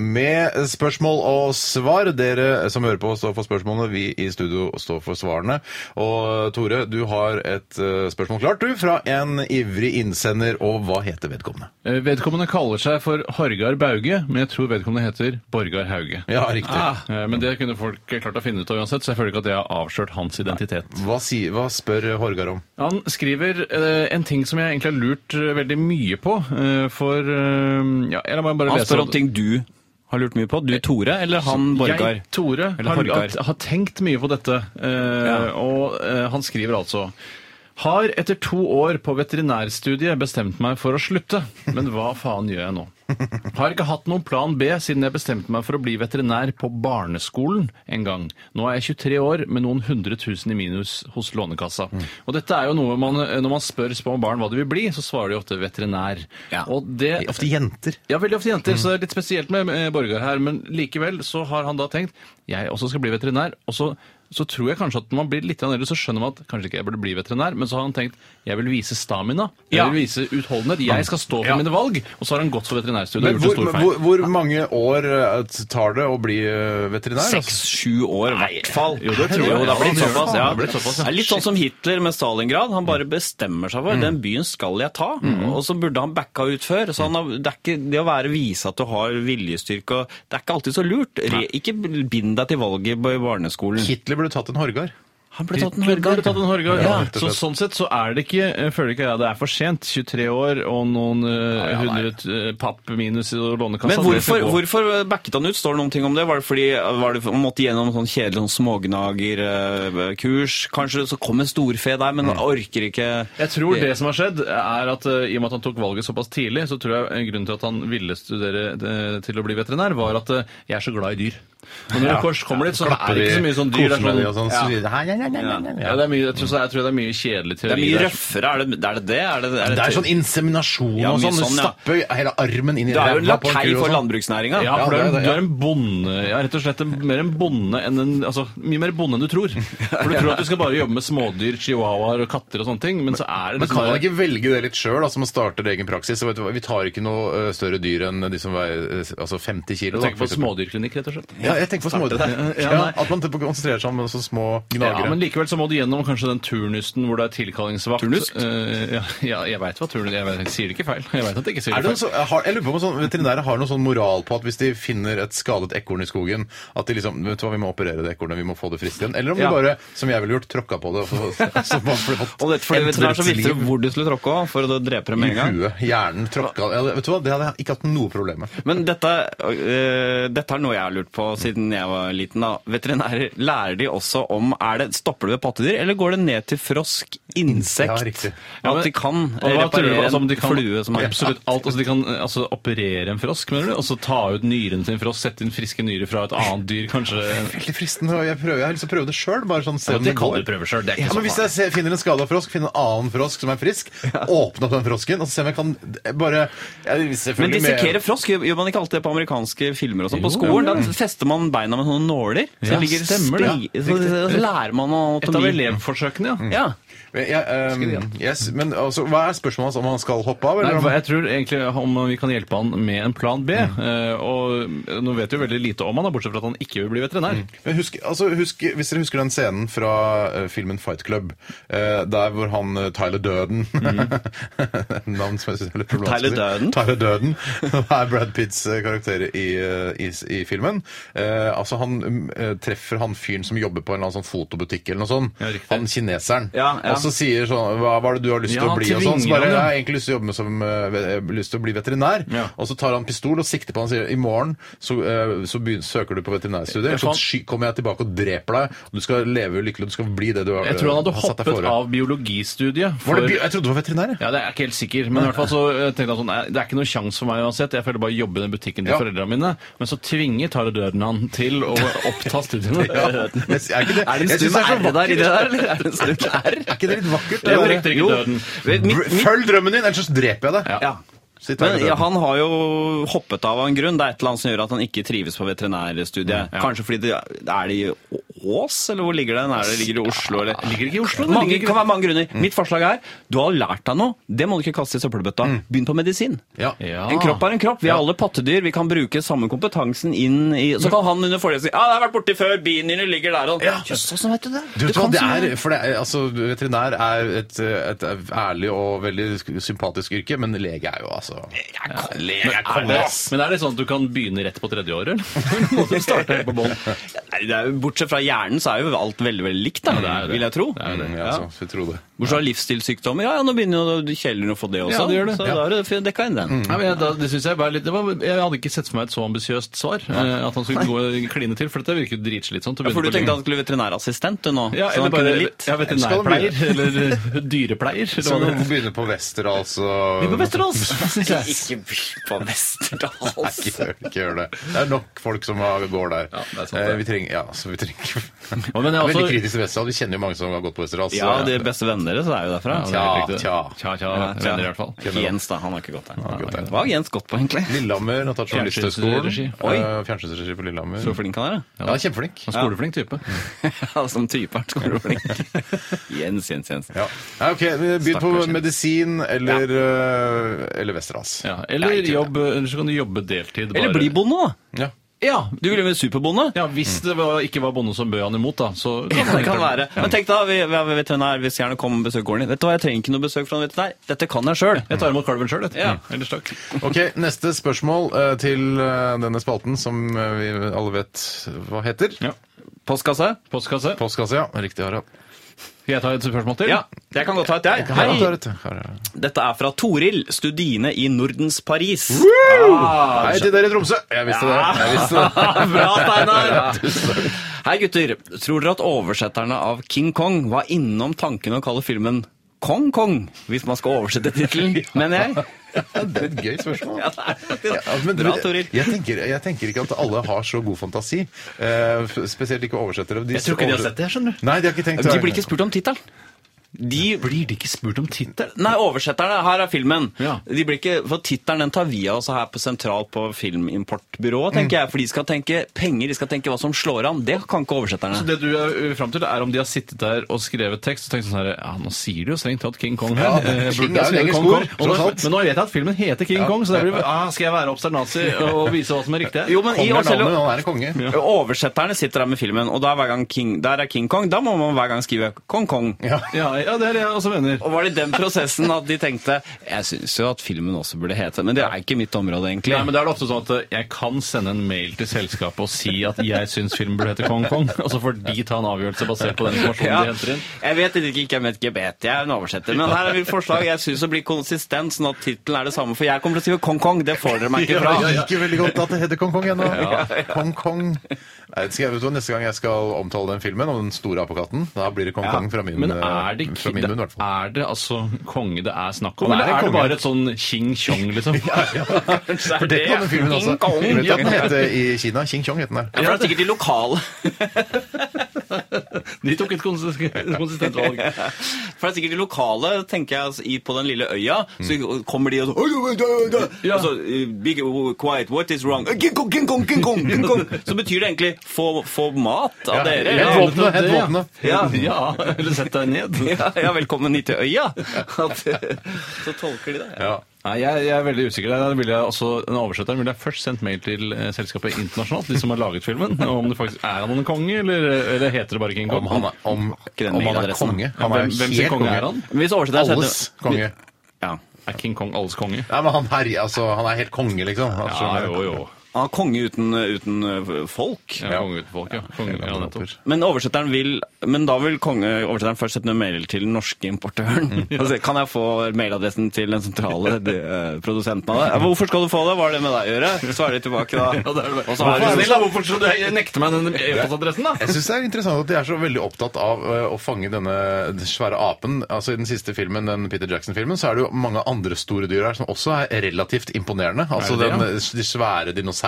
[SPEAKER 1] med spørsmål og svar. Dere som hører på, står for spørsmålene. Vi i studio står for svarene. Og Tore, du har et eh, spørsmål klart, du, fra en ivrig innsender. Og hva heter vedkommende?
[SPEAKER 3] Eh, Vedkommende kaller seg for Horgar Bauge, men jeg tror vedkommende heter Borgar Hauge.
[SPEAKER 1] Ja, riktig.
[SPEAKER 2] Ah.
[SPEAKER 3] Eh, Men det kunne folk klart å finne ut av uansett, så jeg føler ikke at jeg har avslørt hans identitet.
[SPEAKER 1] Hva, si, hva spør Horgar om?
[SPEAKER 3] Han skriver eh, en ting som jeg egentlig har lurt eh, veldig mye på, eh, for eh, ja, eller må jeg bare
[SPEAKER 2] Han
[SPEAKER 3] lese
[SPEAKER 2] spør
[SPEAKER 3] opp-
[SPEAKER 2] om ting du har lurt mye på. Du, Tore, eller han, Borgar?
[SPEAKER 3] Jeg, Tore, har,
[SPEAKER 2] Horgar.
[SPEAKER 3] har- har tenkt mye på dette, eh,
[SPEAKER 2] Ja.
[SPEAKER 3] og eh, han skriver altså Har etter to år på veterinærstudiet bestemt meg for å slutte, men hva faen gjør jeg nå? Har ikke hatt noen plan B siden jeg bestemte meg for å bli veterinær på barneskolen en gang. Nå er jeg 23 år med noen hundre tusen i minus hos Lånekassa.
[SPEAKER 2] Mm.
[SPEAKER 3] Og dette er jo noe man, eh, når man spør små barn hva de vil bli, så svarer de ofte veterinær. Og det,
[SPEAKER 1] Ofte jenter.
[SPEAKER 3] ja, veldig ofte jenter, så det er litt spesielt med eh, Borgar her. Men likevel så har han da tenkt jeg også skal bli veterinær. Og så så tror jeg kanskje at når man blir litt eldre, så skjønner man at kanskje ikke jeg burde bli veterinær, men så har han tenkt jeg vil vise stamina, jeg
[SPEAKER 2] Ja.
[SPEAKER 3] vil vise utholdenhet, jeg skal stå for
[SPEAKER 1] Ja.
[SPEAKER 3] mine valg, og så har han gått for veterinærstudiet
[SPEAKER 1] Men
[SPEAKER 3] og gjort
[SPEAKER 1] hvor,
[SPEAKER 3] en stor
[SPEAKER 1] men
[SPEAKER 3] feil.
[SPEAKER 1] hvor, hvor mange år eh, tar det å bli eh, veterinær? altså?
[SPEAKER 2] Seks-sju år, i hvert fall.
[SPEAKER 3] Jo, det tror jeg.
[SPEAKER 2] Jo, det har blitt
[SPEAKER 3] Ja,
[SPEAKER 2] såpass, ja. Mm.
[SPEAKER 3] det har blitt såpass, ja.
[SPEAKER 2] Det er Litt sånn som Hitler med Stalingrad. Han bare bestemmer seg for den byen skal jeg ta. Og så burde han backa ut før. Så han har, det, er ikke, det å være vise at du har viljestyrke, og det er ikke alltid så lurt. Re, ikke bind deg til valget på- i barneskolen.
[SPEAKER 1] Altså, Hitler burde tatt en horgar.
[SPEAKER 2] Han ble tatt en
[SPEAKER 3] Hitler
[SPEAKER 2] Horgar.
[SPEAKER 3] ble tatt en Horgar.
[SPEAKER 1] Ja,
[SPEAKER 3] Ja,
[SPEAKER 1] rett og
[SPEAKER 3] så
[SPEAKER 1] slett.
[SPEAKER 3] sånn sett så er det ikke jeg føler ikke jeg det er for sent. 23 år og noen eh,
[SPEAKER 1] ja, nei.
[SPEAKER 3] hundre eh, papp minus i lånekassa.
[SPEAKER 2] Men
[SPEAKER 3] det
[SPEAKER 2] hvorfor,
[SPEAKER 3] får gå.
[SPEAKER 2] hvorfor backet han ut? Står det noen ting om det? Var det fordi var det, han måtte gjennom sånn kjedelig sånn smågnagerkurs? eh, Kanskje så kom en storfe der, men orker ikke
[SPEAKER 3] Jeg tror det som har skjedd, er at eh, i og med at han tok valget såpass tidlig, så tror jeg eh, grunnen til at han ville studere eh, til å bli veterinær, var at eh, jeg er så glad i dyr. Og når det kors kommer dit, så er det ikke så mye sånn dyr.
[SPEAKER 1] koser
[SPEAKER 3] Det
[SPEAKER 1] med de
[SPEAKER 3] er
[SPEAKER 1] og
[SPEAKER 3] sånn,
[SPEAKER 1] sånn. så videre. Hei, hei, hei, hei, hei, hei.
[SPEAKER 3] ja, det er mye, jeg, tror, jeg tror det er mye kjedelig
[SPEAKER 2] Det er
[SPEAKER 3] teori.
[SPEAKER 2] mye
[SPEAKER 3] der.
[SPEAKER 2] røffere, er det er det? det? Er det, er det,
[SPEAKER 1] Det er sånn inseminasjon
[SPEAKER 2] Ja,
[SPEAKER 1] og
[SPEAKER 2] mye
[SPEAKER 1] sånn. Du
[SPEAKER 2] sånn, ja.
[SPEAKER 1] stapper hele armen inn i
[SPEAKER 2] Du er jo en
[SPEAKER 1] ræva på en
[SPEAKER 2] lakei
[SPEAKER 1] ku og
[SPEAKER 2] for
[SPEAKER 1] sånn.
[SPEAKER 2] landbruksnæringa.
[SPEAKER 1] Ja,
[SPEAKER 3] Ja, for du er,
[SPEAKER 1] det er det,
[SPEAKER 3] du
[SPEAKER 1] ja.
[SPEAKER 3] er en bonde. Ja, rett og slett en, mer en bonde enn en Altså, mye mer bonde enn du tror. For du tror at du skal bare jobbe med smådyr, chihuahuaer og katter og sånne ting, men så er det
[SPEAKER 1] Men kan man
[SPEAKER 3] liksom
[SPEAKER 1] ikke velge det litt sjøl, altså man starter egen praksis? og Vet du, hva, vi tar ikke noe eh, større dyr enn de som veier eh, altså 50 kilo.
[SPEAKER 3] Tenk
[SPEAKER 1] da,
[SPEAKER 3] på
[SPEAKER 1] for eksempel.
[SPEAKER 3] smådyrklinikk, rett og slett.
[SPEAKER 1] Ja, jeg tenker på små
[SPEAKER 3] Ja,
[SPEAKER 1] ja,
[SPEAKER 3] nei.
[SPEAKER 1] At man konsentrerer seg om så små
[SPEAKER 3] Ja,
[SPEAKER 1] gnagere.
[SPEAKER 3] men likevel så må du gjennom kanskje den turnusten hvor det er tilkallingsvakt.
[SPEAKER 2] Turnusk?
[SPEAKER 3] Eh, ja, ja, jeg veit hva turnus Jeg, vet, jeg sier det ikke feil. Jeg vet at jeg ikke sier
[SPEAKER 1] Er det
[SPEAKER 3] det
[SPEAKER 1] noe
[SPEAKER 3] feil.
[SPEAKER 1] så, har, jeg lurer på om sånn, Veterinærer har noen sånn moral på at hvis de finner et skadet ekorn i skogen, at de liksom vet du hva, vi må operere det ekornet, vi må få det friskt igjen. Eller om
[SPEAKER 2] Ja.
[SPEAKER 1] de bare, som jeg ville gjort, tråkka på det. Og så, så man ble fått
[SPEAKER 2] Og dette fordi
[SPEAKER 1] endret
[SPEAKER 2] veterinær så visste
[SPEAKER 1] liv
[SPEAKER 2] du hvor du skulle tråkke òg, for å drepe det
[SPEAKER 1] i
[SPEAKER 2] med en gang.
[SPEAKER 1] huet. Hjernen tråkka ja, Vet du hva, det hadde jeg ikke hatt noe problem med.
[SPEAKER 2] Men dette, øh, dette er noe jeg har lurt på siden jeg var liten. da. Veterinærer, lærer de også om er det, Stopper det ved pattedyr, eller går det ned til frosk,
[SPEAKER 1] Ja,
[SPEAKER 2] insekt?
[SPEAKER 1] riktig.
[SPEAKER 3] Ja, men-
[SPEAKER 2] at de kan
[SPEAKER 3] Og hva tror du,
[SPEAKER 2] reparere
[SPEAKER 3] altså, om
[SPEAKER 2] en
[SPEAKER 3] de kan,
[SPEAKER 2] flue som er
[SPEAKER 3] Absolutt alt. Altså, de kan eh, altså, operere en frosk, mener du? Og så ta ut nyren til en frosk, sette inn friske nyrer fra et annet dyr, kanskje?
[SPEAKER 1] Veldig fristende. og Jeg, prøver, jeg har lyst til å prøve det sjøl. Bare sånn, se
[SPEAKER 3] Ja,
[SPEAKER 1] om
[SPEAKER 3] det
[SPEAKER 1] det
[SPEAKER 3] kan
[SPEAKER 1] går.
[SPEAKER 3] du prøve sjøl. Det er
[SPEAKER 1] Ja,
[SPEAKER 3] ikke
[SPEAKER 1] men
[SPEAKER 3] så
[SPEAKER 1] Hvis jeg ser, finner en skada frosk, finner en annen frosk som er frisk, åpne opp den frosken og se om jeg kan eh, bare jeg,
[SPEAKER 2] Men
[SPEAKER 1] selvfølgelig med-
[SPEAKER 2] dissekere frosk gjør gjør man ikke alltid det på amerikanske filmer og sånn. På
[SPEAKER 3] Jo,
[SPEAKER 2] skolen
[SPEAKER 3] ja.
[SPEAKER 2] da fester man beina med sånne nåler. Så,
[SPEAKER 3] Ja,
[SPEAKER 2] ligger
[SPEAKER 3] stemmer det.
[SPEAKER 2] spri- så, så, så lærer man
[SPEAKER 3] Et av
[SPEAKER 2] anatomi.
[SPEAKER 3] elevforsøkene, ja.
[SPEAKER 2] Ja.
[SPEAKER 1] Men Jeg, ehm, yes, men altså, hva er spørsmålet hans? Om han skal hoppe av? Eller
[SPEAKER 3] Nei,
[SPEAKER 1] om,
[SPEAKER 3] hva- jeg tror egentlig om vi kan hjelpe han med en plan B. eh, Og nå vet vi jo veldig lite om han, da, bortsett fra at han ikke vil bli veterinær.
[SPEAKER 1] Men husk, altså, husk, hvis dere husker den scenen fra eh, filmen Fight Club, eh, der hvor han eh, Tyler Døden Navn som jeg synes er litt problematisk.
[SPEAKER 2] Tyler Durden?
[SPEAKER 1] Tyler Døden er Brad Pitts eh, karakter i, eh, i, i filmen. Eh, altså, han mm, eh, treffer han fyren som jobber på en eller annen sånn fotobutikk eller noe sånt.
[SPEAKER 3] Ja, riktig.
[SPEAKER 1] han kineseren.
[SPEAKER 2] Ja, ja.
[SPEAKER 1] Og så sier sånn Hva, hva er det du har lyst til
[SPEAKER 3] Ja,
[SPEAKER 1] å bli? Og
[SPEAKER 3] tvinger
[SPEAKER 1] sånn. Så bare,
[SPEAKER 3] han,
[SPEAKER 1] jeg
[SPEAKER 3] ja.
[SPEAKER 1] har egentlig lyst til å jobbe med som eh, ve- eh, lyst til å bli veterinær.
[SPEAKER 3] Ja.
[SPEAKER 1] Og så tar han pistol og sikter på han og sier i morgen så, eh, så begyn- søker du på veterinærstudiet.
[SPEAKER 3] Jeg
[SPEAKER 1] Så
[SPEAKER 3] fant-
[SPEAKER 1] sky, kommer jeg tilbake og dreper deg. og Du skal leve lykkelig, og du skal bli det du har,
[SPEAKER 3] Jeg tror han hadde
[SPEAKER 1] har satt deg
[SPEAKER 3] hoppet
[SPEAKER 1] fore.
[SPEAKER 3] av biologistudiet.
[SPEAKER 1] Var det,
[SPEAKER 3] for-
[SPEAKER 1] bi- jeg trodde det var veterinær. jeg.
[SPEAKER 3] Ja, det er jeg ikke helt sikker, men i hvert fall så eh, tenkte jeg sånn, nei, det er ikke noen sjanse for meg uansett, jeg føler bare å jobbe i den butikken til
[SPEAKER 1] Ja.
[SPEAKER 3] foreldrene mine, men så tvinger Tara Døden han til å oppta studiene.
[SPEAKER 1] Ja. Er ikke det?
[SPEAKER 2] Er det en
[SPEAKER 1] Jeg synes
[SPEAKER 2] stum
[SPEAKER 1] så
[SPEAKER 2] R der i
[SPEAKER 1] vakkert.
[SPEAKER 2] det der, eller? Er det en stum R?
[SPEAKER 1] Er ikke det litt vakkert?
[SPEAKER 3] Det
[SPEAKER 1] å
[SPEAKER 3] var
[SPEAKER 1] gjøre?
[SPEAKER 3] riktig, ikke
[SPEAKER 1] Jo.
[SPEAKER 3] døden.
[SPEAKER 2] Mitt,
[SPEAKER 1] Br-
[SPEAKER 2] mitt,
[SPEAKER 1] Følg drømmen din, ellers så dreper jeg deg.
[SPEAKER 2] ja.
[SPEAKER 1] Sier Tyler
[SPEAKER 2] Men ja,
[SPEAKER 1] Durden.
[SPEAKER 2] han har jo hoppet av av en grunn. Det er et eller annet som gjør at han ikke trives på veterinærstudiet. Kanskje fordi det er det i Ås, eller hvor ligger den? Er det, ligger det i Oslo, Mm. eller?
[SPEAKER 3] Ligger det ikke i Oslo? Det
[SPEAKER 2] Mange,
[SPEAKER 3] ligger ikke-
[SPEAKER 2] kan være mange grunner. Mitt forslag er du har lært deg noe. Det må du ikke kaste i søppelbøtta. Begynn på medisin.
[SPEAKER 1] Ja.
[SPEAKER 3] Ja.
[SPEAKER 2] Mm. En kropp er en kropp. Vi er alle pattedyr. Vi kan bruke samme kompetansen inn i Så kan han under forelesning Ja, det har jeg vært borti før. Biene dine ligger der og
[SPEAKER 1] Ja.
[SPEAKER 2] Jøss, åssen vet du det?
[SPEAKER 1] Du vet
[SPEAKER 2] kan
[SPEAKER 1] hva, det
[SPEAKER 2] så mye.
[SPEAKER 1] er, for det er, altså, Veterinær er et, et ærlig og veldig sympatisk yrke, men lege er jo altså Lege er
[SPEAKER 3] Er det,
[SPEAKER 1] konge, ass!
[SPEAKER 3] men er det sånn at du kan begynne rett på tredje året, eller? Må du starte helt på bånn?
[SPEAKER 2] Nei, det er jo- Bortsett fra hjernen så er jo alt veldig veldig likt, da,
[SPEAKER 3] er jo det.
[SPEAKER 2] vil jeg tro.
[SPEAKER 1] Mm, Ja, altså, vi tror det.
[SPEAKER 2] Bortsett fra livsstilssykdommer. Ja, ja, nå begynner jo kjelleren å få det også.
[SPEAKER 3] Ja, det gjør det.
[SPEAKER 2] Så
[SPEAKER 3] Ja. Mm.
[SPEAKER 2] da er det dekka inn den.
[SPEAKER 3] Nei, men jeg, da, det synes jeg, bare litt, det var, jeg hadde ikke sett for meg et så ambisiøst svar, eh, at han skulle gå og kline til, for dette virker jo dritslitsomt. å
[SPEAKER 2] Ja,
[SPEAKER 3] begynne
[SPEAKER 2] for
[SPEAKER 3] på
[SPEAKER 2] du
[SPEAKER 3] lenge.
[SPEAKER 2] tenkte han skulle være veterinærassistent du nå?
[SPEAKER 3] Ja, eller
[SPEAKER 2] så han kunne
[SPEAKER 3] bare
[SPEAKER 2] litt.
[SPEAKER 3] ja, veterinærpleier,
[SPEAKER 1] Skal
[SPEAKER 3] eller eh, dyrepleier. eller
[SPEAKER 1] Så
[SPEAKER 3] hva det
[SPEAKER 1] vi begynner på Wester, altså.
[SPEAKER 3] heter. På Vesterås, synes jeg.
[SPEAKER 2] Ikke by på Vesterdals.
[SPEAKER 1] Ikke, ikke gjør det. Det er nok folk som har- går der.
[SPEAKER 3] Ja, det er sant, det. altså-
[SPEAKER 1] Eh, vi trenger, ja, så vi trenger
[SPEAKER 3] men jeg er også-
[SPEAKER 1] Veldig kritisk til Westerdal. Vi kjenner jo mange som har gått på Westerdal. så-
[SPEAKER 2] Ja, de beste vennene Navnet deres er jo derfra.
[SPEAKER 1] Ja, tja.
[SPEAKER 3] Tja, tja,
[SPEAKER 2] Ja, tja.
[SPEAKER 3] venner i hvert fall.
[SPEAKER 2] Jens, da. Han har ikke gått der.
[SPEAKER 1] ikke gått der.
[SPEAKER 2] Hva har Jens gått på, egentlig?
[SPEAKER 1] Lillehammer har tatt journalisthøgskolen.
[SPEAKER 3] Fjernsynsregi.
[SPEAKER 2] Oi.
[SPEAKER 1] Eh, Fjernsynsregi på Lillehammer.
[SPEAKER 2] Så flink han er, da.
[SPEAKER 1] Ja, kjempeflink.
[SPEAKER 3] Han er Skoleflink type.
[SPEAKER 2] Mm. Ja, som type er skoleflink. Jens, Jens, Jens.
[SPEAKER 1] Ja. Nei, ok, Begynn på
[SPEAKER 2] Stakkars Jens.
[SPEAKER 1] medisin eller, eh, eller Westerdals.
[SPEAKER 3] Ja, eller, jobb, eller så kan du jobbe deltid. Bare.
[SPEAKER 2] Eller bli bonde, da!
[SPEAKER 1] Ja.
[SPEAKER 2] Ja, du ville bli superbonde.
[SPEAKER 3] Ja, Hvis det var, ikke var bonde som bød han imot, da. Så
[SPEAKER 2] Det kan være. Men tenk da, vi, vi har veterinær, hvis gjerne kommer og besøker gården din. Vet du hva, jeg trenger ikke noe besøk fra en veterinær. Dette kan jeg sjøl.
[SPEAKER 3] Jeg tar imot kalven sjøl, dette.
[SPEAKER 2] Ja.
[SPEAKER 3] Mm. Ellers takk.
[SPEAKER 1] Ok, Neste spørsmål eh, til eh, denne spalten som eh, vi alle vet hva heter.
[SPEAKER 3] Ja.
[SPEAKER 2] Postkasse?
[SPEAKER 3] Postkasse.
[SPEAKER 1] Postkasse, ja. Riktig, Harald.
[SPEAKER 3] Skal jeg ta et spørsmål til?
[SPEAKER 2] Ja, jeg kan godt ta et, jeg.
[SPEAKER 1] Harald
[SPEAKER 2] Hei!
[SPEAKER 1] tar et. Harald.
[SPEAKER 2] Dette er fra Toril, studine i Nordens Paris.
[SPEAKER 3] Ah,
[SPEAKER 1] Hei til dere i Tromsø! Jeg visste det. Jeg visste det.
[SPEAKER 2] Bra, Steinar! Hei, gutter. Tror dere at oversetterne av King Kong var innom tanken å kalle filmen Kong Kong, hvis man skal oversette tittelen, mener jeg?
[SPEAKER 1] Det er et gøy spørsmål.
[SPEAKER 2] Ja, det er faktisk-
[SPEAKER 1] Ja, men
[SPEAKER 2] Bra,
[SPEAKER 1] det-
[SPEAKER 2] Toril.
[SPEAKER 1] Jeg tenker, jeg tenker ikke at alle har så god fantasi. eh, f- spesielt ikke oversettere. De jeg
[SPEAKER 3] tror ikke de har sett det, skjønner
[SPEAKER 1] Nei, de har ikke tenkt
[SPEAKER 2] De blir ikke spurt om tittelen. De
[SPEAKER 3] Blir de ikke spurt om tittelen?
[SPEAKER 2] Nei, oversetterne. Her er filmen.
[SPEAKER 3] Ja.
[SPEAKER 2] De blir ikke, for Tittelen den tar vi av oss her på sentralt på Filmimportbyrået,
[SPEAKER 3] Mm.
[SPEAKER 2] tenker jeg. For de skal tenke penger, de skal tenke hva som slår an. Det kan ikke oversetterne.
[SPEAKER 3] Så det du er ø, frem til, er om de har sittet der og skrevet tekst og tenkt sånn her Ja, nå sier de jo strengt tatt King Kong her.
[SPEAKER 1] Ja,
[SPEAKER 3] Eh,
[SPEAKER 1] King er jo
[SPEAKER 3] burde jeg skrive
[SPEAKER 1] engelsk
[SPEAKER 3] Kong
[SPEAKER 1] ord,
[SPEAKER 3] Kong? Og
[SPEAKER 1] tross
[SPEAKER 3] nå-
[SPEAKER 1] alt.
[SPEAKER 3] Men nå vet jeg at filmen heter King Kong, så det blir, ah, skal jeg være obsternasi og vise hva som er riktig?
[SPEAKER 2] Jo, men i
[SPEAKER 1] Kongen er
[SPEAKER 2] Oslo-
[SPEAKER 1] navnet, han er en konge.
[SPEAKER 2] Oversetterne sitter der med filmen, og der, hver gang King, der er King Kong. Da må man hver gang skrive Kong Kong.
[SPEAKER 1] Ja.
[SPEAKER 3] Ja, ja, det er det jeg også mener.
[SPEAKER 2] Og var det i den prosessen at de tenkte Jeg syns jo at filmen også burde hete Men det er ikke mitt område, egentlig.
[SPEAKER 3] Nei, men det er det ofte sånn at eh, jeg kan sende en mail til selskapet og si at jeg syns filmen burde hete Kong Kong, og så får de ta en avgjørelse basert på den informasjonen
[SPEAKER 2] Ja,
[SPEAKER 3] de henter inn.
[SPEAKER 2] jeg vet ikke, ikke jeg vet ikke, jeg vet, jeg er en oversetter. Men her er mitt forslag. Jeg syns det blir konsistent, sånn at tittelen er det samme. For jeg kommer til å skrive Kong Kong, det får dere meg ikke fra.
[SPEAKER 1] Jeg liker veldig godt at det heter Kong Kong ennå. Kong Kong. Nei, skal jeg, vet du, hva, neste gang jeg skal omtale den filmen om den store apekatten, da blir det Kong Kong fra min,
[SPEAKER 3] Men er det
[SPEAKER 1] eh, fra
[SPEAKER 3] ikke
[SPEAKER 1] min munn, i hvert fall.
[SPEAKER 3] Er det altså konge det er snakk om?
[SPEAKER 1] Konge,
[SPEAKER 3] Eller
[SPEAKER 1] det er
[SPEAKER 3] er det
[SPEAKER 1] konge.
[SPEAKER 3] bare et sånn king-tjong, liksom?
[SPEAKER 1] For det kan den filmen også.
[SPEAKER 2] Kong.
[SPEAKER 1] Vet du hva den heter i Kina? King Chong heter den
[SPEAKER 2] Ja,
[SPEAKER 1] der.
[SPEAKER 2] for det er sikkert de lokale.
[SPEAKER 3] De tok et konsis- konsistent valg.
[SPEAKER 2] For det er sikkert de lokale, tenker jeg, altså, i- på den lille øya. Så
[SPEAKER 1] Mm.
[SPEAKER 2] kommer de og så, «Oi, oi, oi, oi!»
[SPEAKER 3] Ja.
[SPEAKER 2] og så eh, Big oh, quiet, what is wrong? Eh, King Kong, King Kong, King Kong, King Kong. Så betyr det egentlig få, få mat av dere.
[SPEAKER 1] Hent
[SPEAKER 2] Ja.
[SPEAKER 1] våpenet! Hent våpenet!
[SPEAKER 3] Ja.
[SPEAKER 2] Ja.
[SPEAKER 3] ja, eller sett deg ned.
[SPEAKER 2] Ja, ja, velkommen hit til øya. At, så tolker de det.
[SPEAKER 1] Ja.
[SPEAKER 2] Ja.
[SPEAKER 3] Nei, jeg, jeg er veldig usikker. Der ville jeg også, den oversetteren ville jeg først sendt mail til eh, selskapet internasjonalt, de som har laget filmen, om det faktisk er han en konge, eller, eller heter det bare King Kong?
[SPEAKER 1] Om han er, om,
[SPEAKER 2] den
[SPEAKER 1] om han er
[SPEAKER 2] mailadressen.
[SPEAKER 1] konge. Han sånn er
[SPEAKER 3] Hvem- hvem
[SPEAKER 1] jo
[SPEAKER 3] sin
[SPEAKER 1] helt
[SPEAKER 3] konge er
[SPEAKER 1] konge.
[SPEAKER 3] han?
[SPEAKER 2] Hvis oversetteren setter-
[SPEAKER 1] Alles konge.
[SPEAKER 2] Ja.
[SPEAKER 3] Er King Kong alles konge?
[SPEAKER 1] Nei, men han herjer, altså. Han er helt konge, liksom. Altså,
[SPEAKER 3] Ja, jo, jo.
[SPEAKER 2] Ah, konge uten, uten eh, folk.
[SPEAKER 3] Ja, konge uten folk, ja. Konge, ja, nettopp.
[SPEAKER 2] Men oversetteren vil Men da vil konge, oversetteren først sette en mail til den norske importøren.
[SPEAKER 3] Mm.
[SPEAKER 2] altså, kan jeg få mailadressen til den sentrale de, eh, produsenten av det? Ja, Hvorfor skal du få det? Hva har det med deg å gjøre? Svarer de tilbake da.
[SPEAKER 3] Ja, det er det.
[SPEAKER 2] Og så
[SPEAKER 3] Vær
[SPEAKER 2] har
[SPEAKER 3] så
[SPEAKER 2] de-
[SPEAKER 3] snill, da, Hvorfor skal du nekte meg den e-postadressen, da?
[SPEAKER 1] Jeg syns det er interessant at de er så veldig opptatt av ø, å fange denne svære apen. Altså I den siste filmen, den Peter Jackson-filmen, så er det jo mange andre store dyr her som også er relativt imponerende. Altså
[SPEAKER 3] Er det det,
[SPEAKER 1] den, de svære dinosaurene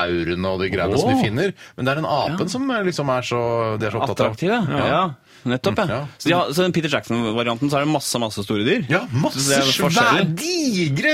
[SPEAKER 1] og de greiene som
[SPEAKER 3] Åh.
[SPEAKER 1] de finner. Men det er den apen som er liksom er så, de er så opptatt av.
[SPEAKER 2] Attraktive. Ja. Nettopp, ja.
[SPEAKER 1] Ja.
[SPEAKER 2] Så, ja, så den Peter Jackson-varianten så er det masse, masse store dyr.
[SPEAKER 1] Ja, masse
[SPEAKER 2] Så det er
[SPEAKER 1] svære,
[SPEAKER 2] forskjellig.
[SPEAKER 1] digre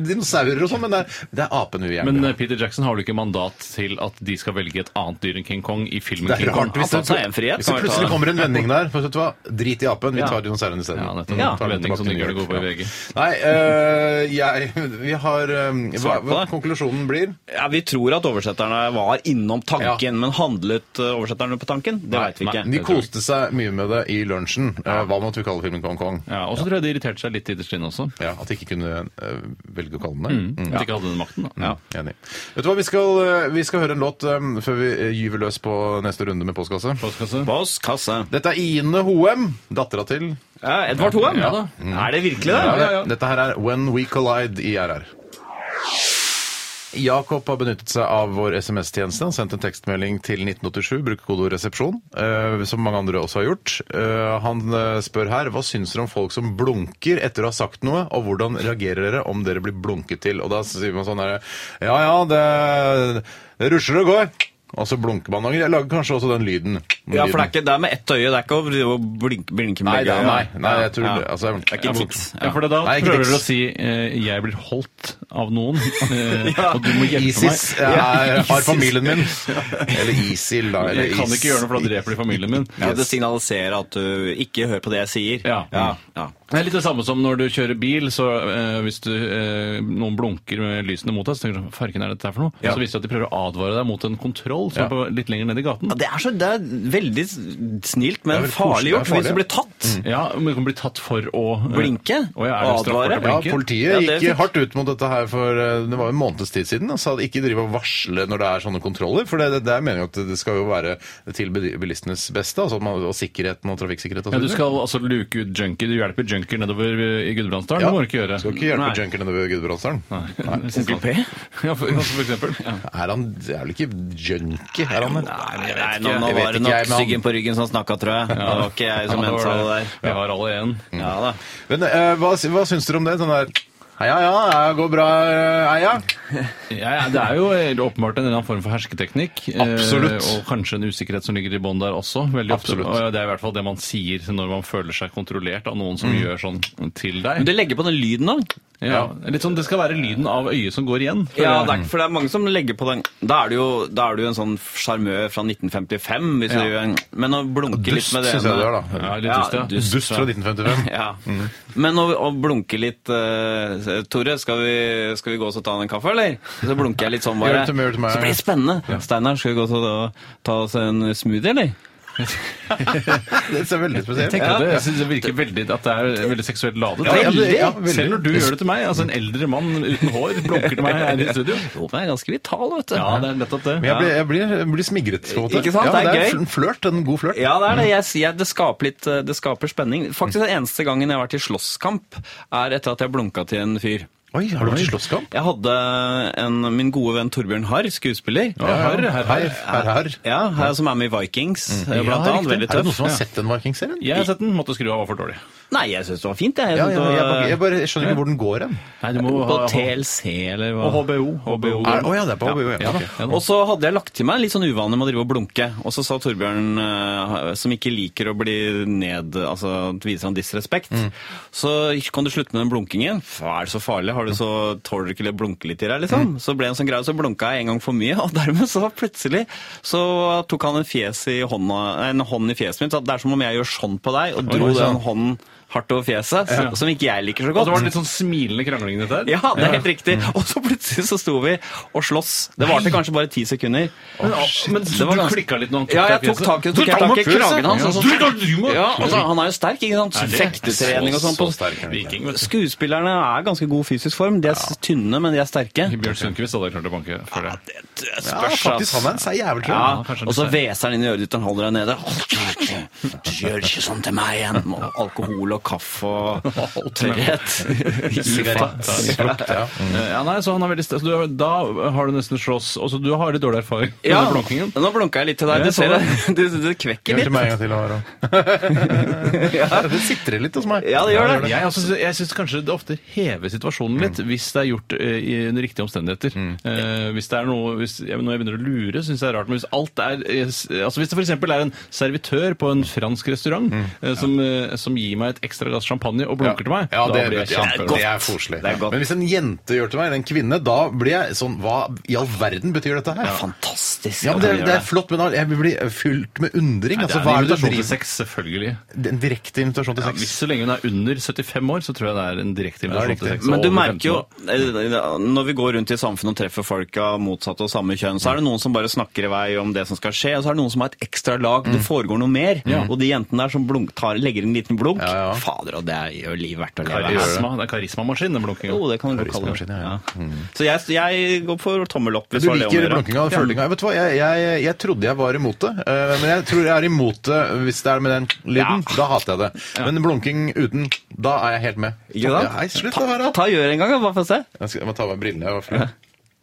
[SPEAKER 1] dinosaurer og sånn, men det er, det er apen vi gjerne
[SPEAKER 3] Men
[SPEAKER 1] vil
[SPEAKER 3] eh,
[SPEAKER 1] ha.
[SPEAKER 3] Peter Jackson har vel ikke mandat til at de skal velge et annet dyr enn King Kong i filmen
[SPEAKER 1] Det er
[SPEAKER 3] King Kong?
[SPEAKER 1] rart hvis
[SPEAKER 2] Han
[SPEAKER 1] det,
[SPEAKER 2] tar seg en frihet,
[SPEAKER 1] hvis det
[SPEAKER 2] kan vi ta
[SPEAKER 1] plutselig
[SPEAKER 2] det.
[SPEAKER 1] kommer en vending der. For, vet du hva? Drit i apen, vi
[SPEAKER 3] Ja.
[SPEAKER 1] tar dinosauren isteden.
[SPEAKER 3] Ja, nettopp.
[SPEAKER 1] Mm,
[SPEAKER 3] Ja.
[SPEAKER 1] tar den
[SPEAKER 3] Vending
[SPEAKER 1] tilbake
[SPEAKER 3] som
[SPEAKER 1] til
[SPEAKER 3] de
[SPEAKER 1] New
[SPEAKER 3] gjør det
[SPEAKER 1] York.
[SPEAKER 3] gode på i VG.
[SPEAKER 1] Nei, øh, jeg Vi har øh, hva,
[SPEAKER 2] Svar på
[SPEAKER 1] hva
[SPEAKER 2] det.
[SPEAKER 1] konklusjonen blir?
[SPEAKER 2] Ja, Vi tror at oversetterne var innom tanken,
[SPEAKER 1] Ja.
[SPEAKER 2] men handlet eh, oversetterne på tanken? Det veit vi
[SPEAKER 3] nei,
[SPEAKER 2] ikke.
[SPEAKER 1] De koste seg mye med det i lunsjen. Eh, Hva måtte vi kalle filmen Kong Kong?
[SPEAKER 3] Ja, og så tror jeg de irriterte seg litt ytterst inne også.
[SPEAKER 1] Ja, At de ikke kunne eh, velge å kalle den det? Mm.
[SPEAKER 3] At de ikke hadde den makten, da.
[SPEAKER 1] Enig. Vet du hva, vi skal, eh, vi skal høre en låt eh, før vi eh, gyver løs på neste runde med postkasse.
[SPEAKER 3] Postkasse.
[SPEAKER 2] Postkasse.
[SPEAKER 1] Dette er Ine Hoem, dattera til
[SPEAKER 2] Ja, Edvard Hoem?
[SPEAKER 1] Ja da.
[SPEAKER 2] Er det virkelig det?
[SPEAKER 1] Dette her er When We Collide i RR. Jakob har benyttet seg av vår SMS-tjeneste. Han sendte en tekstmelding til 1987, bruker kodeord 'resepsjon', eh, som mange andre også har gjort. Eh, han eh, spør her hva syns dere om folk som blunker etter å ha sagt noe, og hvordan reagerer dere om dere blir blunket til? Og da sier man sånn her Ja ja, det, det rusler og går. og så blunker man noen ganger. Jeg lager kanskje også den lyden. Den
[SPEAKER 2] Ja, for det er
[SPEAKER 1] lyden.
[SPEAKER 2] ikke det er med ett øye. Det er ikke å drive og blinke, blinke med
[SPEAKER 1] Nei, det
[SPEAKER 2] begge
[SPEAKER 1] er, nei,
[SPEAKER 2] øyne.
[SPEAKER 1] nei, jeg tror
[SPEAKER 2] Ja.
[SPEAKER 1] det, altså, jeg-
[SPEAKER 2] Det er ikke en fiks.
[SPEAKER 3] Ja, for da
[SPEAKER 1] Nei, ikke
[SPEAKER 3] prøver du å
[SPEAKER 1] triks.
[SPEAKER 3] si eh, 'jeg blir holdt av noen', eh, og du må hjelpe
[SPEAKER 1] ISIS
[SPEAKER 3] meg.
[SPEAKER 1] jeg har familien min. Eller ISIL, da. Eller
[SPEAKER 3] Jeg kan ikke gjøre noe, for da dreper de familien min.
[SPEAKER 2] Ja, det signaliserer at du ikke hører på det jeg sier.
[SPEAKER 3] Ja.
[SPEAKER 2] ja.
[SPEAKER 3] Det er litt det samme som når du kjører bil, så eh, hvis du, eh, noen blunker med lysene mot deg, så tenker du sånn, hva farken er dette her for noe? Og så viser det at de prøver å advare deg mot en kontroll som
[SPEAKER 1] Ja.
[SPEAKER 3] er på, litt lenger ned i gaten.
[SPEAKER 2] Ja, Det er, så, det er veldig snilt, men
[SPEAKER 1] Det er veldig koselig,
[SPEAKER 2] farlig gjort for de
[SPEAKER 1] det er farlig.
[SPEAKER 2] som
[SPEAKER 1] Mm.
[SPEAKER 2] blir tatt.
[SPEAKER 3] Ja, men du kan bli tatt for å eh,
[SPEAKER 2] Blinke?
[SPEAKER 3] Å, ja, er det
[SPEAKER 2] Og
[SPEAKER 3] straffbart å
[SPEAKER 2] advare?
[SPEAKER 1] Ja,
[SPEAKER 3] blinke?
[SPEAKER 1] Politiet
[SPEAKER 2] Ja, det
[SPEAKER 1] gikk
[SPEAKER 2] fikk-
[SPEAKER 1] hardt ut mot dette her for eh, det var jo en måneds tid siden. og sa at ikke drive og varsle når det er sånne kontroller. For det, det, det er meningen at det skal jo være til bedi- bilistenes beste. Altså at man, og sikkerheten og trafikksikkerhet og
[SPEAKER 3] Ja, du
[SPEAKER 1] videre.
[SPEAKER 3] skal altså luke ut junkie. Du hjelper junkier nedover eh, i Gudbrandsdalen.
[SPEAKER 1] Ja.
[SPEAKER 3] Det må du ikke gjøre.
[SPEAKER 1] Skal ikke hjelpe junkerne ved Gudbrandsdalen.
[SPEAKER 3] Onkel P? Ja, for, altså, for eksempel. Ja.
[SPEAKER 1] Er han er vel ikke junkie? Er han det?
[SPEAKER 2] Nei,
[SPEAKER 1] jeg vet
[SPEAKER 2] nei,
[SPEAKER 1] ikke.
[SPEAKER 2] nå, nå
[SPEAKER 1] Jeg vet
[SPEAKER 2] var det
[SPEAKER 1] ikke,
[SPEAKER 2] nok
[SPEAKER 1] jeg, men han-
[SPEAKER 2] styggen på ryggen som snakka, tror jeg. Det var ikke jeg som
[SPEAKER 3] Ja, det
[SPEAKER 2] mente
[SPEAKER 3] var
[SPEAKER 2] det
[SPEAKER 3] det.
[SPEAKER 2] der.
[SPEAKER 3] Vi har alle en.
[SPEAKER 2] Ja da.
[SPEAKER 1] Men eh, hva, sy- hva syns dere om det? Sånn der Heia, ja, ja, går bra, eh, heia.
[SPEAKER 3] Ja, ja, det er jo helt åpenbart en eller annen form for hersketeknikk. eh,
[SPEAKER 1] Absolutt.
[SPEAKER 3] Og kanskje en usikkerhet som ligger i bånn der også. veldig ofte.
[SPEAKER 1] Absolutt.
[SPEAKER 3] Og ja, Det er i hvert fall det man sier når man føler seg kontrollert av noen som gjør sånn til
[SPEAKER 2] Men
[SPEAKER 3] deg.
[SPEAKER 2] det legger på den lyden òg.
[SPEAKER 3] Ja, litt sånn, Det skal være lyden av øyet som går igjen.
[SPEAKER 2] Ja, det er, ikke- for det er mange som legger på den. Da er du jo, da er du jo en sånn sjarmør fra 1955, hvis du gjør en Men å blunke litt
[SPEAKER 1] Dust,
[SPEAKER 2] med det
[SPEAKER 1] syns jeg det er, da.
[SPEAKER 3] Ja, litt
[SPEAKER 2] Ja,
[SPEAKER 3] dust, ja.
[SPEAKER 2] dust.
[SPEAKER 1] Dust Mm. fra 1955.
[SPEAKER 2] Ja. Men å, å blunke litt eh, Tore, skal vi, skal vi gå oss og ta en kaffe, eller? Så blunker jeg litt sånn bare.
[SPEAKER 1] Gjør det til meg, gjør det til meg.
[SPEAKER 2] Så blir det spennende. Steinar, skal vi gå oss og ta- ta oss en smoothie, eller?
[SPEAKER 1] Det ser veldig spesielt
[SPEAKER 3] Tenker du det? Jeg synes det virker veldig at det er veldig seksuelt ladet.
[SPEAKER 1] Ja, ja, det- ja, veldig.
[SPEAKER 3] Selv når du gjør det til meg, altså en eldre mann uten hår blunker til meg her i studio.
[SPEAKER 2] Jo, men jeg er ganske vital, vet du.
[SPEAKER 3] Ja, det er nettopp det.
[SPEAKER 1] Men jeg blir, jeg blir, jeg blir smigret. på en måte.
[SPEAKER 2] Ikke sant?
[SPEAKER 1] Ja,
[SPEAKER 2] Det er
[SPEAKER 1] det
[SPEAKER 2] gøy.
[SPEAKER 1] er en flørt. En god flørt.
[SPEAKER 2] Ja, det er det. Jeg, sier det skaper litt eh, Det skaper spenning. Faktisk den eneste gangen jeg har vært i slåsskamp, er etter at jeg blunka til en fyr.
[SPEAKER 1] Oi, har du vært i slåsskamp?
[SPEAKER 2] Jeg hadde en, min gode venn Torbjørn Harr, skuespiller.
[SPEAKER 3] Ja, her, her, her.
[SPEAKER 1] Her, her, her.
[SPEAKER 2] Ja, her, som er med i Vikings, eh,
[SPEAKER 3] Ja,
[SPEAKER 2] blant
[SPEAKER 3] riktig.
[SPEAKER 2] annet. Veldig
[SPEAKER 1] Mm. Er det noen
[SPEAKER 2] tøff.
[SPEAKER 1] som har sett den Vikingserien?
[SPEAKER 3] Jeg har sett den, måtte skru av, var for dårlig.
[SPEAKER 2] Nei, jeg syns det var fint,
[SPEAKER 1] Ja,
[SPEAKER 2] jeg. jeg,
[SPEAKER 1] ja,
[SPEAKER 2] synes
[SPEAKER 1] jeg,
[SPEAKER 2] det var-
[SPEAKER 1] bare, jeg bare skjønner ikke hvor den går hen.
[SPEAKER 3] Nei, du må
[SPEAKER 2] På TLC, eller hva?
[SPEAKER 3] Og HBO. HBO.
[SPEAKER 1] Er- Å ja, det er på HBO. Ja, ok.
[SPEAKER 3] Ja,
[SPEAKER 2] Og så hadde jeg lagt til meg litt sånn uvanlig med å drive og blunke. Og så sa Torbjørn, eh, som ikke liker å bli ned, altså viser han disrespekt,
[SPEAKER 3] Mm.
[SPEAKER 2] så kan du slutte med den blunkingen. F- Er det så farlig? Har du så, tåler du ikke å blunke litt i deg,
[SPEAKER 3] Mm.
[SPEAKER 2] liksom? Så ble det en sånn greie, så blunka jeg en gang for mye, og dermed så plutselig så tok han en, fjes i hånda, en hånd i fjeset mitt. Så det er som om jeg gjør sånn på deg, og dro den hånden hardt over fjeset, så- som ikke jeg liker så
[SPEAKER 3] Og så
[SPEAKER 2] godt.
[SPEAKER 3] var det litt sånn smilende krangling, dette her.
[SPEAKER 2] Ja, det er helt riktig. Og så plutselig så sto vi og sloss. Det varte kanskje bare ti
[SPEAKER 3] Men,
[SPEAKER 2] sekunder.
[SPEAKER 3] men
[SPEAKER 2] Det var
[SPEAKER 3] du
[SPEAKER 2] ganske-
[SPEAKER 3] klikka litt når han
[SPEAKER 2] Ja, jeg tok tak i tok jeg tak i kragen hans. og så-
[SPEAKER 3] Ja,
[SPEAKER 2] Ja, altså, han er jo sterk, ikke sant?
[SPEAKER 3] det?
[SPEAKER 2] Fektetrening og sånn.
[SPEAKER 1] Så sterk er
[SPEAKER 2] på-
[SPEAKER 1] han ikke.
[SPEAKER 3] Viking, vet du.
[SPEAKER 2] Skuespillerne er ganske god fysisk form. De er s- tynne, men de er sterke.
[SPEAKER 3] Bjørn Sundquist hadde jeg klart å banke før det.
[SPEAKER 1] Ja, faktisk. Han er en seig jævel, tror
[SPEAKER 2] Ja,
[SPEAKER 1] jeg.
[SPEAKER 3] kanskje
[SPEAKER 2] og så
[SPEAKER 3] litt
[SPEAKER 2] hveser han inn i øret ditt og holder deg nede. Gjør ikke sånn til meg igjen! Og Alkohol og kaffe og tørrhet.
[SPEAKER 1] Sigarett, ja.
[SPEAKER 2] Mm.
[SPEAKER 3] Eh, Ja, nei, så han er veldig sterk. Så du- Da har du nesten slåss. Og så du har litt dårlig erfaring med
[SPEAKER 2] Ja,
[SPEAKER 3] den blunkingen.
[SPEAKER 2] nå blunka jeg litt til
[SPEAKER 3] Ja,
[SPEAKER 2] deg. Du
[SPEAKER 3] jeg så
[SPEAKER 2] ser det. Du, du kvekker
[SPEAKER 1] Gjør
[SPEAKER 2] litt.
[SPEAKER 1] til meg en gang til. Ara. Det sitrer litt hos meg.
[SPEAKER 2] Ja, det gjør det.
[SPEAKER 3] Jeg, altså, jeg syns kanskje det ofte hever situasjonen litt
[SPEAKER 2] Mm.
[SPEAKER 3] hvis det er gjort eh, i under riktige omstendigheter. Eh, hvis det er noe hvis, jeg, Når jeg begynner å lure, syns jeg det er rart. Men hvis alt er eh, s- altså Hvis det f.eks. er en servitør på en fransk restaurant
[SPEAKER 2] Mm.
[SPEAKER 3] eh, som, eh, som gir meg et ekstra glass champagne og blunker til meg,
[SPEAKER 1] Ja, det,
[SPEAKER 3] da blir jeg
[SPEAKER 1] ja,
[SPEAKER 3] kjemperedd.
[SPEAKER 1] det er koselig.
[SPEAKER 2] Det er godt.
[SPEAKER 1] Men hvis en jente gjør til meg, en kvinne, da blir jeg sånn Hva i all verden betyr dette her?
[SPEAKER 2] Fantastisk.
[SPEAKER 1] Ja, men det,
[SPEAKER 2] at han gjør
[SPEAKER 1] det er flott, men jeg vil bli fylt med undring.
[SPEAKER 3] Nei,
[SPEAKER 1] Altså,
[SPEAKER 3] det
[SPEAKER 1] hva
[SPEAKER 3] er en
[SPEAKER 1] er det du
[SPEAKER 3] invitasjon til
[SPEAKER 1] driver
[SPEAKER 3] sex, selvfølgelig.
[SPEAKER 1] Det er En direkte invitasjon til
[SPEAKER 3] Ja, hvis
[SPEAKER 1] sex.
[SPEAKER 3] så lenge hun er under 75 år, så tror jeg det er en direkte
[SPEAKER 1] Ja,
[SPEAKER 3] invitasjon til
[SPEAKER 1] riktig.
[SPEAKER 3] sex.
[SPEAKER 2] Men
[SPEAKER 3] og
[SPEAKER 2] du
[SPEAKER 3] over
[SPEAKER 2] merker jo,
[SPEAKER 3] 15 år.
[SPEAKER 2] eh, når vi går rundt i samfunnet og treffer folk av motsatt og samme kjønn, så er det noen som bare snakker i vei om det som skal skje, og så er det noen som har et ekstra lag,
[SPEAKER 1] Mm.
[SPEAKER 2] det foregår noe mer, og de jentene der som blunk, tar, legger en liten blunk,
[SPEAKER 1] Ja, ja.
[SPEAKER 2] fader, og det gjør livet verdt å leve.
[SPEAKER 3] Karisma, det er karismamaskin, den blunkingen.
[SPEAKER 2] Jo, det kan du godt kalle
[SPEAKER 1] Karismamaskin,
[SPEAKER 2] det.
[SPEAKER 1] ja, ja.
[SPEAKER 2] Ja. Så jeg, jeg går for tommel opp. Hvis
[SPEAKER 1] Du
[SPEAKER 2] det var det
[SPEAKER 1] liker
[SPEAKER 2] om å gjøre.
[SPEAKER 1] blunkinga og følinga. Vet du hva, jeg, jeg, jeg trodde jeg var imot det, eh, men jeg tror jeg er imot det hvis det er med den lyden. Da hater jeg det. Men blunking uten, da er jeg helt med.
[SPEAKER 2] Ikke sant?
[SPEAKER 1] Nei, slutt å være
[SPEAKER 2] Ta gjør en gang, da, bare for å se.
[SPEAKER 1] Jeg, skal, jeg må ta av meg brillene. Jeg var full.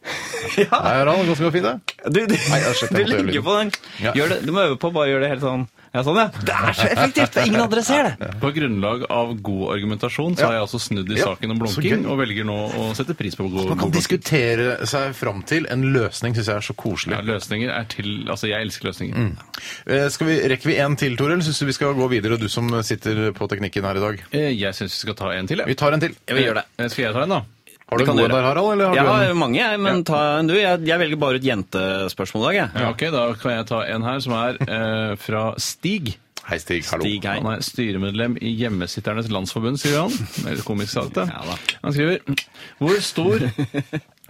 [SPEAKER 1] Nei, Harald, hvordan går det fint? da?
[SPEAKER 2] Du, du,
[SPEAKER 1] Nei, jeg har sett det
[SPEAKER 2] du
[SPEAKER 1] på
[SPEAKER 2] ligger
[SPEAKER 1] television.
[SPEAKER 2] på den.
[SPEAKER 1] Ja.
[SPEAKER 2] Gjør det, du må øve på å bare gjøre det helt sånn Ja, sånn, ja. Det er så effektivt! for Ingen andre ser det.
[SPEAKER 3] På grunnlag av god argumentasjon så har jeg altså snudd i
[SPEAKER 1] Ja,
[SPEAKER 3] saken om
[SPEAKER 1] så
[SPEAKER 3] blunking,
[SPEAKER 1] gøy.
[SPEAKER 3] og velger nå å sette pris på god,
[SPEAKER 1] Man
[SPEAKER 3] god
[SPEAKER 1] kan
[SPEAKER 3] blunking.
[SPEAKER 1] diskutere seg fram til en løsning, syns jeg er så koselig.
[SPEAKER 3] Ja, løsninger er til Altså, jeg elsker løsninger.
[SPEAKER 1] Eh, Skal vi, rekker vi en til, Toril? Syns du vi skal gå videre, du som sitter på teknikken her i dag?
[SPEAKER 3] Eh, Jeg syns vi skal ta en til,
[SPEAKER 1] Vi
[SPEAKER 3] jeg.
[SPEAKER 1] tar en til.
[SPEAKER 2] vi gjør det.
[SPEAKER 3] Eh, Skal jeg ta en, da?
[SPEAKER 1] Har du
[SPEAKER 2] kan
[SPEAKER 1] noe
[SPEAKER 2] du gjøre.
[SPEAKER 1] der, Harald? Eller har
[SPEAKER 2] Jeg
[SPEAKER 1] du
[SPEAKER 2] har
[SPEAKER 1] en?
[SPEAKER 2] mange, jeg, men ta en du. Jeg, jeg velger bare ut jentespørsmål i dag, jeg.
[SPEAKER 3] Ja, ok, Da kan jeg ta en her, som er eh, fra Stig.
[SPEAKER 1] Hei, Stig. Hallo.
[SPEAKER 2] Stig, hei.
[SPEAKER 3] Han er styremedlem i Hjemmesitternes Landsforbund, sier han. Eller komisk sagt, det.
[SPEAKER 2] Ja da.
[SPEAKER 3] Han skriver hvor stor,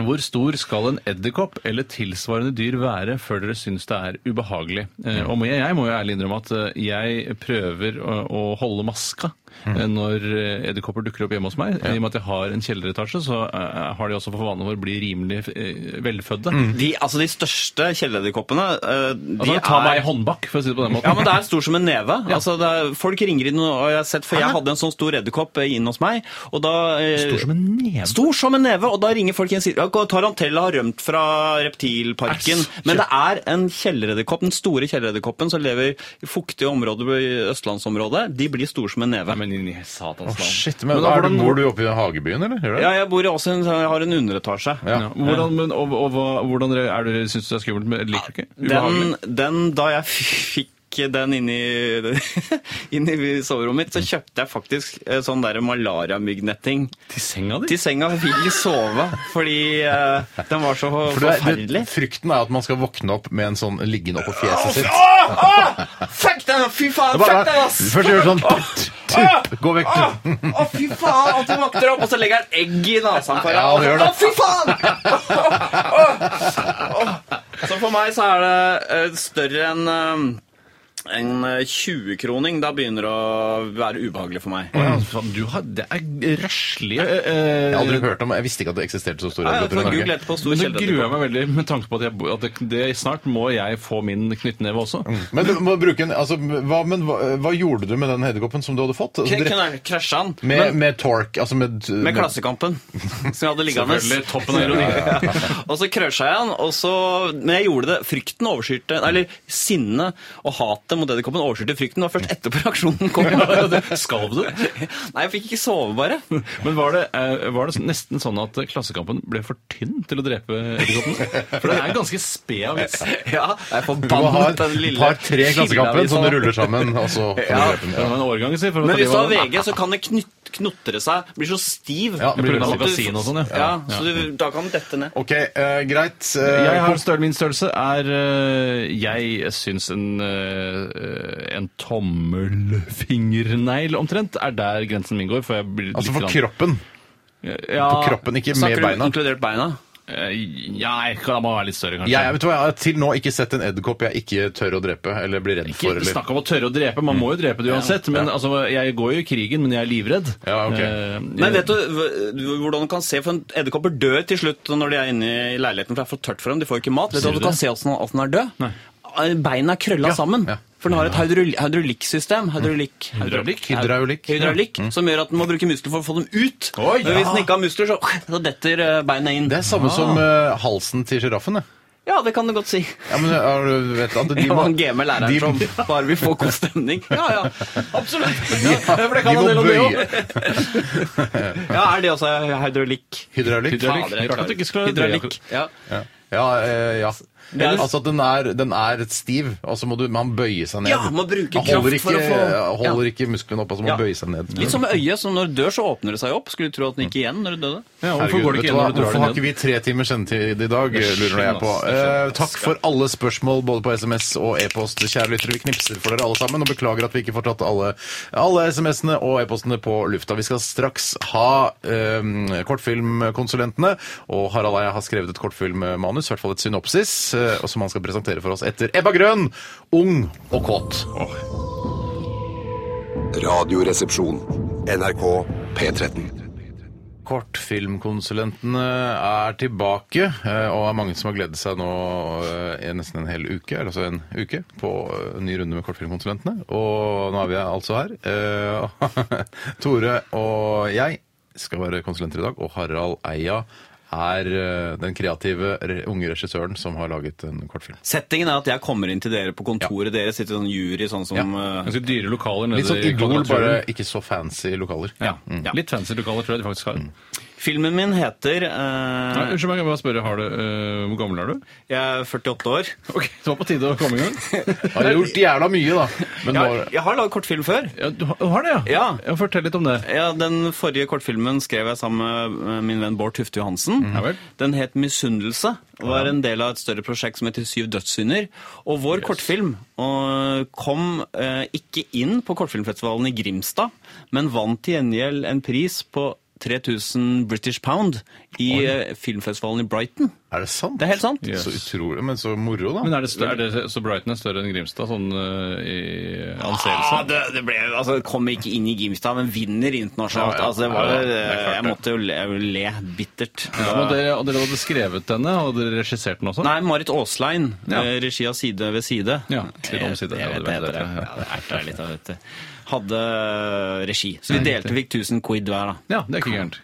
[SPEAKER 3] hvor stor skal en edderkopp eller tilsvarende dyr være før dere syns det er ubehagelig? Eh, Og må jeg, jeg må jo ærlig innrømme at eh, jeg prøver å, å holde maska eh,
[SPEAKER 2] Mm.
[SPEAKER 3] når eh, edderkopper dukker opp hjemme hos meg. I og med at jeg har en kjelleretasje, så eh, har de også for vane å bli rimelig eh, velfødde.
[SPEAKER 2] De, altså, de største kjelleredderkoppene eh, de
[SPEAKER 3] Altså, ta
[SPEAKER 2] er-
[SPEAKER 3] meg i håndbak, for å si det på den måten.
[SPEAKER 2] Ja, men det er stor som en neve. Altså, det er, folk ringer inn, og jeg har sett, for jeg
[SPEAKER 3] Hæ?
[SPEAKER 2] hadde en sånn stor edderkopp eh, inn hos meg. Og da, eh,
[SPEAKER 3] Stor som en neve.
[SPEAKER 2] Stor som en neve, og da ringer folk inn og sier at Tarantella har rømt fra reptilparken.
[SPEAKER 3] Æsj.
[SPEAKER 2] Men det er en kjelleredderkopp, den store kjelleredderkoppen som lever i fuktige områder i østlandsområdet. De blir store som en neve.
[SPEAKER 3] Nei, men i satans navn.
[SPEAKER 1] Shit, men,
[SPEAKER 3] Men da
[SPEAKER 1] er du,
[SPEAKER 3] hvordan-
[SPEAKER 1] Bor du oppe i hagebyen, eller? Gjør du det?
[SPEAKER 2] Ja, jeg bor i også en, jeg har en underetasje.
[SPEAKER 1] Ja.
[SPEAKER 3] Ja. Hvordan, men, og, og hva, hvordan er det, synes du det er skummelt? Men Liker du ikke?
[SPEAKER 2] Den, den, da jeg fikk den inn i, inn i soverommet mitt, så kjøpte jeg faktisk eh, sånn der malariamyggnetting.
[SPEAKER 3] Til senga di?
[SPEAKER 2] til senga for fikk ikke sove, fordi eh, den var så
[SPEAKER 1] For det er, det,
[SPEAKER 2] forferdelig.
[SPEAKER 1] frykten er at man skal våkne opp med en sånn liggende oppå fjeset sitt.
[SPEAKER 2] Fuck den, fy faen,
[SPEAKER 1] Bare,
[SPEAKER 2] fuck den, ass!
[SPEAKER 1] først gjør du sånn tupp, tupp, Gå vekk,
[SPEAKER 2] Å,
[SPEAKER 1] du.
[SPEAKER 2] å, fy faen, at du våkner opp, og så legger han egg i nesen på deg.
[SPEAKER 1] Ja, det gjør det.
[SPEAKER 2] Å, fy faen! Å, å, å. Så for meg så er det eh, større enn eh, en eh, 20-kroning. Da begynner det å være ubehagelig for meg.
[SPEAKER 3] Ja, altså, faen, du har, det er røslige eh,
[SPEAKER 1] Jeg har aldri hørt om Jeg visste ikke at det eksisterte så store
[SPEAKER 2] Nei,
[SPEAKER 1] edderkopper i
[SPEAKER 2] Google
[SPEAKER 1] Norge.
[SPEAKER 2] etterpå, stor
[SPEAKER 3] Men nå gruer
[SPEAKER 2] kjelder.
[SPEAKER 3] jeg meg veldig med tanke på at, jeg, bo- at det, det, snart må jeg få min knyttneve også.
[SPEAKER 2] Mm.
[SPEAKER 1] Men, du må bruke en, altså, hva, men hva, hva gjorde du med den edderkoppen som du hadde fått? Altså, dere-
[SPEAKER 2] Krasja han
[SPEAKER 1] med, med torque, altså med
[SPEAKER 2] med Klassekampen, som jeg hadde liggende.
[SPEAKER 3] Selvfølgelig toppen av ironi.
[SPEAKER 2] Og så krøsja jeg han, og så, men jeg gjorde det. Frykten overskyrte Eller sinnet og hatet mot edderkoppen overskyrte frykten. Det var først etterpå reaksjonen kom.
[SPEAKER 3] Skalv Mm. du?
[SPEAKER 2] Nei, jeg fikk ikke sove, bare.
[SPEAKER 3] Men var det, eh, var det nesten sånn at Klassekampen ble for tynn til å drepe edderkoppen? For det er en ganske sped avis.
[SPEAKER 2] Ja, jeg er
[SPEAKER 1] Du må ha
[SPEAKER 2] forbannet den
[SPEAKER 1] et
[SPEAKER 2] lille
[SPEAKER 1] par-tre Klassekampen som du
[SPEAKER 2] skilleavisa.
[SPEAKER 1] ruller sammen, og så kan du drepe den.
[SPEAKER 3] Det var en årgang, si. for å ta
[SPEAKER 2] Men hvis
[SPEAKER 3] livet
[SPEAKER 2] du
[SPEAKER 3] av
[SPEAKER 2] har
[SPEAKER 3] den.
[SPEAKER 2] VG, så kan det knyt, knotre seg. Blir så stiv.
[SPEAKER 1] Ja, det
[SPEAKER 3] På
[SPEAKER 1] blir
[SPEAKER 3] grunn av
[SPEAKER 1] veldig-
[SPEAKER 2] At du-
[SPEAKER 3] magasin og sånn, ja.
[SPEAKER 2] ja. Så du, da kan det dette ned.
[SPEAKER 1] Ok, eh, greit. Eh,
[SPEAKER 3] Jeg har
[SPEAKER 1] kom-
[SPEAKER 3] større, min størrelse er øh, Jeg syns en, øh, en tommelfingernegl omtrent er der grensen min går. For jeg blir
[SPEAKER 1] altså for
[SPEAKER 3] litt grann-
[SPEAKER 1] kroppen.
[SPEAKER 3] ja,
[SPEAKER 1] For kroppen, ikke med
[SPEAKER 2] Snakker du
[SPEAKER 1] beina.
[SPEAKER 2] inkludert beina?
[SPEAKER 3] øh, Ja, jeg kan- jeg må være litt større, kanskje.
[SPEAKER 1] Jeg, vet du hva, jeg har til nå ikke sett en edderkopp jeg ikke tør å drepe eller blir redd for.
[SPEAKER 3] ikke
[SPEAKER 1] Eller.
[SPEAKER 3] snakk om å tørre å drepe.
[SPEAKER 1] Mm.
[SPEAKER 3] Man må jo drepe det uansett. Men altså, jeg går jo i krigen, men jeg er livredd.
[SPEAKER 1] Ja, ok.
[SPEAKER 3] Eh,
[SPEAKER 2] Men vet du hv- hvordan du kan se, for en Edderkopper dør til slutt når de er inne i leiligheten, for det er for tørt for dem. De får ikke mat. Vet
[SPEAKER 3] Sier
[SPEAKER 2] du at
[SPEAKER 3] du
[SPEAKER 2] du kan
[SPEAKER 3] det?
[SPEAKER 2] se åssen den er død? Eh, Beina er krølla sammen.
[SPEAKER 1] ja. Mm.
[SPEAKER 2] For den har et hydraul- hydraulikksystem. Hydraulikk.
[SPEAKER 3] Hydraulikk?
[SPEAKER 1] Hydraulikk. Mm.
[SPEAKER 2] Hydraulikk, som gjør at den må bruke muskler for å få dem ut.
[SPEAKER 1] Oi,
[SPEAKER 2] Men
[SPEAKER 1] ja.
[SPEAKER 2] hvis den ikke har muskler, så, så detter eh, beina inn. Ah.
[SPEAKER 1] Det er samme som eh, halsen til sjiraffen. det.
[SPEAKER 2] Ja, det kan du godt si.
[SPEAKER 1] Ja, men eh, har du vet at de
[SPEAKER 2] Jeg
[SPEAKER 1] må,
[SPEAKER 2] var en
[SPEAKER 1] de,
[SPEAKER 2] gamer lærer
[SPEAKER 1] de-
[SPEAKER 2] som bare vil få god stemning. Ja, ja. Absolutt. Ja, for det
[SPEAKER 1] de
[SPEAKER 2] kan
[SPEAKER 1] må
[SPEAKER 2] en del om det
[SPEAKER 1] bøye
[SPEAKER 2] også. Ja, er det også hydraulikk?
[SPEAKER 1] hydraulikk.
[SPEAKER 3] Hydraulikk.
[SPEAKER 2] Fader, jeg
[SPEAKER 3] Rart at du ikke skulle ha det.
[SPEAKER 2] Hydraulikk. Ja.
[SPEAKER 1] Ja, eh, ja.
[SPEAKER 2] Det er-
[SPEAKER 1] altså at den er, den er stiv, og så må du, man bøye seg ned.
[SPEAKER 2] Ja, man bruker
[SPEAKER 1] Man holder
[SPEAKER 2] kraft for
[SPEAKER 1] ikke,
[SPEAKER 2] å få-
[SPEAKER 1] Holder ikke musklene opp, altså man
[SPEAKER 2] Ja.
[SPEAKER 1] bøye seg ned.
[SPEAKER 2] Litt som med øyet, som når det dør, så åpner det seg opp. Skulle du tro at den gikk igjen når det døde?
[SPEAKER 3] Ja, hvorfor
[SPEAKER 1] Herregud,
[SPEAKER 3] går
[SPEAKER 1] vet
[SPEAKER 3] det ikke
[SPEAKER 1] du
[SPEAKER 3] igjen
[SPEAKER 1] hva?
[SPEAKER 3] når du drar
[SPEAKER 1] Hvorfor har
[SPEAKER 3] den
[SPEAKER 1] ikke
[SPEAKER 3] ned?
[SPEAKER 1] vi tre timer sendetid i dag,
[SPEAKER 3] Jeg
[SPEAKER 1] lurer jeg på.
[SPEAKER 3] skjønner, ass. Jeg
[SPEAKER 1] Eh, takk for alle spørsmål, både på SMS og e-post. Kjære lyttere, vi knipser for dere alle sammen, og beklager at vi ikke får tatt alle, alle SMS-ene og e-postene på lufta. Vi skal straks ha eh, kortfilmkonsulentene, og Harald Eia har skrevet et kortfilmmanus, i hvert fall et synopsis, eh, og som han skal presentere for oss etter Ebba Grønn, Ung og kåt.
[SPEAKER 5] Radioresepsjon. NRK P13.
[SPEAKER 1] Kortfilmkonsulentene er tilbake, eh, og er mange som har gledet seg nå eh, i nesten en hel uke, eller altså en uke, på eh, ny runde med Kortfilmkonsulentene. Og nå er vi altså her. Eh, Tore og jeg skal være konsulenter i dag, og Harald Eia er eh, den kreative re- unge regissøren som har laget en kortfilm.
[SPEAKER 2] Settingen er at jeg kommer inn til dere på kontoret deres, sitter i sånn jury, sånn som
[SPEAKER 1] Ja.
[SPEAKER 2] eh,
[SPEAKER 3] Ganske dyre lokaler nede
[SPEAKER 1] Litt sånn
[SPEAKER 3] i
[SPEAKER 1] Idol,
[SPEAKER 3] Kvadraturen.
[SPEAKER 1] bare ikke så fancy lokaler.
[SPEAKER 3] ja.
[SPEAKER 1] Mm.
[SPEAKER 3] Litt fancy lokaler tror jeg de faktisk har. Nei,
[SPEAKER 2] Filmen min heter eh,
[SPEAKER 3] Unnskyld meg, jeg må bare spørre, har du, eh, hvor gammel er du?
[SPEAKER 2] Jeg er 48 år.
[SPEAKER 3] Ok, Det var på tide å komme i gang.
[SPEAKER 1] Har gjort jævla mye, da. Men
[SPEAKER 2] Jeg,
[SPEAKER 1] nå-
[SPEAKER 2] jeg har lagd kortfilm før.
[SPEAKER 3] Ja, du har- du har det, ja?
[SPEAKER 2] Ja.
[SPEAKER 3] Fortell litt om det.
[SPEAKER 2] Ja, Den forrige kortfilmen skrev jeg sammen med eh, min venn Bård Tufte Johansen.
[SPEAKER 3] Ja vel.
[SPEAKER 2] Den het 'Misunnelse' og var en del av et større prosjekt som heter 'Syv dødssynder'. Og vår kortfilm og, kom eh, ikke inn på kortfilmfestivalen i Grimstad, men vant til gjengjeld en pris på 3000 British pound i eh, filmfestivalen i Brighton.
[SPEAKER 1] Er det sant?
[SPEAKER 2] Det er helt sant.
[SPEAKER 1] Så utrolig, men så moro, da.
[SPEAKER 3] Men er det, større, er det så Brighton er større enn Grimstad, sånn eh, i anseelse?
[SPEAKER 2] Ja, det, det ble, altså, det kom ikke inn i Grimstad, men vinner internasjonalt.
[SPEAKER 1] Ja, ja.
[SPEAKER 2] altså, det var,
[SPEAKER 1] Ja, ja, det er klart
[SPEAKER 2] jeg
[SPEAKER 1] det.
[SPEAKER 2] måtte jo le, jeg ville le bittert.
[SPEAKER 3] Ja, men dere, og dere hadde skrevet denne, og dere regissert den også?
[SPEAKER 2] Nei, Marit Aaslein,
[SPEAKER 3] Ja.
[SPEAKER 2] eh, regi av Side ved side. Eh,
[SPEAKER 3] Ja, Side om side, ja,
[SPEAKER 2] Jeg, jeg
[SPEAKER 3] det
[SPEAKER 2] vet
[SPEAKER 3] vet
[SPEAKER 2] det,
[SPEAKER 3] jeg, ja.
[SPEAKER 2] ja, det erter deg litt, jeg vet det. Hadde eh, regi. Så vi
[SPEAKER 3] Nei,
[SPEAKER 2] delte, fikk 1000 quid hver, da.
[SPEAKER 3] Ja, det er ikke gærent.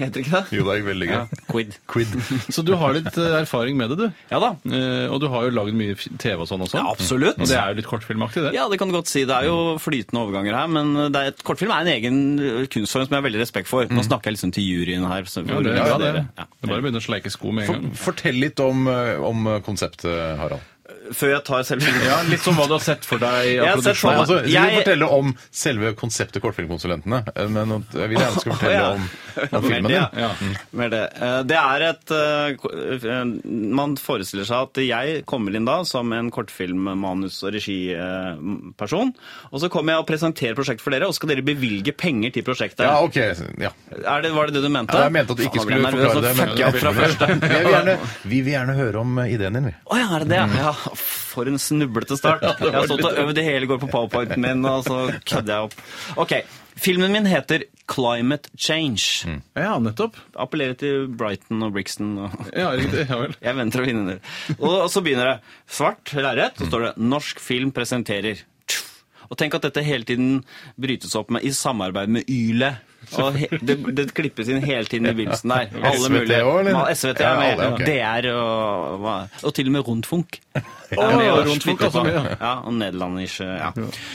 [SPEAKER 2] Heter ikke det?
[SPEAKER 1] Jo, det er veldig gøy.
[SPEAKER 2] Ja, quid.
[SPEAKER 1] Quid.
[SPEAKER 3] Så du har litt eh, erfaring med det, du.
[SPEAKER 2] Ja da.
[SPEAKER 3] Eh, og du har jo lagd mye f- TV og sånn også.
[SPEAKER 2] Ja, absolutt.
[SPEAKER 3] Og det er jo litt kortfilmaktig, det.
[SPEAKER 2] Ja, det kan du godt si. Det er jo flytende overganger her, men det er et, kortfilm er en egen eh, kunstform som jeg har veldig respekt for. Nå snakker jeg liksom til juryen her. Så
[SPEAKER 3] Mm. Ja, det, er bra, det.
[SPEAKER 2] Ja.
[SPEAKER 3] det er bare å begynne å sleike sko med en
[SPEAKER 1] For,
[SPEAKER 3] gang.
[SPEAKER 1] fortell litt om, eh, om konseptet, Harald.
[SPEAKER 2] Før jeg tar selve
[SPEAKER 3] Ja, Litt som hva du har sett for deg.
[SPEAKER 2] Jeg har sett for
[SPEAKER 1] Nei,
[SPEAKER 2] meg-
[SPEAKER 1] altså, jeg...
[SPEAKER 2] Jeg-
[SPEAKER 1] vil fortelle om selve konseptet Kortfilmkonsulentene, eh, men at- jeg vil gjerne skal fortelle
[SPEAKER 2] Å, ja.
[SPEAKER 1] om,
[SPEAKER 2] Ja,
[SPEAKER 1] om
[SPEAKER 2] mer
[SPEAKER 1] filmen
[SPEAKER 2] det,
[SPEAKER 1] din. Mm.
[SPEAKER 2] ja. Mer det. Eh, Det er et eh, ko- eh, Man forestiller seg at jeg kommer inn da som en kortfilmmanus- og regiperson. Og så kommer jeg og presenterer prosjektet for dere, og så skal dere bevilge penger til prosjektet.
[SPEAKER 1] Ja, ok. Ja.
[SPEAKER 2] er det, var det det du mente?
[SPEAKER 1] Ja, jeg mente at du ikke
[SPEAKER 2] Faen,
[SPEAKER 1] skulle
[SPEAKER 2] jeg ble nervøs,
[SPEAKER 1] forklare det.
[SPEAKER 2] så
[SPEAKER 1] men-
[SPEAKER 2] fucker jeg opp fra første.
[SPEAKER 1] Jeg vil gjerne, Mm. vi vil gjerne høre om eh, ideen din, vi.
[SPEAKER 2] Å ja, er det det? Ja, for en snublete start. Jeg har stått og øvd i hele går på powerpointen min, og så kødder jeg opp. Ok, filmen min heter Climate Change.
[SPEAKER 1] Mm.
[SPEAKER 3] Ja, nettopp.
[SPEAKER 2] Appellerer til Brighton og Brixton og
[SPEAKER 3] Ja, riktig. Ja vel.
[SPEAKER 2] Jeg venter å vinne den. Og, og så begynner det. Svart lerret, så står det 'Norsk film presenterer'. Tjuff. Og tenk at dette hele tiden brytes opp med i samarbeid med Yle. Og he, det, det klippes inn hele tiden i begynnelsen der. Alle
[SPEAKER 1] SVT
[SPEAKER 2] mulige-
[SPEAKER 1] også, eller?
[SPEAKER 2] Ja, SVT
[SPEAKER 1] Ja,
[SPEAKER 2] er med.
[SPEAKER 1] alle, ok.
[SPEAKER 2] DR og hva Og til og med Rundfunk.
[SPEAKER 3] Å,
[SPEAKER 2] er med og
[SPEAKER 3] Rundfunk
[SPEAKER 2] spytter
[SPEAKER 3] også
[SPEAKER 2] på.
[SPEAKER 3] med, ja.
[SPEAKER 2] ja, og nederlandersk. Ja.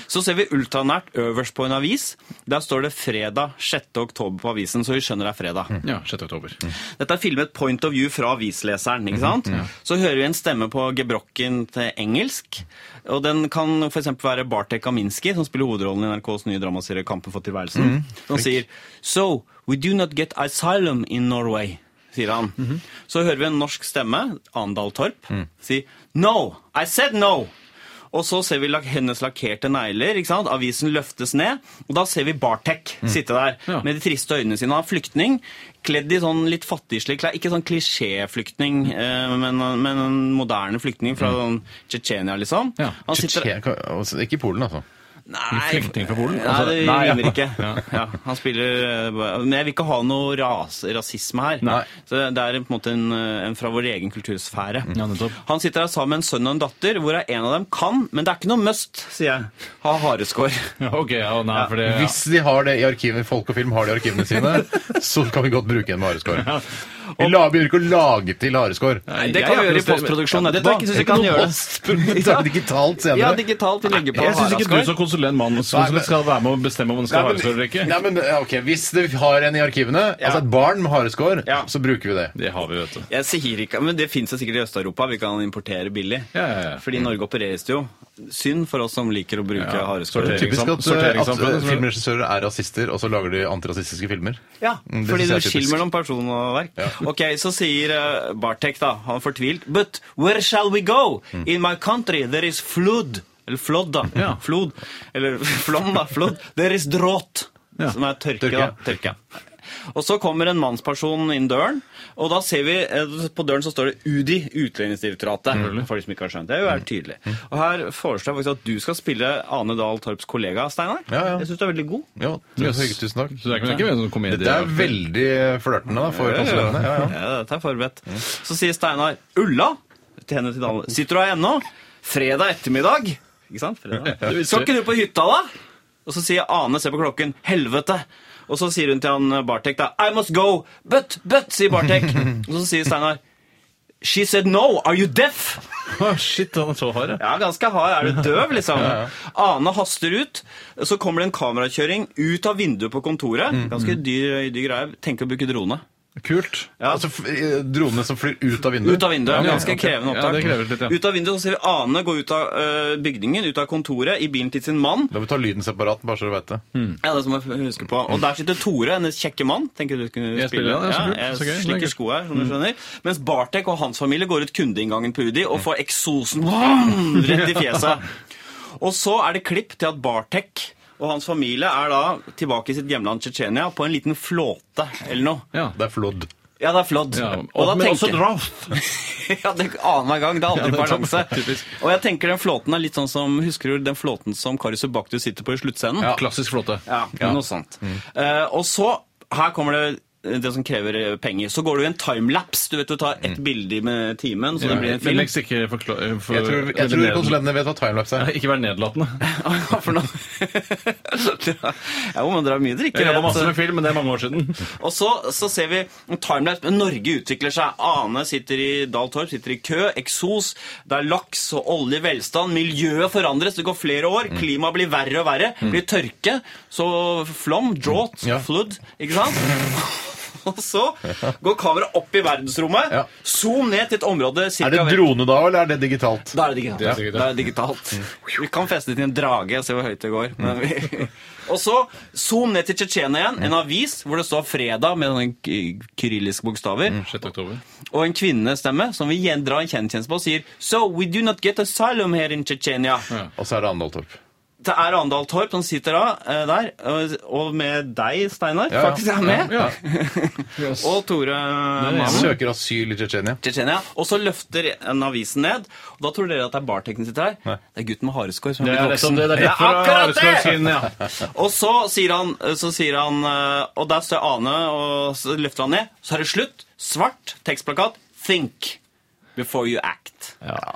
[SPEAKER 2] Så ser vi ultranært øverst på en avis. Der står det 'Fredag 6. oktober' på avisen, så vi skjønner det er fredag.
[SPEAKER 3] Ja, 6. oktober.
[SPEAKER 2] Dette er filmet point of view fra avisleseren. ikke sant? Så hører vi en stemme på gebrokken til engelsk. og Den kan f.eks. være Bartek Kaminski, som spiller hovedrollen i NRKs nye dramaserie 'Kampen for tilværelsen'. Som sier So we do not get asylum in Norway, sier han. Så hører vi en norsk stemme, Andal Torp, si No! I said no! Og så ser vi lak hennes lakkerte negler. ikke sant? Avisen løftes ned. Og da ser vi Bartek sitte der
[SPEAKER 3] Ja.
[SPEAKER 2] med de triste øynene sine. Han er flyktning, kledd i sånn litt fattigslig klær. Ikke sånn klisjéflyktning, eh, men, men en moderne flyktning fra sånn Tsjetsjenia, liksom.
[SPEAKER 3] Ja.
[SPEAKER 2] Han sitter,
[SPEAKER 1] Tsjetsjen- altså, Ikke i Polen, altså.
[SPEAKER 2] nei,
[SPEAKER 3] Flyktning fra Polen?
[SPEAKER 2] Nei, det
[SPEAKER 3] Nei, ja.
[SPEAKER 2] rimer ikke. Ja, han spiller eh, Men jeg vil ikke ha noe ras, rasisme her.
[SPEAKER 1] Nei.
[SPEAKER 2] Så Det er på en måte en, eh, en fra vår egen kultursfære.
[SPEAKER 3] Ja, nettopp.
[SPEAKER 2] han sitter her sammen med en sønn og en datter, hvorav en av dem kan, men det er ikke noe must, sier jeg, ha hareskår.
[SPEAKER 3] Ja, ok, ja, nei, for det...
[SPEAKER 1] Hvis de har det i arkivet, Folk og Film har det i arkivene sine, så kan vi godt bruke en med hareskår. Vi la- begynner ikke å lage til hareskår.
[SPEAKER 2] Nei, det kan vi gjøre i postproduksjon etterpå.
[SPEAKER 3] Jeg synes ikke
[SPEAKER 2] kan
[SPEAKER 3] noe
[SPEAKER 2] gjøre det.
[SPEAKER 1] Postproduksjon digitalt senere.
[SPEAKER 2] Ja, digitalt. Vi legger på
[SPEAKER 3] Jeg syns ikke du
[SPEAKER 2] Haraskar.
[SPEAKER 3] som konsulent manus
[SPEAKER 1] Nei, men-
[SPEAKER 3] skal være med å bestemme om den skal ha
[SPEAKER 1] Nei,
[SPEAKER 3] hareskår eller ikke.
[SPEAKER 1] men- Nei, men ja, ok, Hvis det har en i arkivene, altså et barn med hareskår,
[SPEAKER 2] Ja.
[SPEAKER 1] så bruker vi det.
[SPEAKER 3] Det har vi, vet du.
[SPEAKER 2] Jeg sier ikke, men Det fins sikkert i Øst-Europa. Vi kan importere billig.
[SPEAKER 3] Ja, ja, ja.
[SPEAKER 2] Fordi Norge opereres det jo. Synd for oss som liker å bruke
[SPEAKER 3] Ja,
[SPEAKER 2] hareskår.
[SPEAKER 3] sortering.
[SPEAKER 1] Typisk at, at
[SPEAKER 3] Sorteringssamfunnet, som-
[SPEAKER 1] filmregissører er rasister, og så lager de antirasistiske filmer.
[SPEAKER 2] Ja,
[SPEAKER 1] Mm, det
[SPEAKER 2] fordi
[SPEAKER 1] synes
[SPEAKER 2] du
[SPEAKER 1] jeg er typisk.
[SPEAKER 2] skilmer mellom person og verk. Ok, så sier eh, Bartek, da, han er fortvilt But where shall we go?
[SPEAKER 1] Mm.
[SPEAKER 2] In my country there is flood. Eller flood, da.
[SPEAKER 3] Ja.
[SPEAKER 2] Flod. Eller flom, da. Flod. There is drought.
[SPEAKER 3] Ja.
[SPEAKER 2] Som er tørke,
[SPEAKER 1] Tørke.
[SPEAKER 2] da. Tørke. Og så kommer en mannsperson inn døren, og da ser vi eh, på døren så står det UDI, Utlendingsdirektoratet. For de som ikke har skjønt det. Det er
[SPEAKER 1] Mm.
[SPEAKER 2] jo tydelig. Og her foreslår jeg faktisk at du skal spille Ane Dahl Torps kollega, Steinar.
[SPEAKER 1] Ja, ja.
[SPEAKER 2] Jeg syns du er veldig god.
[SPEAKER 1] Ja, tusen, tusen takk.
[SPEAKER 3] Så det er ikke, det er ikke en sånn komedie.
[SPEAKER 1] Dette er veldig flørtende da, for konsulentene. Ja, ja.
[SPEAKER 2] Ja, dette er forberedt. Så sier Steinar Ulla til henne til Dale. Sitter du her ennå? Fredag ettermiddag. Ikke sant? Fredag. Skal ikke du på hytta, da? Og så sier Ane, se på klokken, helvete. Og så sier hun til han eh, Bartek da I must go, but, but, sier Bartek. Og så sier Steinar She said no, are you deaf?
[SPEAKER 3] Å, Shit, han er så hard, ja.
[SPEAKER 2] Ja, ganske hard. Er du døv, liksom? Ane haster ut. Så kommer det en kamerakjøring ut av vinduet på kontoret.
[SPEAKER 1] Mm,
[SPEAKER 2] Ganske dyr, dyr greie. Tenker å bruke drone.
[SPEAKER 1] Kult.
[SPEAKER 2] Ja.
[SPEAKER 1] Altså f- eh, dronene som flyr ut av vinduet.
[SPEAKER 2] Ut av vinduet.
[SPEAKER 3] Ja,
[SPEAKER 2] Ganske
[SPEAKER 3] ok.
[SPEAKER 2] krevende
[SPEAKER 3] Ja,
[SPEAKER 2] opptak.
[SPEAKER 3] det krever litt, ja.
[SPEAKER 2] Ut av vinduet så ser vi Ane gå ut av øh, bygningen, ut av kontoret, i bilen til sin mann.
[SPEAKER 1] Da må vi ta lyden separat, bare så du vet det.
[SPEAKER 3] Hmm. Mm.
[SPEAKER 2] Ja, det må jeg huske på. Og der sitter Tore, hennes kjekke mann. Tenker du kunne
[SPEAKER 3] Jeg
[SPEAKER 2] spille
[SPEAKER 3] spiller den, ja, så kult,
[SPEAKER 2] jeg
[SPEAKER 3] så gøy, Mm. så
[SPEAKER 2] slikker
[SPEAKER 3] kult.
[SPEAKER 2] sko her, som du skjønner. Mens Bartek og hans familie går ut kundeinngangen på UDI og får eksosen vroom, rett i fjeset. Og så er det klipp til at Bartek og hans familie er da tilbake i sitt hjemland Tsjetsjenia på en liten flåte eller noe.
[SPEAKER 3] ja.
[SPEAKER 1] Det er flådd.
[SPEAKER 2] Ja, det er flådd.
[SPEAKER 3] Ja,
[SPEAKER 2] og, da
[SPEAKER 3] men også
[SPEAKER 2] tenker
[SPEAKER 3] draft.
[SPEAKER 2] ja, det annenhver gang. Det er aldri
[SPEAKER 3] Ja, det er
[SPEAKER 2] balanse.
[SPEAKER 3] sånn, typisk.
[SPEAKER 2] Og jeg tenker den flåten er litt sånn som Husker du den flåten som Kari Subaktu sitter på i sluttscenen?
[SPEAKER 3] Ja. Mm. Klassisk flåte.
[SPEAKER 2] Ja, noe sånt. Eh, og så, her kommer det det som krever eh, penger. Så går du i en timelapse. Du vet du tar
[SPEAKER 3] Mm.
[SPEAKER 2] ett bilde med timen, så det blir en
[SPEAKER 3] Men
[SPEAKER 2] film.
[SPEAKER 3] leggs ikke forkla- for-
[SPEAKER 1] Jeg tror, jeg
[SPEAKER 3] eller
[SPEAKER 1] tror
[SPEAKER 3] ned-
[SPEAKER 1] konsulentene vet hva timelapse
[SPEAKER 3] Ja,
[SPEAKER 1] er.
[SPEAKER 3] Ikke vær nedlatende.
[SPEAKER 2] Hva for noe? ja, jo, men dere har mye
[SPEAKER 3] Jeg jobba masse
[SPEAKER 2] drikke.
[SPEAKER 3] med film, men det er mange år siden.
[SPEAKER 2] Og så, så ser vi en timelapse. Men Norge utvikler seg. Ane sitter i Dahl Torp, sitter i kø. Eksos. Det er laks og olje, velstand. Miljøet forandres. Det går flere år.
[SPEAKER 1] Mm.
[SPEAKER 2] Klimaet blir verre og verre. Blir tørke. Så flom, drought,
[SPEAKER 1] Ja.
[SPEAKER 2] flood. Ikke sant? Og så går kameraet opp i verdensrommet.
[SPEAKER 1] Ja.
[SPEAKER 2] Zoom ned til et område cirka
[SPEAKER 1] Er det
[SPEAKER 2] ved-
[SPEAKER 1] drone da, eller er det digitalt?
[SPEAKER 2] da er det digitalt.
[SPEAKER 1] Det er digitalt. Mm.
[SPEAKER 2] Da er det digitalt. Vi kan feste det til en drage og se hvor høyt det går. Men vi... Og så zoom ned til Tsjetsjenia igjen.
[SPEAKER 1] Mm.
[SPEAKER 2] En avis hvor det står 'Fredag' med sånne k- kyrilliske bokstaver.
[SPEAKER 1] Mm,
[SPEAKER 3] 6. oktober.
[SPEAKER 2] Og en kvinnestemme som vil gjen- dra en kjennskjennelse på og sier 'So we do not get asylum here in Tsjetsjenia'.
[SPEAKER 1] Og så er det Andaltorp.
[SPEAKER 2] Det er Arendal Torp som sitter da, eh, der, og- og med deg, Steinar,
[SPEAKER 1] Ja, ja.
[SPEAKER 2] faktisk er med.
[SPEAKER 1] Ja.
[SPEAKER 2] Og Tore eh, Mann.
[SPEAKER 1] Søker asyl i Tsjetsjenia.
[SPEAKER 2] Tsjetsjenia. Og så løfter en avisen ned. Og da tror dere at det er barteknikken sitter her.
[SPEAKER 1] Nei.
[SPEAKER 2] Det er gutten med hareskår som
[SPEAKER 3] Det
[SPEAKER 2] er
[SPEAKER 3] er
[SPEAKER 2] blitt
[SPEAKER 3] liksom
[SPEAKER 2] voksen.
[SPEAKER 3] det. Det er
[SPEAKER 2] Ja, akkurat det!
[SPEAKER 3] derfor inn, ja.
[SPEAKER 2] Og så sier han, så sier han eh, Og der står Ane, og så løfter han ned. Så er det slutt. Svart tekstplakat. Think before you act.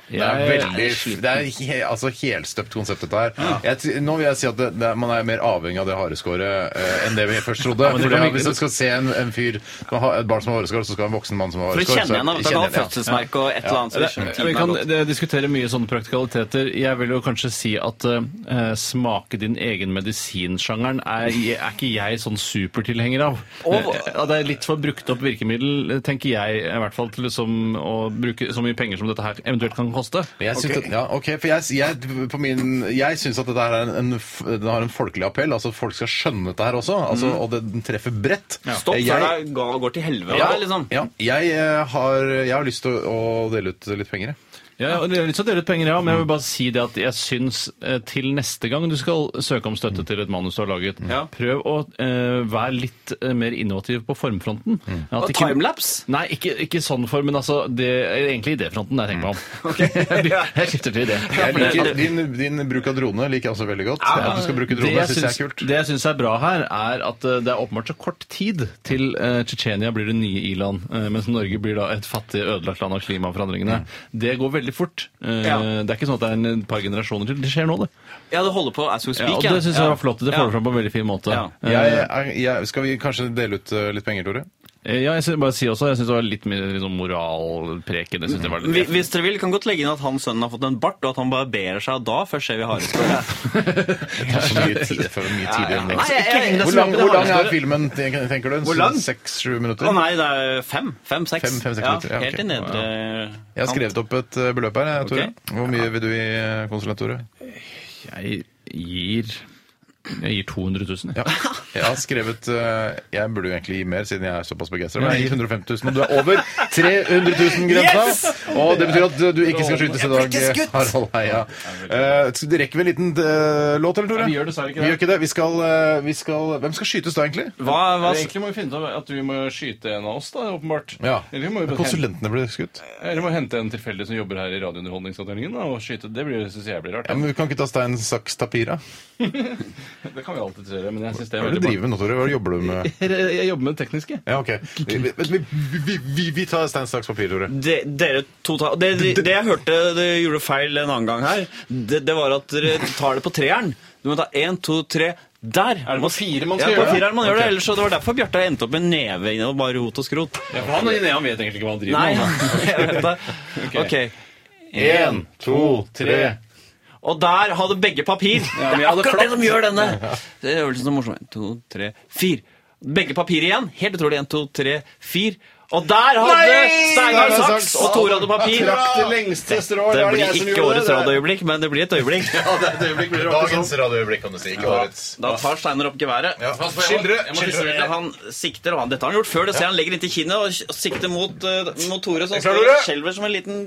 [SPEAKER 1] Det er veldig Det er he, altså helstøpt konsept, dette her. Jeg, t- nå vil jeg si at det, det, man er mer avhengig av det hareskåret eh, enn det vi først trodde.
[SPEAKER 3] det
[SPEAKER 1] Fordi
[SPEAKER 3] kan vi-
[SPEAKER 1] Hvis du skal se en, en fyr som har et barn som har hareskår, så skal det være en voksen mann som har
[SPEAKER 2] For å
[SPEAKER 1] hareskår.
[SPEAKER 2] kjenne igjen.
[SPEAKER 1] så-
[SPEAKER 2] at Det kan ha
[SPEAKER 1] kjenner igjen, ja.
[SPEAKER 2] fødselsmerke og et eller annet. Så vi skjønner
[SPEAKER 3] Vi
[SPEAKER 2] tiden
[SPEAKER 3] kan
[SPEAKER 2] er gått.
[SPEAKER 3] eh, diskutere mye sånne praktikaliteter. Jeg vil jo kanskje si at eh, smake din egen medisin-sjangeren er, er ikke jeg sånn supertilhenger av.
[SPEAKER 2] Og-
[SPEAKER 3] Eh, ja, det er litt for brukt opp virkemiddel, eh, tenker jeg, i hvert fall til liksom, å bruke så mye penger som dette her eventuelt kan koste.
[SPEAKER 1] Jeg syns at, ja, ok, for jeg, jeg, på min, jeg syns at dette her er en, en, f- den har en folkelig appell. altså at Folk skal skjønne dette her også, altså, og det, den treffer bredt.
[SPEAKER 2] Stopp
[SPEAKER 1] Jeg-
[SPEAKER 2] før det ga- går til helvete.
[SPEAKER 1] ja,
[SPEAKER 2] liksom.
[SPEAKER 1] ja, jeg, eh, har, jeg har lyst til å, å dele ut litt penger. jeg.
[SPEAKER 3] Ja, og det er litt så delt penger, ja, men jeg vil bare si det at jeg syns eh, til neste gang du skal søke om støtte til et manus du har laget,
[SPEAKER 2] Ja.
[SPEAKER 3] prøv å eh, være litt eh, mer innovativ på formfronten. At
[SPEAKER 2] Mm. Og
[SPEAKER 3] ikke-
[SPEAKER 2] timelapse.
[SPEAKER 3] Nei, ikke, ikke sånn form, men altså det, egentlig idéfronten jeg tenker meg om. jeg skifter til idé.
[SPEAKER 2] Mm. Ja,
[SPEAKER 1] Jeg
[SPEAKER 2] for det-
[SPEAKER 1] liker, din, din bruk av drone liker jeg også veldig godt. At du skal bruke
[SPEAKER 3] Det
[SPEAKER 1] drone,
[SPEAKER 3] jeg,
[SPEAKER 1] syns jeg er
[SPEAKER 3] syns,
[SPEAKER 1] kult.
[SPEAKER 3] det jeg syns er bra her, er at eh, det er åpenbart så kort tid til eh, Tsjetsjenia blir det nye i-land, eh, mens Norge blir da et fattig, ødelagt land av klimaforandringene. Det går veldig fort. Eh,
[SPEAKER 2] Mm. Ja.
[SPEAKER 3] Det er ikke sånn at det er en par generasjoner til. Det skjer nå, det.
[SPEAKER 2] Ja, det holder på as we
[SPEAKER 3] Ja,
[SPEAKER 2] speak.
[SPEAKER 3] og det syns jeg
[SPEAKER 2] Ja.
[SPEAKER 3] var flott. Det får du fram på en veldig fin måte.
[SPEAKER 2] Ja.
[SPEAKER 3] Eh,
[SPEAKER 1] Jeg, er- jeg, skal vi kanskje dele ut eh, litt penger, Tore?
[SPEAKER 3] ja, jeg syns- bare si også, jeg syns det var litt mye liksom, moralpreken. Jeg synes det var
[SPEAKER 2] Hvi-
[SPEAKER 3] litt...
[SPEAKER 2] Hvis dere vil, kan godt legge inn at han sønnen har fått en bart, og at han barberer seg, og da først ser vi hareskår.
[SPEAKER 1] Det er så mye tid, det er for mye tid igjen.
[SPEAKER 2] Nei, jeg- jeg-
[SPEAKER 1] Hvor lang, hvor lang er filmen, ten- tenker du?
[SPEAKER 2] Hvor lang?
[SPEAKER 1] Seks-sju
[SPEAKER 2] Å
[SPEAKER 1] minutter?
[SPEAKER 2] nei, det er fem. Fem, seks.
[SPEAKER 1] Fem- fem, seks minutter, ja,
[SPEAKER 2] helt
[SPEAKER 1] ok.
[SPEAKER 2] i nedre
[SPEAKER 1] Jeg har skrevet opp et eh, beløp her, jeg, Tore.
[SPEAKER 2] Ok.
[SPEAKER 1] Hvor mye vil du gi eh, konsulent, Tore?
[SPEAKER 3] Jeg gir Jeg gir 200 000.
[SPEAKER 1] Ja. Jeg har skrevet eh, Jeg burde jo egentlig gi mer, siden jeg er såpass begeistra, men jeg gir 150 000, og du er over 300 000-grensa! Og det betyr at du ikke skal skytes i dag, Harald Heia. Eh, så det rekker vi en liten eh, låt, eller, Tore?
[SPEAKER 3] Ja, vi gjør dessverre ikke det.
[SPEAKER 1] Vi gjør ikke det. Vi skal, eh, vi skal Hvem skal skytes da, egentlig?
[SPEAKER 2] Hva, hva,
[SPEAKER 3] Egentlig må vi finne ut av at vi må skyte en av oss, da, åpenbart.
[SPEAKER 1] Ja.
[SPEAKER 3] Eller vi må, jo bare hente,
[SPEAKER 1] Konsulentene ble skutt.
[SPEAKER 3] eller vi må hente en tilfeldig som jobber her i radiounderholdningsavdelingen, da, og skyte. Det blir- synes jeg blir
[SPEAKER 1] Ja,
[SPEAKER 3] rart.
[SPEAKER 1] men Vi kan ikke ta stein, saks, tapir, da?
[SPEAKER 3] Det kan vi alltid gjøre, men jeg synes det er
[SPEAKER 1] Hva er det
[SPEAKER 3] veldig
[SPEAKER 1] du driver med nå, Tore? Hva er det du jobber du med?
[SPEAKER 3] Jeg jeg jobber med det tekniske.
[SPEAKER 1] Ja, ok. Vi, vi, vi, vi, vi tar stein, saks, papir, Tore.
[SPEAKER 2] de, dere to tar det, det, det jeg hørte dere gjorde feil en annen gang her, det, det var at dere tar det på treeren. Du må ta én, to, tre Der!
[SPEAKER 3] Er det på fire man
[SPEAKER 2] Ja,
[SPEAKER 3] skal
[SPEAKER 2] på
[SPEAKER 3] gjøre?
[SPEAKER 2] fireren man gjør det, ellers så det var derfor Bjarte endte opp med neve inn og bare rot og skrot.
[SPEAKER 3] Ja, for han, han vet egentlig ikke hva han driver
[SPEAKER 2] Nei,
[SPEAKER 3] med. han.
[SPEAKER 2] jeg vet det. Ok.
[SPEAKER 3] En, to, tre.
[SPEAKER 2] Og der hadde begge papir.
[SPEAKER 3] Ja, men jeg hadde
[SPEAKER 2] Akkurat det
[SPEAKER 3] flatt.
[SPEAKER 2] som gjør denne Det er øvelsen som er morsom. En, to, tre, fire. Begge papir igjen. Helt utrolig. En, to, tre, fire. Og der hadde Steinar saks, og Tore hadde papir.
[SPEAKER 1] Trakk det lengste strået.
[SPEAKER 2] Det
[SPEAKER 1] var jeg
[SPEAKER 2] blir
[SPEAKER 1] som
[SPEAKER 2] ikke
[SPEAKER 1] gjorde
[SPEAKER 2] årets
[SPEAKER 1] det.
[SPEAKER 2] radioøyeblikk, men det blir et øyeblikk.
[SPEAKER 1] Ja, det, det blir dagens radioøyeblikk, kan du si. Ikke årets.
[SPEAKER 2] Da tar Steinar opp geværet.
[SPEAKER 1] Ja.
[SPEAKER 6] Pass på, jeg må-
[SPEAKER 1] Skildre.
[SPEAKER 6] jeg må tisse
[SPEAKER 1] skildre.
[SPEAKER 6] veldig.
[SPEAKER 2] Ja, Han sikter, og han, dette har han gjort før. Det ser han legger inntil kinnet og s- sikter mot, eh, mot Tore, som
[SPEAKER 1] klar,
[SPEAKER 2] står-
[SPEAKER 1] Tore?
[SPEAKER 2] skjelver som en liten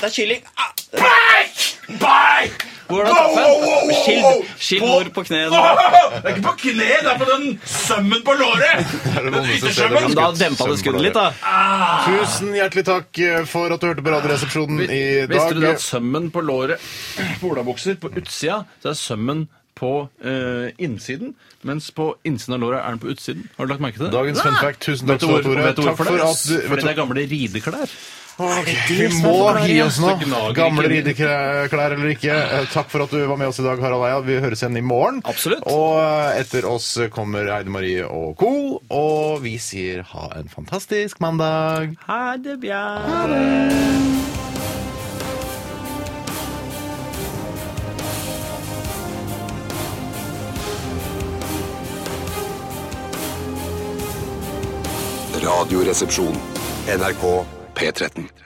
[SPEAKER 2] Det er kylling. Ah!
[SPEAKER 1] Nei!
[SPEAKER 2] Hvor er det
[SPEAKER 1] Wow, wow, wow, wow,
[SPEAKER 2] taffen?
[SPEAKER 1] wow.
[SPEAKER 2] Skild, skild mor på kneet.
[SPEAKER 1] Det er ikke på kne, det er på den sømmen på låret!
[SPEAKER 2] Men da dempa det skuddet litt, da.
[SPEAKER 1] Tusen hjertelig takk eh, for at du hørte på Radioresepsjonen Hm, i
[SPEAKER 3] Visste
[SPEAKER 1] dag.
[SPEAKER 3] du det at sømmen på låret på olabukser på utsida, så er sømmen på eh, innsiden, mens på innsiden av låret er den på utsiden. Har du lagt merke til det?
[SPEAKER 1] Dagens fun fact. Tusen takk
[SPEAKER 3] Vet du hvor-
[SPEAKER 1] skal du ha, Tore.
[SPEAKER 3] vet du
[SPEAKER 1] Takk
[SPEAKER 3] hvorfor
[SPEAKER 1] for
[SPEAKER 3] det?
[SPEAKER 1] at du- vet
[SPEAKER 3] Fordi
[SPEAKER 1] du-
[SPEAKER 3] det er gamle rideklær.
[SPEAKER 1] Vi må gi oss nå.
[SPEAKER 3] Det gnager
[SPEAKER 1] Gamle
[SPEAKER 3] ikke.
[SPEAKER 1] rideklær eller ikke. Eh, Takk for at du var med oss i dag, Harald Eia. Vi høres igjen i morgen.
[SPEAKER 2] Absolutt.
[SPEAKER 1] Og eh, etter oss kommer Heide Marie og co. Og vi sier ha en fantastisk mandag.
[SPEAKER 2] Ha det, Bjørn.
[SPEAKER 5] Radioresepsjon. NRK P13.